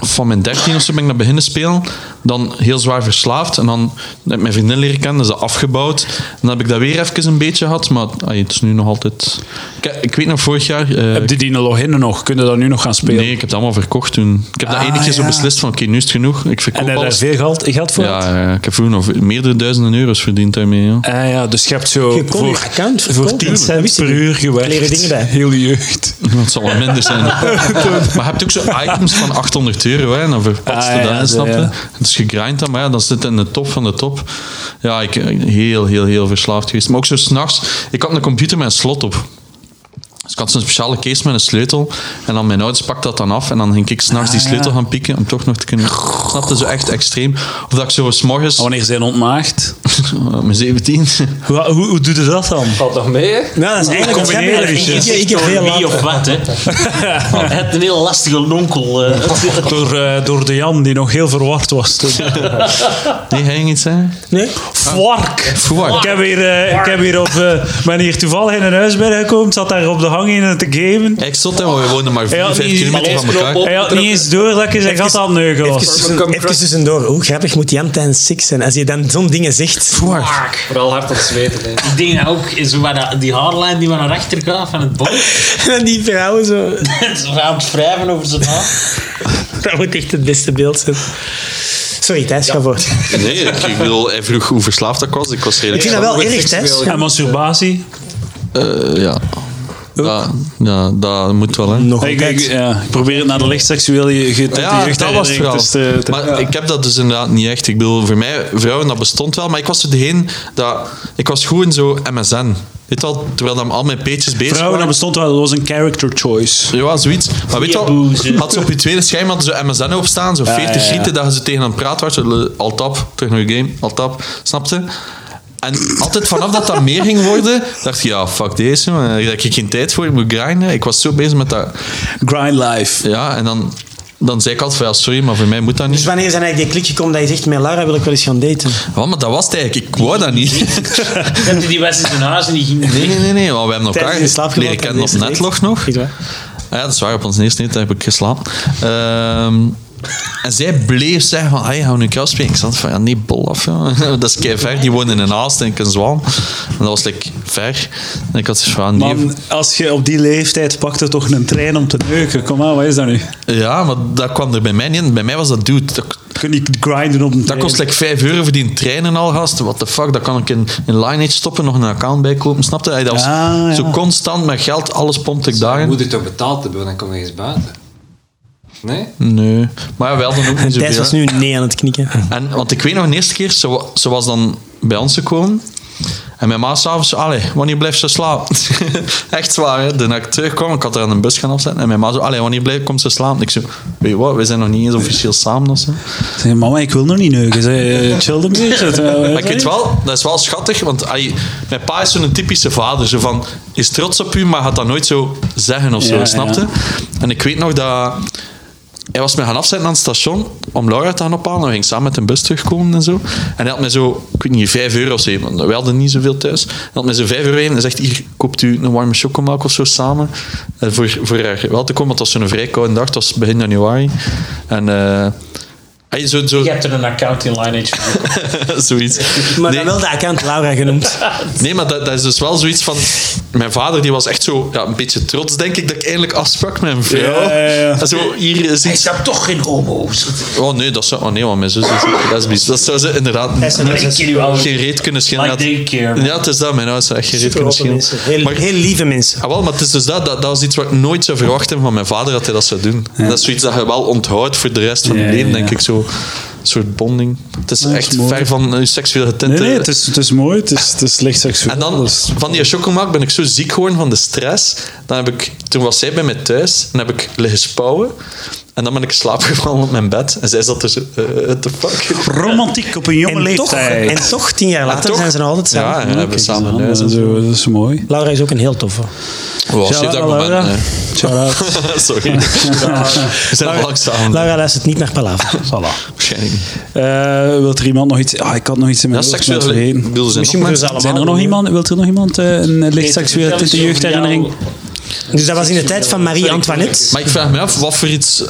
Speaker 3: van mijn 13 of zo ben ik naar beginnen spelen. Dan heel zwaar verslaafd. En dan heb ik mijn vriendin leren kennen, is dat afgebouwd. En dan heb ik dat weer even een beetje gehad. Maar ay, het is nu nog altijd. Ik, ik weet nog vorig jaar. eh,
Speaker 7: Heb je die login nog? Kun je dat nu nog gaan spelen?
Speaker 3: nee, ik heb het allemaal verkocht toen. Ik heb dat
Speaker 7: Ah,
Speaker 3: ene keer zo
Speaker 7: ja.
Speaker 3: beslist van: oké, nu is het genoeg. Ik
Speaker 7: En
Speaker 3: verkoop
Speaker 7: heb je daar
Speaker 3: alles.
Speaker 7: veel geld, geld voor?
Speaker 3: Ja, ja, ik heb vroeger nog meerdere duizenden euro's verdiend daarmee. Ja.
Speaker 7: Ah, ja, dus je hebt zo
Speaker 4: Je kon je
Speaker 7: voor,
Speaker 4: account
Speaker 7: voor
Speaker 4: verkopen.
Speaker 7: 10
Speaker 4: Dat
Speaker 7: cent
Speaker 4: wist ik
Speaker 7: per
Speaker 4: niet.
Speaker 7: uur gewerkt.
Speaker 4: Leren dingen bij.
Speaker 7: Heel je jeugd.
Speaker 3: Dat zal wel minder zijn. maar je hebt ook zo items van 800 euro hè, en dan verpatst
Speaker 7: Ah,
Speaker 3: je dat,
Speaker 7: ja,
Speaker 3: snap je?
Speaker 7: ja.
Speaker 3: Dus je grindt dan, maar ja, dan zit het in de top van de top. Ja, ik ben heel, heel, heel verslaafd geweest. Maar ook zo s'nachts, ik had een computer met een slot op. Dus ik had zo'n speciale case met een sleutel. En dan mijn ouders pakten dat dan af. En dan ging ik s'nachts
Speaker 7: Ah,
Speaker 3: die sleutel gaan pieken om toch nog te kunnen... Snap je? Zo echt extreem. Of dat ik zo s'morgens...
Speaker 7: Wanneer zijn ontmaagd?
Speaker 3: mijn 17.
Speaker 1: Hoe, hoe, hoe doe je dat dan?
Speaker 6: Valt nog mee, hè?
Speaker 4: Ja, dat is eigenlijk een
Speaker 1: combineer
Speaker 4: schande.
Speaker 1: eventjes.
Speaker 4: Ik- ik- Ik heb veel
Speaker 2: Wie
Speaker 4: later.
Speaker 2: of wat, hè? Hij heeft een heel lastige lonkel. eh.
Speaker 1: Door, eh, door de Jan, die nog heel verward was toen.
Speaker 3: Nee, ga je iets zeggen?
Speaker 4: Nee?
Speaker 1: Vark!
Speaker 3: Fuck.
Speaker 1: Ik heb hier, eh, ik heb hier op, eh ben hier toevallig in een huis binnengekomen, zat daar op de hang in te gamen.
Speaker 3: Ik zat hè, want we woonden maar 4,
Speaker 1: Ja,
Speaker 3: 5
Speaker 1: die-
Speaker 3: kilometer van elkaar.
Speaker 1: Hij had niet eens door dat ik zijn gat aan het neugen
Speaker 4: Even,
Speaker 1: was.
Speaker 4: tussen- even tussendoor. Hoe grappig moet Jan tijdens seks zijn? Als je dan zo'n dingen zegt.
Speaker 6: Vooral hard aan het zweten. Hè.
Speaker 2: Ik denk dat ook zo waar dat- die haarlijn die maar naar achter gaat van het bord.
Speaker 4: En die vrouwen zo.
Speaker 2: Ze gaan het wrijven over zijn haar.
Speaker 4: Dat moet echt het beste beeld zijn. Sorry, Thijs, ga voort.
Speaker 3: Nee, ik ik bedoel, hij vroeg hoe verslaafd ik was. Ik was
Speaker 4: Ik
Speaker 3: redelijk...
Speaker 4: vind dat wel erg, Thijs.
Speaker 1: En masturbatie.
Speaker 3: Eh, ja. Ja, ja, dat moet wel, hè.
Speaker 4: Nog
Speaker 7: Ik, ik,
Speaker 4: altijd.
Speaker 7: ja, ik probeer het naar de lichtseksuele getinte
Speaker 3: Ja,
Speaker 7: jeugd
Speaker 3: dat was het verhaal.
Speaker 1: eh,
Speaker 3: maar ik heb dat dus inderdaad niet echt. Ik bedoel, voor mij, vrouwen, dat bestond wel. Maar ik was er degene dat... Ik was goed in zo MSN. Weet je wel, terwijl dan al mijn peetjes bezig
Speaker 7: Vrouwen, dat
Speaker 3: waren.
Speaker 7: bestond wel, dat was een character choice.
Speaker 3: Ja, zoiets. Maar weet je wel, had ze op je tweede scherm hadden ze MSN opstaan. Zo 40
Speaker 7: ja, ja.
Speaker 3: gieten dat je ze tegen aan het praten was. Zo, le- Al tap, terug naar je game, al tap. Snapte? En altijd vanaf dat dat meer ging worden, dacht je, ja, fuck deze. man. Daar heb ik geen tijd voor, ik moet grinden. Ik was zo bezig met dat...
Speaker 7: Grind life.
Speaker 3: Ja, en dan, dan zei ik altijd van ja, sorry, maar voor mij moet dat
Speaker 4: Dus
Speaker 3: niet.
Speaker 4: wanneer zijn eigenlijk die klik gekomen dat je zegt, met Lara wil ik wel eens gaan daten?
Speaker 3: Ja, maar dat was het eigenlijk. Ik wou dat niet.
Speaker 2: Dat die was in zijn huis en die ging
Speaker 3: Nee,
Speaker 2: weg.
Speaker 3: nee, nee. nee want we hebben
Speaker 4: Tijdens in
Speaker 3: elkaar
Speaker 4: slaap
Speaker 3: leren
Speaker 4: gevallen
Speaker 3: kennen op
Speaker 4: tijdens de
Speaker 3: netlog
Speaker 4: date.
Speaker 3: nog.
Speaker 4: Echt waar?
Speaker 3: Ah ja, dat is waar. Op ons eerste date heb ik geslapen. Ehm, en zij bleef zeggen van, hey, gaan we nu kous spelen? Ik zat van, ja, nee, bol af. ja. Dat is kei ver. Die woonde in een haast en ik in Zwaan. En dat was like, ver. En ik had zoiets van, nee.
Speaker 7: Man, als je op die leeftijd pakt er toch een trein om te neuken. Kom aan, wat is dat nu?
Speaker 3: Ja, maar dat kwam er bij mij niet in. Bij mij was dat dude. dat-
Speaker 1: kun je grinden op een
Speaker 3: Dat
Speaker 1: trein.
Speaker 3: kost like 5 euro voor die trein en al, gast. What the fuck, dat kan ik in, in Lineage stoppen, nog een account bijkopen, snap je? Hij Dat was
Speaker 4: Ah,
Speaker 1: Ja, ja.
Speaker 3: Zo constant met geld, alles pompte ik
Speaker 6: Mijn
Speaker 3: daarin.
Speaker 6: moeder toch betaald hebben, dan kom je eens buiten. Nee?
Speaker 3: Nee, maar ja, wel dan ook niet
Speaker 4: Thijs
Speaker 3: zoveel.
Speaker 4: was nu nee aan het knikken.
Speaker 3: En, want ik weet nog, de eerste keer, ze, wa- ze was dan bij ons gekomen. En mijn ma s'avonds, allee, wanneer blijft ze slapen? Echt zwaar, hè. De dag ik terugkwam, ik had haar aan een bus gaan afzetten. En mijn ma zo, allee, wanneer blijft, komt ze slapen? Ik zo, weet je wat, we zijn nog niet eens officieel samen of zo.
Speaker 1: Zeg, mama, ik wil nog niet neuken. Zeg, eh, chill een beetje.
Speaker 3: Maar ik weet wel, dat is wel schattig, want allee, mijn pa is zo'n typische vader. Zo van, is trots op u, maar gaat dat nooit zo zeggen of zo,
Speaker 1: Ja,
Speaker 3: snapte?
Speaker 1: ja.
Speaker 3: En ik weet nog dat... Hij was me gaan afzetten aan het station om Laura te gaan ophalen. We gingen samen met een bus terugkomen en zo. En hij had me zo, ik weet niet, 5 euro of zo. Want we hadden niet zoveel thuis. Hij had me zo 5 euro in en zegt: Hier koopt u een warme chocomelk of zo samen. eh, voor, voor haar wel te komen, want het was zo'n vrij koude dag. Het was begin januari. En eh, hij zo, zo,
Speaker 5: Je hebt er een account in Lineage voor.
Speaker 3: zoiets.
Speaker 4: Maar
Speaker 3: Nee.
Speaker 4: dan wel de account Laura genoemd.
Speaker 3: Nee, maar dat, dat is dus wel zoiets van... Mijn vader die was echt zo ja, een beetje trots, denk ik, dat ik eindelijk afsprak met een vrouw.
Speaker 1: Ja, ja, ja.
Speaker 3: En Zo, hier is
Speaker 5: Is
Speaker 3: iets...
Speaker 5: dat toch geen homo's?
Speaker 3: Oh nee, dat zou... Oh nee, want mijn zus is lesbisch. Dat zou ze inderdaad niet-
Speaker 5: Maar ik ken u al.
Speaker 3: geen reet kunnen schelen.
Speaker 5: Like daycare, man.
Speaker 3: Ja, het is dat. Mijn ouders zou echt geen reet
Speaker 4: Super
Speaker 3: kunnen
Speaker 4: open
Speaker 3: schelen.
Speaker 4: mensen. Heel,
Speaker 3: Maar-
Speaker 4: heel lieve mensen.
Speaker 3: Ah, wel, maar het is dus dat, dat. Dat was iets wat ik nooit zou verwachten van mijn vader, dat hij dat zou doen. Dat is zoiets dat je wel onthoudt voor de rest van je
Speaker 1: Ja,
Speaker 3: leven,
Speaker 1: ja,
Speaker 3: denk
Speaker 1: ja.
Speaker 3: ik. Zo, een soort bonding. Het is
Speaker 1: dat is
Speaker 3: echt
Speaker 1: mooi.
Speaker 3: ver van je seksuele
Speaker 1: Nee,
Speaker 3: tinten.
Speaker 1: nee, het is, het is mooi. Het is, het is licht seksueel.
Speaker 3: En dan,
Speaker 1: Dus-
Speaker 3: van die chocomelk ben ik zo ziek geworden van de stress. Dan heb ik, toen was zij bij mij thuis en heb ik liggen spouwen. En dan ben ik in slaap gevallen op mijn bed. En zij zat er zo, eh, what the fuck?
Speaker 1: Romantiek op een jonge
Speaker 4: En toch,
Speaker 1: leeftijd.
Speaker 4: en toch, tien jaar later
Speaker 3: toch-
Speaker 4: zijn ze nog altijd samen.
Speaker 3: Ja, en hebben we samen een
Speaker 1: Ja,
Speaker 3: huis.
Speaker 1: zo, dat is mooi.
Speaker 4: Laura is ook een heel toffe.
Speaker 3: Wow, shit, dat moment,
Speaker 1: Laura.
Speaker 3: nee.
Speaker 1: Shout-out.
Speaker 3: Sorry. We zijn al lang samen.
Speaker 4: Laura luistert niet naar Palaver. Voilà.
Speaker 3: Waarschijnlijk niet.
Speaker 1: Eh, wilt er iemand nog iets... Ah, ik had nog iets in mijn
Speaker 3: Dat is
Speaker 1: hoofd, maar het
Speaker 3: seksueel.
Speaker 1: is
Speaker 3: Ik
Speaker 1: vergeten.
Speaker 3: bedoel, er zijn
Speaker 4: Misschien
Speaker 3: nog
Speaker 4: moeten
Speaker 3: mensen-
Speaker 4: ze allemaal
Speaker 1: Zijn er nog
Speaker 4: doen.
Speaker 1: iemand... Wilt er nog iemand eh, een licht seksueel
Speaker 5: Vertel eens
Speaker 1: tinte
Speaker 5: over
Speaker 1: jeugdherinnering?
Speaker 5: jou.
Speaker 4: Dus dat was in de tijd van Marie-Antoinette.
Speaker 3: Maar ik vraag me af, wat voor iets...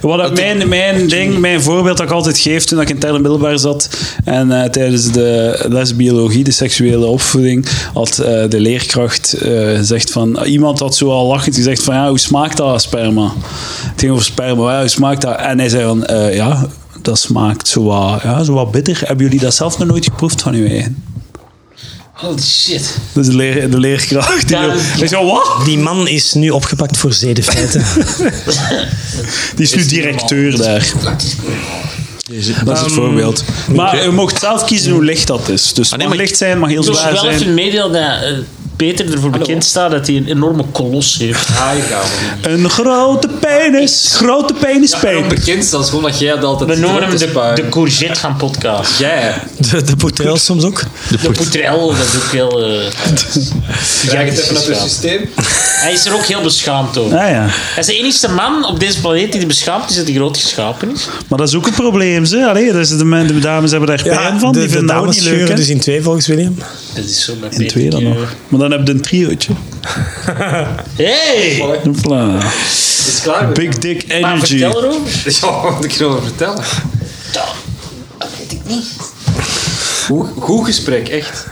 Speaker 1: Wat dat mijn, mijn ding, mijn voorbeeld dat ik altijd geef toen ik in het middelbaar zat en eh, tijdens de les biologie, de seksuele opvoeding, had eh, de leerkracht eh, gezegd van, iemand had zo al lachend gezegd van ja, hoe smaakt dat sperma? Het ging over sperma, ja, hoe smaakt dat? En hij zei van eh, ja, dat smaakt zo wat, ja, zo wat bitter. Hebben jullie dat zelf nog nooit geproefd van uw eigen?
Speaker 5: Holy shit.
Speaker 1: Dus de, leer, de leerkracht. Die,
Speaker 5: Dank je.
Speaker 1: ik zei, wat?
Speaker 4: Die man is nu opgepakt voor zedenfeiten.
Speaker 1: Die is nu directeur daar. Dat is het voorbeeld. Maar je mocht zelf kiezen hoe licht dat is. Dus het
Speaker 3: nee,
Speaker 1: mag
Speaker 3: maar-
Speaker 1: licht zijn, mag heel
Speaker 5: Ik wil
Speaker 1: zwaar
Speaker 5: wel
Speaker 1: zijn.
Speaker 5: even meedelen dat eh, Peter ervoor bekend staat dat hij een enorme kolos heeft.
Speaker 6: Ah, je gaat wel niet.
Speaker 1: Een grote penis. Grote penis,
Speaker 6: Ook
Speaker 1: Peter.
Speaker 6: bekend zelfs gewoon dat jij dat altijd
Speaker 5: We noemen hem
Speaker 6: doet,
Speaker 5: de,
Speaker 6: is waar.
Speaker 5: de courgette gaan podcast.
Speaker 6: Jij.
Speaker 4: De, de portrel soms ook.
Speaker 5: De Poutrel, dat is ook heel... eh,
Speaker 6: Jij het even
Speaker 5: beschaamd.
Speaker 6: uit het systeem.
Speaker 5: Hij is er ook heel beschaamd over.
Speaker 1: Ah ja.
Speaker 5: Hij is de enige man op deze planeet die er beschaamd is dat hij groot geschapen is.
Speaker 1: Maar dat is ook een probleem. Ze. Allee, dus de, men- de dames hebben daar pijn van.
Speaker 4: de,
Speaker 1: Die
Speaker 4: de
Speaker 1: vinden dat ook
Speaker 4: dames
Speaker 1: niet leuk.
Speaker 4: scheuren
Speaker 1: hè.
Speaker 4: dus in twee volgens William.
Speaker 5: Dat is zo met
Speaker 1: In twee dan nog. Maar dan heb je een triootje.
Speaker 5: Hey!
Speaker 1: Hopla.
Speaker 6: Is klaar? weer?
Speaker 1: Big dick
Speaker 5: Maar
Speaker 1: energy.
Speaker 5: vertel erover.
Speaker 6: Ja, wat moet ik erover vertellen?
Speaker 5: Dat weet ik niet.
Speaker 6: Goed, goed gesprek, echt.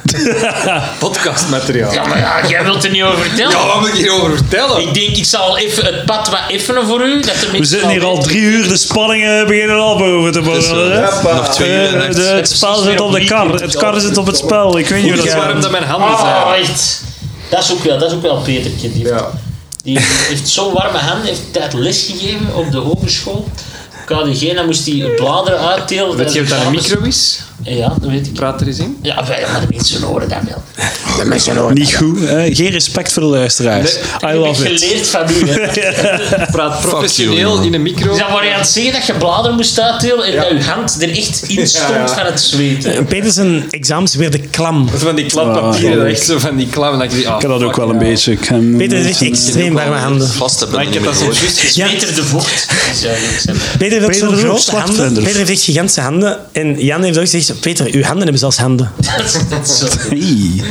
Speaker 6: Podcastmateriaal.
Speaker 5: Ja, Ah, maar ja, jij wilt er niet over vertellen.
Speaker 6: Ja, wat moet ik hierover vertellen?
Speaker 5: Ik denk, ik zal even het pad wat effenen voor u. Dat de
Speaker 1: We zitten hier al drie uur. De spanningen beginnen al boven te borrelen. hè.
Speaker 3: Nog twee uur en
Speaker 1: Eh, de-
Speaker 3: echt-
Speaker 1: Het spel zit op de kar. Het kar zit op het spel. Ik weet niet hoe
Speaker 6: Het
Speaker 1: dat
Speaker 6: is
Speaker 1: gaat.
Speaker 6: warm dat mijn handen zijn.
Speaker 5: Ah, echt. Dat is ook wel, dat is ook wel Petertje. Die, heeft- die heeft zo'n warme hand, heeft tijd lesgegeven op de hogeschool. KDG, dan moest hij bladeren uitdelen.
Speaker 6: Weet je wat daar een micro is?
Speaker 5: Ja, dat weet ik.
Speaker 6: Praat er eens in.
Speaker 5: Ja, wij- maar de mensen horen dat wel. De mensen horen
Speaker 1: Niet goed. Hè? Geen respect voor de luisteraars. I
Speaker 5: Ik heb
Speaker 1: love it.
Speaker 5: geleerd van u. Hè.
Speaker 6: Praat
Speaker 3: you,
Speaker 6: professioneel
Speaker 3: jongen.
Speaker 6: in een micro.
Speaker 5: Dus dan word je aan het zeggen dat je bladeren moest uitdelen en dat je hand er echt in stond
Speaker 6: Ja, ja.
Speaker 5: van het
Speaker 1: Eh,
Speaker 5: zweten.
Speaker 4: En Peter zijn examens weer de klam.
Speaker 6: Van die klappapieren, dat echt zo van die klap. En dat je die, ah,
Speaker 9: Ik heb dat ook
Speaker 6: fuck,
Speaker 9: wel een
Speaker 6: ja.
Speaker 9: beetje. Ik heb-
Speaker 4: Peter is echt extreem warme handen.
Speaker 3: Vast hebben we
Speaker 6: Maar ik
Speaker 3: niet
Speaker 6: heb
Speaker 3: meer
Speaker 6: dat zo
Speaker 3: gehoord.
Speaker 6: juist gezien.
Speaker 4: Ja.
Speaker 5: Peter de Vocht. zou ik zeggen.
Speaker 4: Peter heeft
Speaker 1: Peter
Speaker 4: zo'n
Speaker 1: is ook
Speaker 4: grote handen.
Speaker 1: slachtvender.
Speaker 4: Peter heeft echt gigantische handen. En Jan heeft ook gezegd, Peter, uw handen hebben zelfs handen.
Speaker 5: Dat is- dat is zo.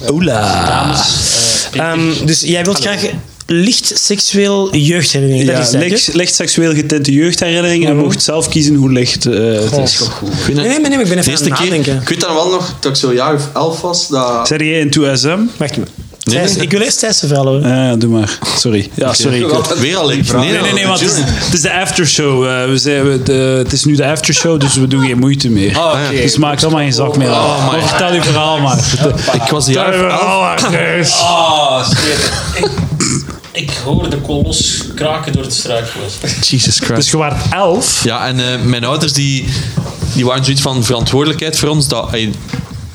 Speaker 1: Hey. Ola.
Speaker 5: Dames, eh, Peter.
Speaker 4: Ehm, dus jij wilt graag licht seksueel jeugdherinnering.
Speaker 1: Ja, Mhm.
Speaker 4: dat is het, hè?
Speaker 1: licht, licht seksueel getinte jeugdherinnering. En mocht zelf kiezen hoe licht eh, het is.
Speaker 4: Nee, nee, nee, nee, ik ben even
Speaker 3: Eerste
Speaker 4: aan het
Speaker 3: keer,
Speaker 4: nadenken.
Speaker 3: ik weet dan wel nog, dat ik zo'n jaar of elf was, dat...
Speaker 1: Zijn jij in 2SM?
Speaker 4: Wacht maar. Thijs, ik wil eerst Thijs zijn verhaal horen.
Speaker 1: Eh, doe maar. Sorry. Ja, sorry. ik-
Speaker 3: Weer al ik. Nee,
Speaker 1: Nee, nee, nee, want het is, het is de aftershow. eh, we zijn, we- de, het is nu de aftershow, dus we doen geen moeite meer. Dus maakt allemaal geen zak meer uit.
Speaker 3: Ah, Oh, my.
Speaker 1: Maar vertel uw verhaal maar.
Speaker 3: Ik was een jaar of elf.
Speaker 5: Oh, shit. ik, ik hoor de kolos kraken door het struikgewas.
Speaker 3: Jesus Christ.
Speaker 10: Dus je waart elf.
Speaker 3: Ja, en eh, mijn ouders die, die waren zoiets van verantwoordelijkheid voor ons. Dat, ey,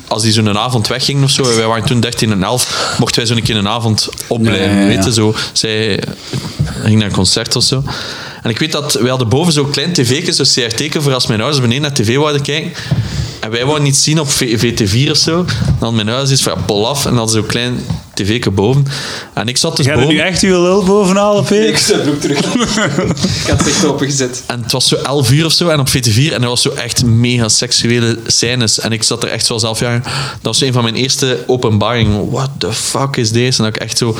Speaker 3: als die zo'n avond weggingen of zo, en wij waren toen 13 en 11, mochten wij zo'n keer een avond opblijven.
Speaker 1: Ja, ja, ja.
Speaker 3: Weet je, zo. Zij ging naar een concert of zo. En ik weet dat, wij hadden boven zo'n klein tv'tje, zo'n CRT-teken, voor als mijn ouders beneden naar tv wilden kijken. En wij wouden iets zien op V- VT4 of zo. Dan mijn ouders iets van, ja, bol af. En dan zo'n klein tv'tje boven. En ik zat dus
Speaker 10: Ga je er
Speaker 3: boven.
Speaker 10: nu echt uw lul bovenal op
Speaker 6: Ik heb de broek terug. ik had het echt opengezet.
Speaker 3: En het was zo 11 uur of zo en op VT4 en dat was zo echt mega seksuele scènes. En ik zat er echt zoals 11 jaar. Dat was een van mijn eerste openbaringen. What the fuck is deze? En dat ik echt zo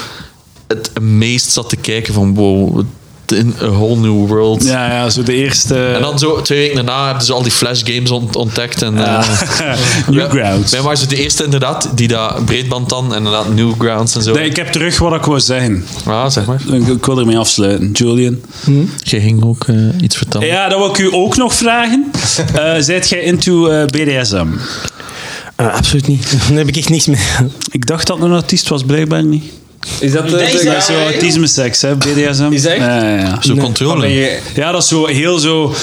Speaker 3: het meest zat te kijken van wow, in a whole new world.
Speaker 1: Ja, ja, zo de
Speaker 3: En
Speaker 1: eerste.
Speaker 3: dan zo twee weken daarna hebben ze al die flash games ont- ontdekt. En, eh,
Speaker 1: Newgrounds.
Speaker 3: Wij waren zo de eerste inderdaad die dat breedband dan en inderdaad Newgrounds en zo.
Speaker 1: Nee, ik heb terug wat ik wou zeggen.
Speaker 3: Ah, zeg maar.
Speaker 1: Ik, ik wil ermee afsluiten. Julian.
Speaker 3: Je ging ook eh, iets vertellen.
Speaker 1: Ja, dat wil ik u ook nog vragen. Eh zijt jij into eh, BDSM?
Speaker 4: Eh,
Speaker 1: Ah,
Speaker 4: absoluut niet. Daar heb ik echt niks mee.
Speaker 1: Ik dacht dat het een artiest was, blijkbaar niet.
Speaker 6: Is
Speaker 4: eh,
Speaker 6: dat eh, de...
Speaker 5: Deze-
Speaker 1: Dat is zo autisme seks, hè, BDSM.
Speaker 6: Is echt?
Speaker 1: Ja, ja, ja.
Speaker 3: Zo controle.
Speaker 1: Ja, dat is zo heel zo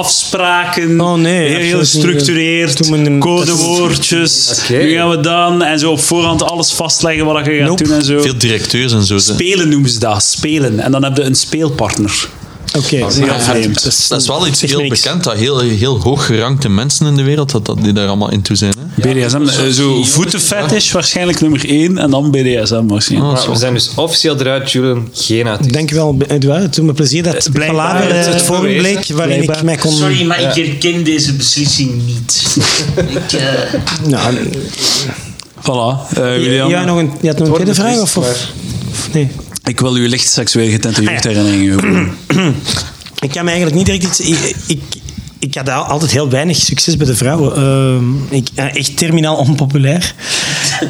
Speaker 1: afspraken.
Speaker 4: Oh, nee,
Speaker 1: heel, heel
Speaker 4: absoluut niet. eh,
Speaker 1: gestructureerd.
Speaker 4: Doe me een-
Speaker 1: Codewoordjes.
Speaker 6: Oké.
Speaker 1: Nu gaan we dan. En zo op voorhand alles vastleggen wat je gaat
Speaker 4: Nope.
Speaker 1: doen en zo.
Speaker 3: Veel directeurs en zo. ze-
Speaker 1: Spelen noemen ze dat. Spelen. En dan heb je een speelpartner. Ah,
Speaker 4: Oké.
Speaker 1: Heel vreemd.
Speaker 3: Dat is wel iets
Speaker 4: Zegt
Speaker 3: heel
Speaker 4: me niks.
Speaker 3: bekend, dat heel, heel hooggerangde mensen in de wereld, dat, dat die daar allemaal in toe zijn. Hè?
Speaker 1: BDSM, eh, zo voetenfetish waarschijnlijk nummer 1 en dan BDSM
Speaker 4: Ah.
Speaker 1: waarschijnlijk.
Speaker 6: Maar we zijn dus officieel eruit, Julian. Geen uit.
Speaker 4: Dankjewel, Edouard. Het doet me plezier dat
Speaker 1: blijkbaar
Speaker 4: Palaver
Speaker 1: is
Speaker 4: eh,
Speaker 1: het
Speaker 4: het forum
Speaker 6: bewezen.
Speaker 4: bleek waarin
Speaker 1: Blijkbaar.
Speaker 4: ik mij kon...
Speaker 5: Sorry, maar ik herken deze beslissing niet. ik, eh,
Speaker 4: Nou,
Speaker 1: Voilà. Eh, William,
Speaker 4: ja, nog een, je had nog een tweede vraag? Of, of, nee.
Speaker 1: ik wil u licht seksueel
Speaker 4: Ah,
Speaker 1: getatoeëerd herinneringen geven.
Speaker 4: Ik kan me eigenlijk niet direct iets... Ik, ik, ik had al- altijd heel weinig succes bij de vrouwen. Ehm, ik, eh, echt terminaal onpopulair.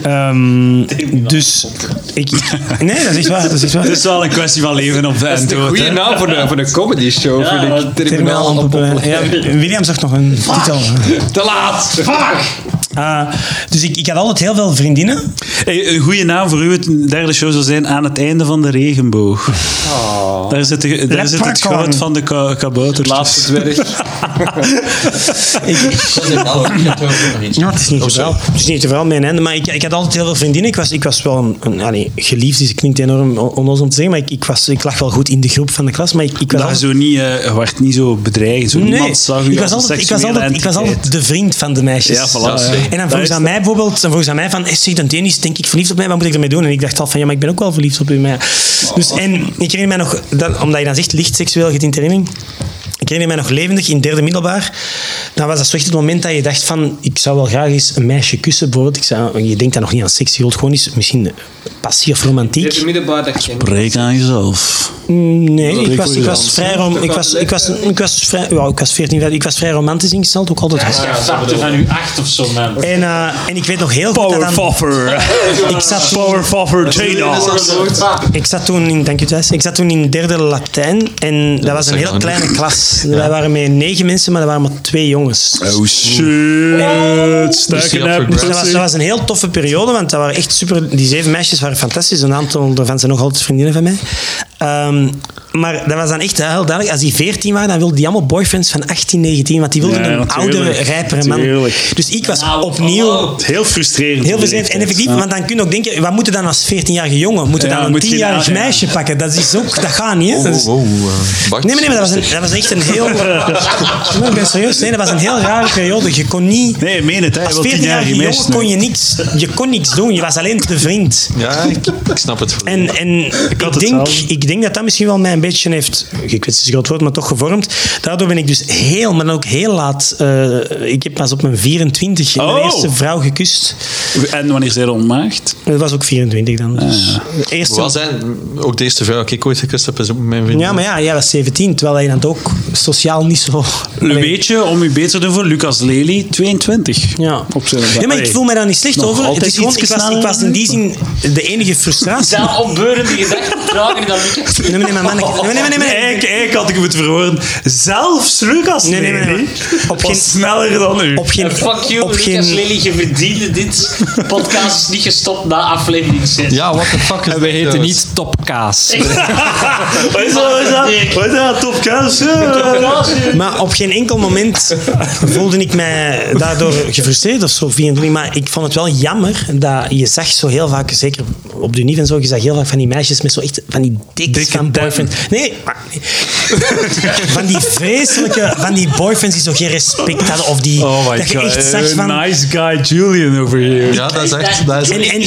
Speaker 4: Ehm, dus... Ik, ik- nee, dat is echt waar. Dat is echt waar.
Speaker 1: Het is wel een kwestie van leven of en dood.
Speaker 6: Goeie
Speaker 1: hè.
Speaker 6: naam voor een, voor een comedy show,
Speaker 5: Ja,
Speaker 6: vind
Speaker 5: maar
Speaker 6: ik. Terminaal
Speaker 4: Terminaal onpopulair.
Speaker 6: onpopulair.
Speaker 4: Ja, William zag nog een titel.
Speaker 6: Te laat! Fuck!
Speaker 4: Ah, dus ik, ik had altijd heel veel vriendinnen.
Speaker 1: Hey, een goede naam voor u het derde show zou zijn aan het einde van de regenboog. Daar zit, de- daar zit het
Speaker 4: Ah. Leprechaun.
Speaker 1: goud van de ka kabouter.
Speaker 6: Laatste dwerg.
Speaker 4: Ja, het is niet zo Het is niet te veel mijn einde, maar ik, ik had altijd heel veel vriendinnen. Ik was, ik was wel een, een allee, geliefd, dus het klinkt enorm on- onnozel om te zeggen, maar ik, ik, was, ik lag wel goed in de groep van de klas, maar ik, ik was
Speaker 1: Dat je zo
Speaker 4: altijd...
Speaker 1: niet, eh, je werd niet zo bedreigend. Zo
Speaker 4: Nee,
Speaker 1: niemand zag u
Speaker 4: ik
Speaker 1: als
Speaker 4: was,
Speaker 1: een
Speaker 4: altijd, ik, was
Speaker 1: seksuele
Speaker 4: altijd, ik was
Speaker 1: entiteit.
Speaker 4: altijd de vriend van de meisjes.
Speaker 1: Ja, voilà.
Speaker 3: Ja,
Speaker 4: En dan vroeg ze aan mij bijvoorbeeld, dan vroeg ze aan mij van, "Eh, zeg, dan is denk ik verliefd op mij, wat moet ik ermee doen? En ik dacht al van, ja, maar ik ben ook wel verliefd op u. Maar ja. dus, en ik herinner mij nog, dat, omdat je dan zegt, licht seksueel getintering. Ik herinner mij nog levendig in derde middelbaar. Dan was dat zo echt het moment dat je dacht van, ik zou wel graag eens een meisje kussen. Bijvoorbeeld, ik zou, je denkt daar nog niet aan seks, je wilt gewoon eens misschien passief romantiek.
Speaker 6: Dit middenbaar dat je...
Speaker 1: Breek aan jezelf.
Speaker 4: Mm, Nee, ik
Speaker 1: ik
Speaker 4: was,
Speaker 1: voor
Speaker 4: ik
Speaker 1: je
Speaker 4: was
Speaker 1: dans.
Speaker 4: vrij rom, ik was, ik was, ik was vrij, ja, ik was 14, ik was vrij romantisch ingesteld, ook altijd.
Speaker 5: ja, factor van u acht of zo, man.
Speaker 4: En, eh, en ik weet nog heel goed dat
Speaker 1: Power
Speaker 4: dan-
Speaker 1: Foffer.
Speaker 4: ik zat toen-
Speaker 1: Power Foffer Jada.
Speaker 4: Ik zat toen in, dank u thuis, ik zat toen in derde Latijn en dat was een
Speaker 3: zeg
Speaker 4: heel
Speaker 3: maar niet.
Speaker 4: kleine klas. Wij waren met negen mensen, maar er waren maar twee jongens.
Speaker 1: Oh shit.
Speaker 3: Pussy
Speaker 1: Sterker
Speaker 3: up
Speaker 1: uit.
Speaker 3: for
Speaker 4: Dus dat was, dat was een heel toffe periode, want dat waren echt super, die zeven meisjes waren fantastisch. Een aantal daarvan zijn nog altijd vriendinnen van mij. Ehm, maar dat was dan echt heel duidelijk. Als die 14 waren, dan wilden die allemaal boyfriends van 18, 19. Want die wilden
Speaker 1: Ja,
Speaker 4: een
Speaker 1: natuurlijk.
Speaker 4: oudere, rijpere man.
Speaker 1: Tuurlijk.
Speaker 4: Dus ik was
Speaker 5: Nou,
Speaker 4: opnieuw
Speaker 5: hallo.
Speaker 1: Heel frustrerend.
Speaker 4: Heel vervelend. En effectief, want dan kun je ook denken, wat moeten dan als 14-jarige jongen? Moeten we
Speaker 1: Ja,
Speaker 4: dan een
Speaker 1: moet je
Speaker 4: 10-jarig
Speaker 1: daar- ja. Oh,
Speaker 4: meisje pakken? Dat, is ook, dat gaat niet. Hè? Dat
Speaker 3: Wow,
Speaker 4: is-
Speaker 3: wow, eh, Bart.
Speaker 4: oh, Nee, nee, nee, maar dat was, een- dat was echt een heel... Nee, ik ben serieus. Nee, dat was een heel rare periode. Je kon niet...
Speaker 1: Nee, meen het. Hè.
Speaker 4: Als
Speaker 1: Wel
Speaker 4: 14-jarige
Speaker 1: 10-jarige
Speaker 4: jongen
Speaker 1: meisjes.
Speaker 4: kon je niks, je kon niks doen. Je was alleen de vriend.
Speaker 3: Ja, ik, ik snap het.
Speaker 4: En, en ik,
Speaker 1: had
Speaker 4: denk,
Speaker 1: hetzelfde.
Speaker 4: ik denk dat dat misschien wel mij een beetje heeft, ik weet het is een groot woord, maar toch gevormd. Daardoor ben ik dus heel, maar dan ook heel laat. eh, ik heb pas op mijn 24 mijn
Speaker 1: Oh.
Speaker 4: eerste vrouw gekust.
Speaker 7: En wanneer zij ontmaagd?
Speaker 4: Dat was ook 24 dan. Dus de eerste,
Speaker 3: Wel zijn, ook de eerste vrouw die ik ooit gekust heb, is ook mijn vriendin.
Speaker 4: ja, maar ja, jij was 17, terwijl je dan ook sociaal niet zo.
Speaker 7: Een beetje om u beter te doen voor Lucas Lely, 22.
Speaker 4: Ja.
Speaker 7: Op zijn
Speaker 4: Ja, maar ik voel me daar niet slecht
Speaker 7: Nog
Speaker 4: over. Het
Speaker 7: altijd
Speaker 4: is gewoon,
Speaker 7: iets
Speaker 4: ik, was, ik was in die zin de enige frustratie.
Speaker 2: Zelf opbeurende gedachten trager dan Lucas.
Speaker 4: Nee, nee, nee, maar manneke. Nee, nee, nee, nee, nee.
Speaker 1: Eigenlijk, eigenlijk had ik hem het verhoren. Zelfs Lucas
Speaker 4: Nee, nee, nee, nee.
Speaker 1: Lely
Speaker 4: Op
Speaker 1: was
Speaker 4: geen-
Speaker 1: sneller dan u.
Speaker 4: Op geen,
Speaker 2: En fuck you,
Speaker 4: op
Speaker 2: Lucas
Speaker 4: geen,
Speaker 2: Lely, je verdiende dit. Podcast is niet gestopt na aflevering 6.
Speaker 3: Ja, what the fuck is
Speaker 6: En wij heten niet Topkaas.
Speaker 1: Wat is dat? Wat is dat? Wat is dat? Top kaas? Ja.
Speaker 4: Maar op geen enkel moment voelde ik mij daardoor gefrustreerd of zo. 24. Maar ik vond het wel jammer dat je zag zo heel vaak, zeker op de unief en zo, je zag heel vaak van die meisjes met zo echt van die dikke van boyfriends. Nee, maar- nee. van die vreselijke, van die boyfriends die zo geen respect hadden of die
Speaker 1: Oh my
Speaker 4: dat je
Speaker 1: god.
Speaker 4: echt zag van.
Speaker 1: Nice guy Julian over here.
Speaker 3: Ja, dat is echt... Dat is
Speaker 4: En, en,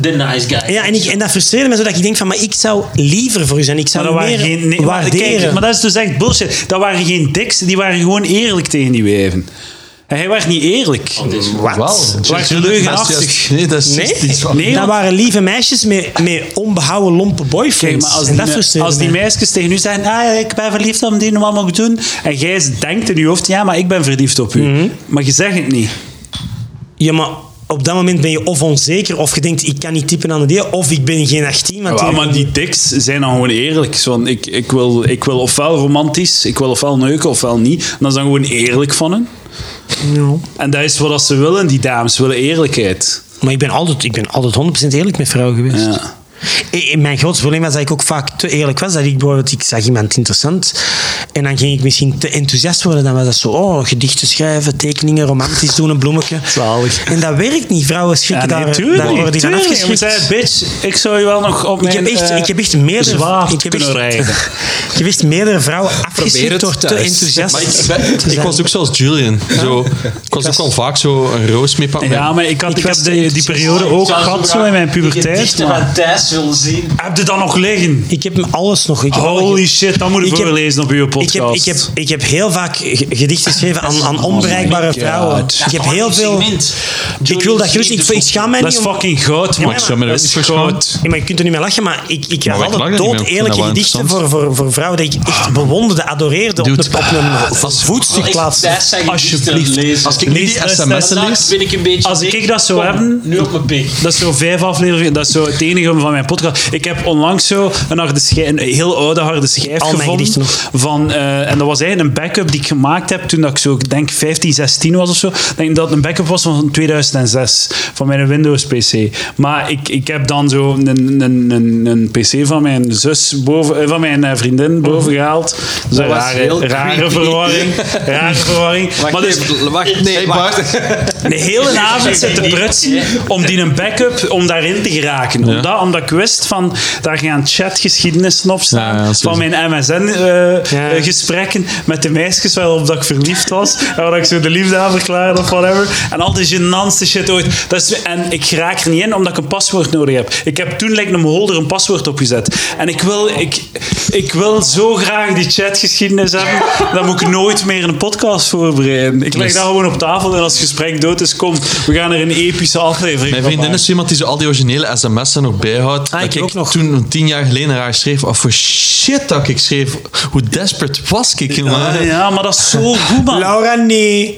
Speaker 2: The nice guy.
Speaker 4: ja, en, ik, en dat frustreerde me zodat ik denk van, maar ik zou liever voor u zijn. Ik
Speaker 1: Maar dat
Speaker 4: zou u meer
Speaker 1: waren geen... nee, maar,
Speaker 4: waarderen.
Speaker 1: kijk, maar dat is dus echt bullshit. Dat waren geen diks, die waren gewoon eerlijk tegen die wijven. En hij werd niet eerlijk.
Speaker 7: Oh,
Speaker 1: Waar
Speaker 3: Wel, juist-
Speaker 1: je leugenachtig.
Speaker 3: Oh, dat is juist- Nee, dat is juist
Speaker 4: Nee,
Speaker 3: iets van-
Speaker 1: Nee,
Speaker 4: dat
Speaker 1: want-
Speaker 4: waren lieve meisjes met, met onbehouden lompe boyfriends.
Speaker 1: Kijk, maar als
Speaker 4: en
Speaker 1: die,
Speaker 4: dat
Speaker 1: me-
Speaker 4: frustreerde
Speaker 1: als die
Speaker 4: mij.
Speaker 1: meisjes tegen u zeggen, ah, ja, ik ben verliefd op die, wat moet ik doen? En jij denkt in je hoofd, ja, maar ik ben verliefd op u.
Speaker 4: Mhm.
Speaker 1: Maar je zegt het niet.
Speaker 4: Ja, maar op dat moment ben je of onzeker, of je denkt, ik kan niet typen aan de deel, of ik ben geen 18. Want
Speaker 7: Ja, maar die diks zijn dan gewoon eerlijk. Zo van, ik, ik, wil, ik wil ofwel romantisch, ik wil ofwel neuken, ofwel niet. En dat is dan gewoon eerlijk van hen. En dat is wat ze willen, die dames willen eerlijkheid.
Speaker 4: Maar ik ben altijd, ik ben altijd 100% eerlijk met vrouwen geweest.
Speaker 7: Ja.
Speaker 4: I- i- Mijn grootste probleem was dat ik ook vaak te eerlijk was. Dat ik bijvoorbeeld, ik zag iemand interessant en dan ging ik misschien te enthousiast worden. Dan was dat zo, oh, gedichten schrijven, tekeningen, romantisch doen, een bloemetje.
Speaker 7: Zalig.
Speaker 4: En dat werkt niet. Vrouwen schrikken
Speaker 1: Ja, nee,
Speaker 4: daar,
Speaker 1: tuurlijk
Speaker 4: daar
Speaker 1: niet,
Speaker 4: worden die van
Speaker 1: tuurlijk niet. Je moet
Speaker 4: afgeschrikt.
Speaker 1: zeggen, bitch, ik zou je wel nog op
Speaker 4: Ik
Speaker 1: mijn...
Speaker 4: heb echt,
Speaker 1: eh,
Speaker 4: ik heb echt meerdere,
Speaker 1: zwaard
Speaker 4: ik heb echt,
Speaker 1: kunnen rijden.
Speaker 4: ik heb echt meerdere vrouwen afgeschrikt
Speaker 6: het
Speaker 4: door te
Speaker 6: thuis.
Speaker 4: enthousiast
Speaker 3: Maar ik,
Speaker 4: te
Speaker 3: ben- ik
Speaker 4: zijn.
Speaker 3: was ook zoals Julian. Zo, ik was ook wel vaak zo een roos mee pakken.
Speaker 1: ja, maar ik, had, ik,
Speaker 4: was
Speaker 1: heb die, die periode ook gehad zo in mijn puberteit.
Speaker 2: Ik
Speaker 1: maar-
Speaker 2: van Thijs wil zien.
Speaker 1: Heb je dat nog liggen?
Speaker 4: Ik heb alles nog. Ik heb alle
Speaker 1: Holy
Speaker 4: ge-
Speaker 1: shit, dat moet
Speaker 4: Ik
Speaker 1: ik
Speaker 4: heb-
Speaker 1: voorlezen op uw
Speaker 4: Ik
Speaker 1: podcast.
Speaker 4: heb, ik, heb, ik heb heel vaak ge- gedichten geschreven aan, aan onbereikbare vrouwen. Ik heb heel veel. Ik wil dat gerust. Ik, ik schaam mij
Speaker 1: dat
Speaker 4: niet.
Speaker 1: is
Speaker 4: om-
Speaker 1: fucking goud, man.
Speaker 4: maar ik zou me
Speaker 3: er
Speaker 1: dat
Speaker 3: ook
Speaker 1: is
Speaker 3: niet voor
Speaker 1: goud.
Speaker 4: Ja, maar je kunt er niet meer lachen, maar ik, ik had
Speaker 3: Maar ik
Speaker 4: altijd
Speaker 3: lach er niet mee.
Speaker 4: dood
Speaker 3: Ik vind
Speaker 4: eerlijke
Speaker 3: dat wel
Speaker 4: gedichten voor,
Speaker 3: interessant. Ah.
Speaker 4: voor, voor vrouwen die ik echt bewonderde, adoreerde. Op
Speaker 3: Dude, Ah,
Speaker 4: een, op een voetstuk plaatsen.
Speaker 2: Alsjeblieft. Lezen.
Speaker 3: Als ik niet die
Speaker 1: Lees-
Speaker 3: sms'en
Speaker 2: Vandaag
Speaker 3: lees...
Speaker 2: ben ik een beetje
Speaker 1: Als ik
Speaker 2: dik.
Speaker 1: dat zou
Speaker 2: Kom,
Speaker 1: hebben-
Speaker 2: Nu op mijn pik.
Speaker 1: Dat is zo vijf afleveringen. Dat is zo het enige van mijn podcast. Ik heb onlangs zo een, harde schijf, een heel oude harde schijf
Speaker 4: Al mijn gedichten
Speaker 1: gevonden.
Speaker 4: nog.
Speaker 1: Van, eh, en dat was eigenlijk een backup die ik gemaakt heb toen dat ik zo, ik denk 15, 16 was of zo. Ik denk dat het een backup was van 2006. Van mijn Windows-PC. Maar ik, ik heb dan zo een, een, een, een PC van mijn zus boven, eh, van mijn eh, vriendin boven gehaald. Dus een
Speaker 6: was heel
Speaker 1: rare, rare
Speaker 6: creepy.
Speaker 1: verwarring. Rare verwarring. maar dus,
Speaker 6: even, wacht, nee, wacht.
Speaker 1: de hele avond zitten prutsen om die een backup om daarin te geraken. Omdat, omdat ik wist van daar gaan chatgeschiedenissen op staan.
Speaker 3: Ja, ja, sowieso.
Speaker 1: van mijn
Speaker 4: Ja.
Speaker 1: MSN-gesprekken eh, met de meisjes waarop dat ik verliefd was. En waar ik zo de liefde aan verklaarde of whatever. En al die genantste shit ooit. Dat is, en ik raak er niet in omdat ik een paswoord nodig heb. Ik heb toen lijkt een holder een paswoord opgezet. En ik wil, ik, ik wil zo graag die chatgeschiedenis hebben. Dan moet ik nooit meer een podcast voorbereiden. Ik leg dat gewoon op tafel en als het gesprek dood is, kom, we gaan er een epische aflevering van
Speaker 3: Mijn vriendin
Speaker 1: maken.
Speaker 3: is zo iemand die zo al die originele sms'en nog bijhoudt.
Speaker 4: Ah, ik
Speaker 3: dat
Speaker 4: ook nog.
Speaker 3: toen tien jaar geleden naar haar schreef. Of voor shit dat ik schreef. Hoe desperate was ik, man.
Speaker 1: Ah, ja, maar dat is zo goed, man.
Speaker 4: Laura, nee.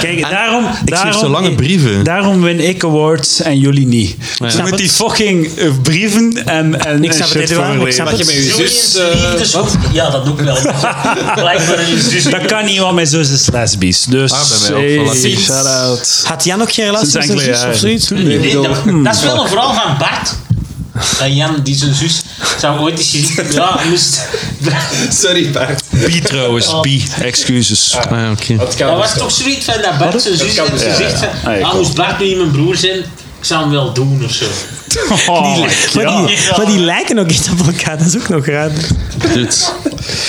Speaker 1: Kijk, daarom...
Speaker 3: Ik schreef
Speaker 1: daarom,
Speaker 3: zo lange brieven.
Speaker 1: Daarom win ik awards en jullie niet.
Speaker 4: snap
Speaker 1: Met
Speaker 4: het.
Speaker 1: die fucking eh, brieven en, en,
Speaker 4: Ik
Speaker 1: en
Speaker 4: snap het,
Speaker 1: shit
Speaker 4: Eduard, maar
Speaker 1: voorlezen.
Speaker 4: ik snap het.
Speaker 2: Julian's liefdes- Ja, dat doe ik wel. Blijkbaar is dus...
Speaker 1: Dat kan niet, want mijn zus is lesbisch. Dus
Speaker 3: Ah, bij mij ook wel lesbisch.
Speaker 1: shout-out.
Speaker 4: Had Jan nog geen relatie met zijn
Speaker 1: enkele
Speaker 4: zus of
Speaker 1: jaren.
Speaker 4: zoiets?
Speaker 2: Nee, dat, Hm.
Speaker 1: Hmm.
Speaker 2: dat is wel een verhaal van Bart. Dat Jan, die zijn zus, zou ooit eens gezien Ja, hij moest...
Speaker 6: Sorry, Bart.
Speaker 1: Bi trouwens, bi. Excuses.
Speaker 3: Ah, oké.
Speaker 6: Dat
Speaker 2: Dat
Speaker 6: kan
Speaker 2: was toch zoiets van dat Bart zijn zus heeft gezegd van... Ah, moest Bart nu niet mijn broer zijn, ik zou hem wel doen of zo.
Speaker 1: Oh,
Speaker 4: Maar die, maar die lijken ook echt op elkaar, dat is ook nog raar.
Speaker 3: Dude,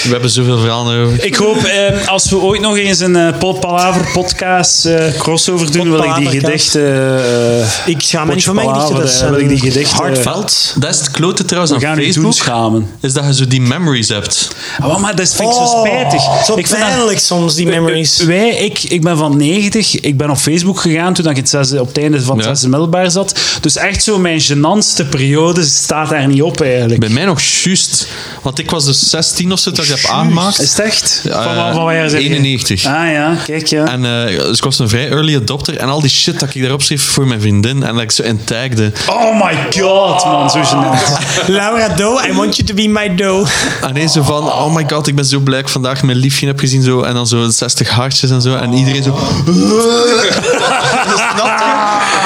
Speaker 3: We hebben zoveel verhalen over.
Speaker 1: Ik hoop, eh, als we ooit nog eens een eh, Pol Palaver podcast eh, crossover doen, wil ik die
Speaker 4: Potpalavercast.
Speaker 1: gedichten... eh,
Speaker 4: Ik schaam me niet van mijn
Speaker 1: Potje
Speaker 4: gedichten. Dat
Speaker 1: Palaver,
Speaker 4: is,
Speaker 1: eh, wil ik die gedichten...
Speaker 3: Hardveld. Dat is het klote trouwens
Speaker 7: We
Speaker 3: aan
Speaker 7: gaan niet doen
Speaker 3: Facebook.
Speaker 7: schamen.
Speaker 3: Is dat je zo die memories hebt.
Speaker 1: Ah, wel, maar dat vind ik zo
Speaker 4: Oh,
Speaker 1: spijtig.
Speaker 4: Zo
Speaker 1: ik vind dat- Eh,
Speaker 4: pijnlijk soms, die memories.
Speaker 1: Wij, ik, ik ben van 90. Ik ben op Facebook gegaan toen ik het zesde, op het einde van het
Speaker 3: Ja.
Speaker 1: zesde middelbaar zat. Dus echt zo mijn genantste periode staat daar niet op eigenlijk.
Speaker 3: Bij mij nog juist. Want ik was dus 16 of zo dat ik heb
Speaker 1: Is
Speaker 3: aangemaakt.
Speaker 1: het echt?
Speaker 3: Ja,
Speaker 1: van, waar- van waar jaar zijn jullie?
Speaker 3: 91.
Speaker 1: Ah ja, kijk ja.
Speaker 3: En eh, dus ik was een vrij early adopter. En al die shit dat ik daarop schreef voor mijn vriendin. En dat ik zo in tagde.
Speaker 1: Oh my god, man. Zo genant.
Speaker 4: Laura Doe, I want you to be my Doe.
Speaker 3: En nee, zo van, oh my god, ik ben zo blij dat ik vandaag mijn liefje heb gezien. Zo, en dan zo 60 hartjes en zo. En iedereen zo...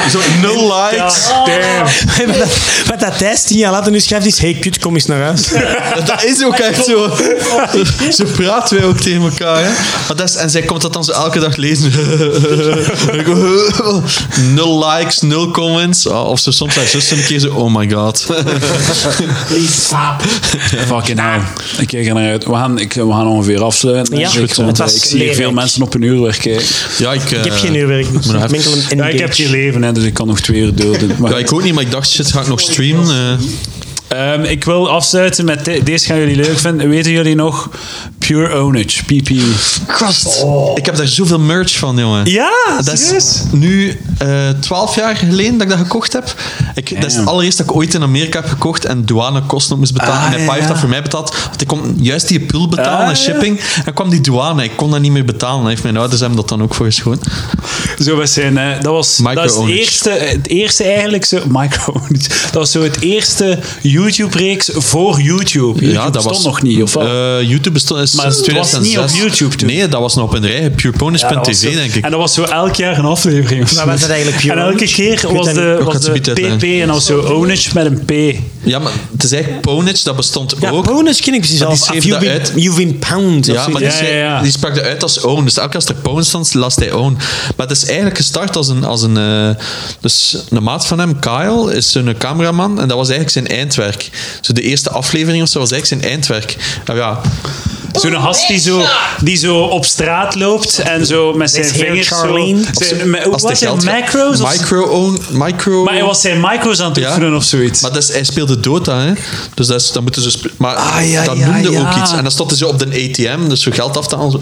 Speaker 3: zo nul likes.
Speaker 4: Wat dat Thijs tien jaar later nu schrijft is, hey kut, kom eens naar huis.
Speaker 3: Dat is ook echt zo. Zo praten wij ook tegen elkaar. Hè? Maar dat is, en zij komt dat dan zo elke dag lezen. Ik- nul likes, nul comments. Oh, Of ze soms haar zus een keer zo, oh my god.
Speaker 7: Fucking hell.
Speaker 1: Ah.
Speaker 7: Ik kijk er naar uit. We gaan, ik, we gaan ongeveer afsluiten.
Speaker 4: Ja,
Speaker 7: denk ik,
Speaker 4: goed,
Speaker 7: want,
Speaker 4: het
Speaker 7: eh,
Speaker 4: was
Speaker 7: ik zie hier veel
Speaker 4: leerrijk.
Speaker 7: mensen op een uur werken.
Speaker 3: Ja, ik, eh,
Speaker 4: Ik heb geen uurwerk. Dus
Speaker 3: maar
Speaker 4: ik
Speaker 3: even-
Speaker 4: winkel een
Speaker 1: Ja, ik heb
Speaker 4: engage.
Speaker 1: geen leven.
Speaker 7: Even, hè, dus ik kan nog twee uur doden. Maar
Speaker 3: Ja, ik ook niet, maar ik dacht, shit, ga ik nog streamen? Eh,
Speaker 1: Ehm, ik wil afsluiten met de- deze gaan jullie leuk vinden. Weten jullie nog? Pure Ownage, PP.
Speaker 3: Gast, ik heb daar zoveel merch van, jongen.
Speaker 1: Ja,
Speaker 3: Ah, Dat is nu eh 12 jaar geleden dat ik dat gekocht heb. Ik, dat is het allereerst dat ik ooit in Amerika heb gekocht en douanekosten nog moest betalen.
Speaker 1: Ah,
Speaker 3: en mijn
Speaker 1: ja,
Speaker 3: pa heeft
Speaker 1: ja.
Speaker 3: dat voor mij betaald. Want ik kon juist die pul betalen
Speaker 1: Ah,
Speaker 3: en
Speaker 1: ja.
Speaker 3: shipping. En kwam die douane. Ik kon dat niet meer betalen. Dan heeft mijn ouders hem dat dan ook voor geschoon.
Speaker 1: Zo was zijn, eh, dat was dat is het
Speaker 3: Micro-ownage.
Speaker 1: eerste, het eerste eigenlijk zo, micro dat was zo het eerste YouTube-reeks voor YouTube. YouTube bestond nog niet, of wel?
Speaker 3: Eh, YouTube bestond is
Speaker 1: Maar
Speaker 3: sinds
Speaker 1: het was niet
Speaker 3: 2006.
Speaker 1: op YouTube toen.
Speaker 3: Nee, dat was nog op een rij.
Speaker 1: Ja, dat was
Speaker 3: PurePonish.tv,
Speaker 1: zo-
Speaker 3: denk ik.
Speaker 1: En dat was zo elk jaar een aflevering. of zo.
Speaker 4: Maar was dat eigenlijk Pure
Speaker 1: En elke
Speaker 4: Ownage? Ik
Speaker 1: keer
Speaker 4: weet
Speaker 1: was
Speaker 4: dat niet.
Speaker 1: de,
Speaker 3: Ik ga
Speaker 1: was
Speaker 3: het
Speaker 1: de
Speaker 3: zo meteen
Speaker 1: PP
Speaker 3: uitleggen.
Speaker 1: en dan zo Ownage met een P.
Speaker 3: Ja, maar het is eigenlijk Ponage, dat bestond
Speaker 4: Ja,
Speaker 3: ook.
Speaker 4: bonus ken ik precies
Speaker 3: Maar
Speaker 4: al.
Speaker 3: die schreef
Speaker 4: You've
Speaker 3: dat
Speaker 4: been,
Speaker 3: uit.
Speaker 4: you've been pound. of
Speaker 3: Ja, maar
Speaker 4: zoiets.
Speaker 3: die,
Speaker 1: Ja,
Speaker 3: zei-
Speaker 1: ja, ja.
Speaker 3: die sprak dat uit als own. Dus elke keer als er pound stond, las hij own. Maar het is eigenlijk gestart als een... Als een eh, dus een maat van hem, Kyle, is een cameraman. En dat was eigenlijk zijn eindwerk. Zo de eerste aflevering of zo was eigenlijk zijn eindwerk. Nou ja,
Speaker 1: Zo'n gast die zo, die zo op straat loopt en zo met zijn
Speaker 4: This here,
Speaker 1: vingers zo...
Speaker 4: Charlene.
Speaker 1: Zijn, met,
Speaker 3: als
Speaker 1: Eh, was zijn
Speaker 3: geld-
Speaker 1: macro's? of-
Speaker 3: Micro-own... Micro...
Speaker 1: maar hij was zijn micro's aan het
Speaker 3: Ja.
Speaker 1: oefenen of zoiets.
Speaker 3: Maar dat is, hij speelde Dota, hè? Dus dat, is, dat moeten ze. spe- Maar
Speaker 1: Ah, ja,
Speaker 3: dat
Speaker 1: ja,
Speaker 3: noemde
Speaker 1: ja.
Speaker 3: ook iets. En dan stond hij zo op de ATM, dus zo geld af te halen. zo.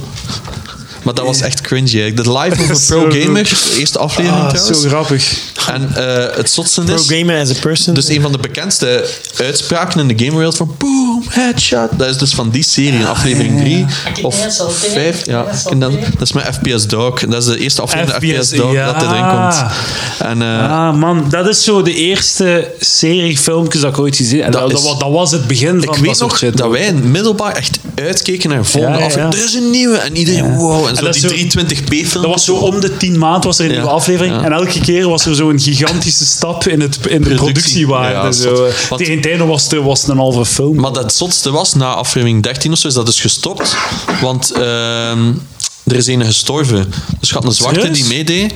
Speaker 3: Maar dat was echt cringy. hè. De live of a
Speaker 1: Zo
Speaker 3: pro
Speaker 1: goed.
Speaker 3: gamer, eerste aflevering
Speaker 1: Ah,
Speaker 3: trouwens.
Speaker 1: zo grappig.
Speaker 3: En eh, het zotste
Speaker 4: Pro
Speaker 3: is...
Speaker 4: gamer as a person.
Speaker 3: Dus een van de bekendste uitspraken in de gamewereld van boom, headshot. Dat is dus van die serie, in aflevering 3 of 5. Ja. En dan, dat is mijn FPS Dog. Dat is de eerste aflevering van
Speaker 1: FPS
Speaker 3: FPS Dog dat hij erin komt.
Speaker 1: ja.
Speaker 3: En eh,
Speaker 1: Ah man, dat is zo de eerste serie filmpjes dat ik ooit gezien heb. En
Speaker 3: Dat
Speaker 1: Dat, dat,
Speaker 3: is-
Speaker 1: wa- dat was het begin van
Speaker 3: ik
Speaker 1: dat
Speaker 3: weet
Speaker 1: soort
Speaker 3: nog
Speaker 1: shit.
Speaker 3: dat wij in middelbaar echt uitkeken naar de volgende
Speaker 1: Ja, ja,
Speaker 3: aflevering.
Speaker 1: ja.
Speaker 3: Er is een nieuwe. En iedereen, wow. En zo
Speaker 1: dat is
Speaker 3: die 320p film.
Speaker 1: Dat was zo om de tien maanden was er een
Speaker 3: Ja,
Speaker 1: nieuwe aflevering.
Speaker 3: ja.
Speaker 1: En elke keer was er zo'n gigantische stap in, het, in de
Speaker 3: Productie.
Speaker 1: productiewaarde.
Speaker 3: Ja,
Speaker 1: zo.
Speaker 3: zot. Want-
Speaker 1: Tegen het einde was het, was het een halve film.
Speaker 3: Maar dat zotste was, na aflevering 13 of zo, is dat dus gestopt. Want ehm, er is een gestorven. Dus je had een zwarte
Speaker 1: Serieus?
Speaker 3: die meedeed.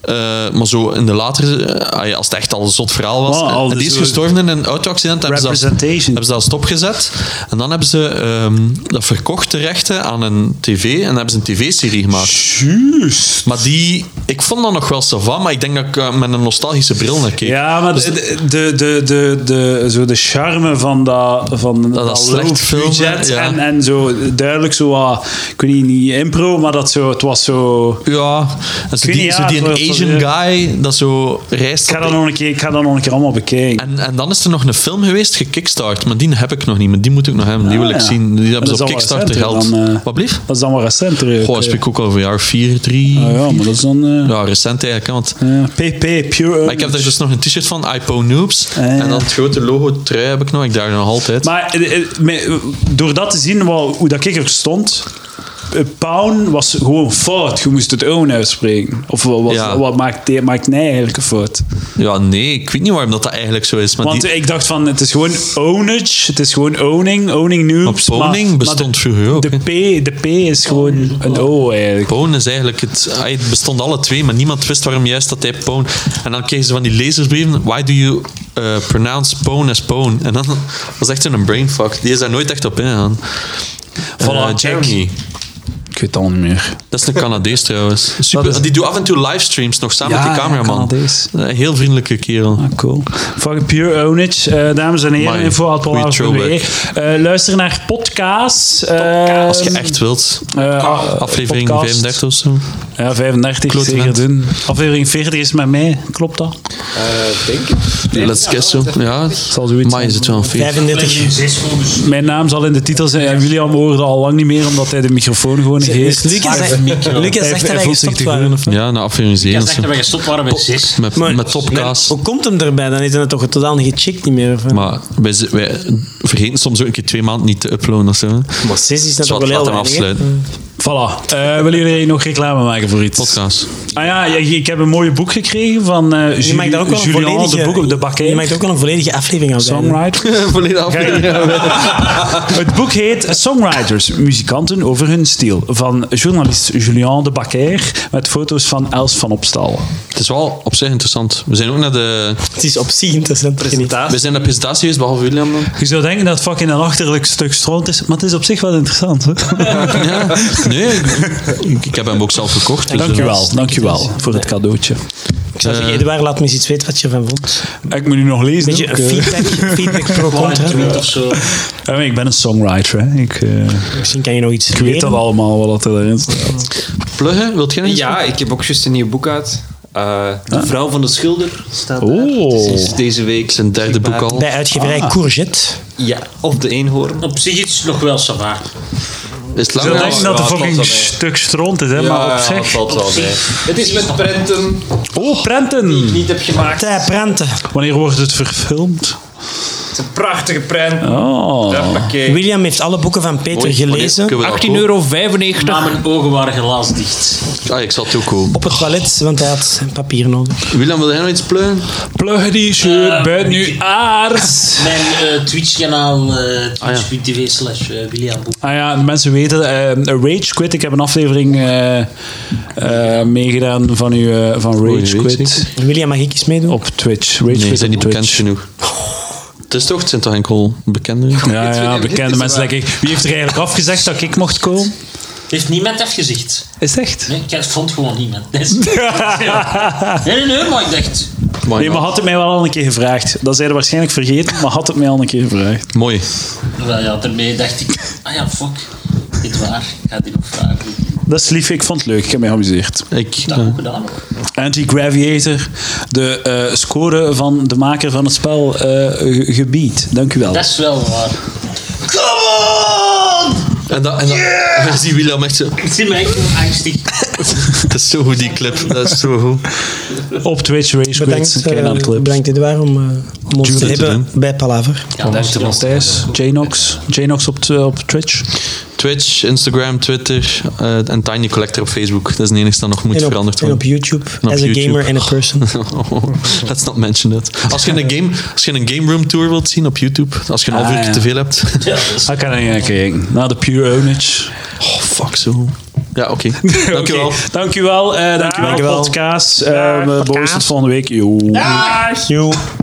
Speaker 3: eh, maar zo in de latere, eh, ah ja, als het echt al een zot verhaal was.
Speaker 1: Wow,
Speaker 3: en-
Speaker 1: al
Speaker 3: en die
Speaker 1: dus
Speaker 3: is
Speaker 1: zo-
Speaker 3: gestorven in een auto-accident. Hebben ze, dat,
Speaker 1: Representation.
Speaker 3: hebben ze dat stopgezet. En dan hebben ze ehm, dat verkocht, de rechten, aan een tv. En hebben ze een tv-serie gemaakt.
Speaker 1: Juist.
Speaker 3: Maar die, ik vond dat nog wel savan, maar ik denk dat ik eh, met een nostalgische bril naar keek.
Speaker 1: Ja, maar de, de, de, de, de, zo de charme van dat, van dat,
Speaker 3: slecht
Speaker 1: low
Speaker 3: filmen,
Speaker 1: budget
Speaker 3: ja.
Speaker 1: en, en zo duidelijk zo wat, ik weet niet, niet impro, maar dat zo, het was zo...
Speaker 3: Ja, en zo
Speaker 1: weet
Speaker 3: die,
Speaker 1: niet,
Speaker 3: zo
Speaker 1: ja,
Speaker 3: die
Speaker 1: het
Speaker 3: een
Speaker 1: was-
Speaker 3: Asian
Speaker 1: was,
Speaker 3: guy dat zo reist.
Speaker 1: Ik ga dat nog een keer, ik ga dat nog een keer allemaal bekijken.
Speaker 3: en, en dan is er nog een film geweest, gekickstart, maar die heb ik nog niet, maar die moet ik nog hebben, die wil ik
Speaker 1: Ah, ja.
Speaker 3: zien. Die
Speaker 1: Maar
Speaker 3: hebben ze
Speaker 1: dat
Speaker 3: op
Speaker 1: is al
Speaker 3: Kickstarter
Speaker 1: recenter
Speaker 3: geld.
Speaker 1: dan, eh.
Speaker 3: Wat blieft?
Speaker 1: Dat is dan wel recenter. eh,
Speaker 3: Goh, dat
Speaker 1: oké.
Speaker 3: spreek ik ook al over jaar 4, 3.
Speaker 1: Ah ja, maar dat is dan... eh,
Speaker 3: Ja, recent eigenlijk, hè, want
Speaker 1: ja, PP, pure...
Speaker 3: maar ik heb daar dus nog een t-shirt van, iPo Noobs.
Speaker 1: Ah, ja.
Speaker 3: En dan het grote logo trui heb ik nog, ik draag nog altijd.
Speaker 1: Maar eh, eh, me- door dat te zien wel, hoe dat ik er stond. eh, Pound was gewoon fout. Je moest het own uitspreken. Of wa- was,
Speaker 3: Ja.
Speaker 1: wat maakt, maakt mij eigenlijk een fout?
Speaker 3: ja, nee, ik weet niet waarom dat, dat eigenlijk zo is. Maar
Speaker 1: Want
Speaker 3: die,
Speaker 1: ik dacht van, het is gewoon ownage. Het is gewoon owning. Owning nu.
Speaker 3: maar Poning bestond vroeger ook.
Speaker 1: de,
Speaker 3: hè.
Speaker 1: P, de P is gewoon een O eigenlijk.
Speaker 3: Poon is eigenlijk het. ah, Het bestond alle twee, maar niemand wist waarom juist dat hij Poon. En dan kregen ze van die lezersbrieven. Why do you eh, pronounce Poon as Poon? En dan was echt zo'n brainfuck. Die is daar nooit echt op ingegaan.
Speaker 1: Voilà,
Speaker 3: Eh,
Speaker 1: check.
Speaker 3: Jeremy.
Speaker 7: Ik weet het al niet meer.
Speaker 3: Dat is een Canadees trouwens. Dat- die doet af en toe livestreams nog samen
Speaker 7: Ja,
Speaker 3: met die cameraman.
Speaker 7: Canadees.
Speaker 3: Een heel vriendelijke kerel.
Speaker 7: Ah, cool.
Speaker 1: Fucking pure ownage, eh, dames en heren.
Speaker 3: My,
Speaker 1: info at
Speaker 3: we
Speaker 1: Polaris
Speaker 3: throwback.
Speaker 1: BBE. Eh, luister naar podcast. eh, ah,
Speaker 3: Als je echt wilt. Ah, Aflevering 35 of zo.
Speaker 1: Ja, 35
Speaker 3: Klote
Speaker 1: zeker
Speaker 3: vent.
Speaker 1: doen. Aflevering 40 is met mij, klopt dat?
Speaker 6: Eh,
Speaker 3: Let's get so. Ja,
Speaker 1: Zal zoiets
Speaker 3: maar is het wel een feest.
Speaker 4: 35.
Speaker 1: Mijn naam zal in de titel zijn. Ja, William hoorde al lang niet meer, omdat hij de microfoon gewoon
Speaker 4: Dus
Speaker 1: geeft.
Speaker 4: Lucas, zegt- Lucas zegt dat
Speaker 1: hij
Speaker 4: wij
Speaker 1: voelt zich
Speaker 4: gestopt
Speaker 1: te
Speaker 4: waren.
Speaker 3: Ja, na aflevering
Speaker 2: Ik
Speaker 3: 7 of
Speaker 2: dacht
Speaker 3: zo.
Speaker 2: dat we gestopt waren met zes.
Speaker 3: Met,
Speaker 4: Maar-
Speaker 3: met topkaas.
Speaker 4: Hoe komt hem erbij? Dan is hij het toch totaal niet gecheckt niet meer. Of?
Speaker 3: Maar wij, z- wij vergeten soms ook een keer twee maanden niet te uploaden of zo.
Speaker 4: Maar zes is dat toch
Speaker 3: Zwart,
Speaker 4: wel heel
Speaker 3: laat hem
Speaker 4: weinig, hè? Mm.
Speaker 3: afsluiten.
Speaker 1: Voilà. Eh, willen jullie nog reclame maken voor iets?
Speaker 3: Podcast.
Speaker 1: Ah ja, ik, ik heb een mooi boek gekregen van eh
Speaker 4: Je maakt daar ook
Speaker 1: Julien,
Speaker 4: wel een
Speaker 1: Julien de
Speaker 4: volledige...
Speaker 1: boek op de
Speaker 4: Je
Speaker 1: bakker.
Speaker 4: maakt ook wel een volledige aflevering aan.
Speaker 1: Songwriter.
Speaker 3: Volledig
Speaker 1: Het boek heet Songwriters, muzikanten over hun stijl. Van journalist Julien de Bakker met foto's van Els van Opstal.
Speaker 3: Het is wel op zich interessant. We zijn ook naar de...
Speaker 4: Het is op zich interessant. ik weet niet.
Speaker 1: Ah,
Speaker 3: We zijn naar de presentatie geweest, behalve William. dan.
Speaker 1: Je zou denken dat het fucking een achterlijk stuk stront is, maar het is op zich wel interessant. Hè?
Speaker 3: Ja. Nee, ik, ik heb hem ook zelf gekocht. dus,
Speaker 1: Dankjewel, dankjewel voor het cadeautje.
Speaker 4: Ik zou
Speaker 3: Eh.
Speaker 4: zeggen, Eduard, laat me eens iets weten wat je ervan vond.
Speaker 1: Ik moet nu nog lezen.
Speaker 4: Beetje
Speaker 1: ook,
Speaker 4: een
Speaker 1: eh.
Speaker 4: feedback, feedback pro
Speaker 2: Een
Speaker 4: contra.
Speaker 2: tweet of zo.
Speaker 1: Ja, maar ik ben een songwriter. Hè. Ik, eh,
Speaker 4: Misschien kan je nog iets
Speaker 1: ik weet dat
Speaker 4: leren.
Speaker 1: allemaal wat er erin staat.
Speaker 3: eh, Pluggen, wilt jij nog iets?
Speaker 6: Ja, ik heb ook juist een nieuw boek uit. Eh, de Vrouw van de Schilder staat
Speaker 1: Oh.
Speaker 6: daar. Sinds deze week.
Speaker 3: Zijn derde boek Oh, al.
Speaker 4: Bij uitgeverij
Speaker 1: Ah.
Speaker 4: Courgette.
Speaker 6: Ja, of de eenhoorn.
Speaker 2: Op zich is het nog wel savaar.
Speaker 3: Is het
Speaker 1: Ik
Speaker 3: lang?
Speaker 1: zou
Speaker 6: Ja,
Speaker 1: denken
Speaker 6: ja,
Speaker 1: dat het
Speaker 6: ja,
Speaker 1: een fucking
Speaker 6: klopt dat, hè.
Speaker 1: stuk stront is, hè, maar op zich.
Speaker 6: Ah, valt wel bij. Het is met prenten.
Speaker 1: Oh,
Speaker 3: Hmm.
Speaker 1: prenten!
Speaker 6: Niet heb gemaakt.
Speaker 4: Tij Prenten.
Speaker 1: Wanneer wordt het verfilmd?
Speaker 6: Het is een prachtige prent.
Speaker 1: Oh.
Speaker 6: Hoppakee.
Speaker 4: William heeft alle boeken van Peter
Speaker 3: Mooi.
Speaker 4: gelezen.
Speaker 3: Kunnen we dat
Speaker 6: 18,95
Speaker 3: kopen?
Speaker 6: euro.
Speaker 2: Maar mijn ogen waren glasdicht.
Speaker 3: Ah, ik zal het ook kopen.
Speaker 4: Op het toilet, want hij had papier nodig.
Speaker 3: William, wil jij nog iets pluggen?
Speaker 1: Plug die shirt
Speaker 2: Eh,
Speaker 1: buiten nu
Speaker 2: ik-
Speaker 1: aard.
Speaker 2: Mijn eh, Twitch-kanaal, eh,
Speaker 3: Ah, ja.
Speaker 2: twitch.tv slash eh, William Boek.
Speaker 1: Ah ja, de mensen weten, eh, Rage Quit. Ik heb een aflevering eh, eh, meegedaan van, u, eh,
Speaker 3: Oh,
Speaker 1: van Rage
Speaker 3: Rage
Speaker 1: Quit
Speaker 3: Quit.
Speaker 4: William, mag ik eens meedoen?
Speaker 1: op Twitch. Rage
Speaker 3: Nee, ze
Speaker 1: Quit
Speaker 3: zijn
Speaker 1: op
Speaker 3: niet bekend
Speaker 1: Twitch.
Speaker 3: genoeg. Het is toch, het zijn toch enkel bekenden?
Speaker 1: Ja, ja, bekende mensen. Like ik. Wie heeft er eigenlijk afgezegd dat ik mocht komen?
Speaker 2: Heeft niemand afgezegd?
Speaker 1: Is het echt?
Speaker 2: Nee, ik vond gewoon niemand. Dat is- nee, nee, nee, maar ik dacht...
Speaker 3: Mooi,
Speaker 1: Nee, maar had het mij wel al een keer gevraagd. Dat zeiden waarschijnlijk vergeten, maar had het mij al een keer gevraagd.
Speaker 3: Mooi.
Speaker 2: Wel ja, daarmee dacht ik... Ah ja, fuck. Dit waar. Ik ga dit nog vragen.
Speaker 1: Dat is lief, ik vond het leuk. Ik heb me geamuseerd.
Speaker 3: Ik,
Speaker 2: Dat
Speaker 3: eh,
Speaker 2: ook gedaan.
Speaker 1: Anti-Graviator, de eh, score van de maker van het spel eh, ge- gebied. Dank u wel.
Speaker 2: Dat is wel waar.
Speaker 3: en dan, en dan dan zie William echt zo...
Speaker 2: Ik zit me echt wel angstig.
Speaker 3: Dat is zo goed, die clip. Dat is zo goed.
Speaker 1: Op Twitch, Rage Quit.
Speaker 4: Bedankt,
Speaker 1: Kijk naar de
Speaker 4: eh,
Speaker 1: clips.
Speaker 4: bedankt Edouard om, eh, om ons te
Speaker 3: Tuurlijk,
Speaker 4: hebben bij Palaver.
Speaker 2: Ja, dat is wel.
Speaker 1: Thijs, Jnox. Jnox op, t- op Twitch.
Speaker 3: Twitch, Instagram, Twitter eh, en Tiny Collector op Facebook. Dat is het enige dat nog moet
Speaker 4: En op,
Speaker 3: veranderd
Speaker 4: en op
Speaker 3: worden.
Speaker 4: YouTube,
Speaker 3: op
Speaker 4: as
Speaker 3: YouTube.
Speaker 4: a gamer and a person.
Speaker 3: Let's not mention that. Als je, een game, als je een game room tour wilt zien op YouTube, als je een half
Speaker 1: Ah,
Speaker 3: uur
Speaker 1: ja.
Speaker 3: te veel hebt.
Speaker 2: Ja, dat is-
Speaker 1: Ah, kan ik naar kijken. Naar de Pure Ownage.
Speaker 3: Oh, fuck zo. Ja, oké. Dankjewel.
Speaker 1: Oké, Dankjewel. eh dankjewel,
Speaker 4: Dankjewel.
Speaker 1: podcast. Eh, we behoren het volgende week. Yo.
Speaker 4: Joe.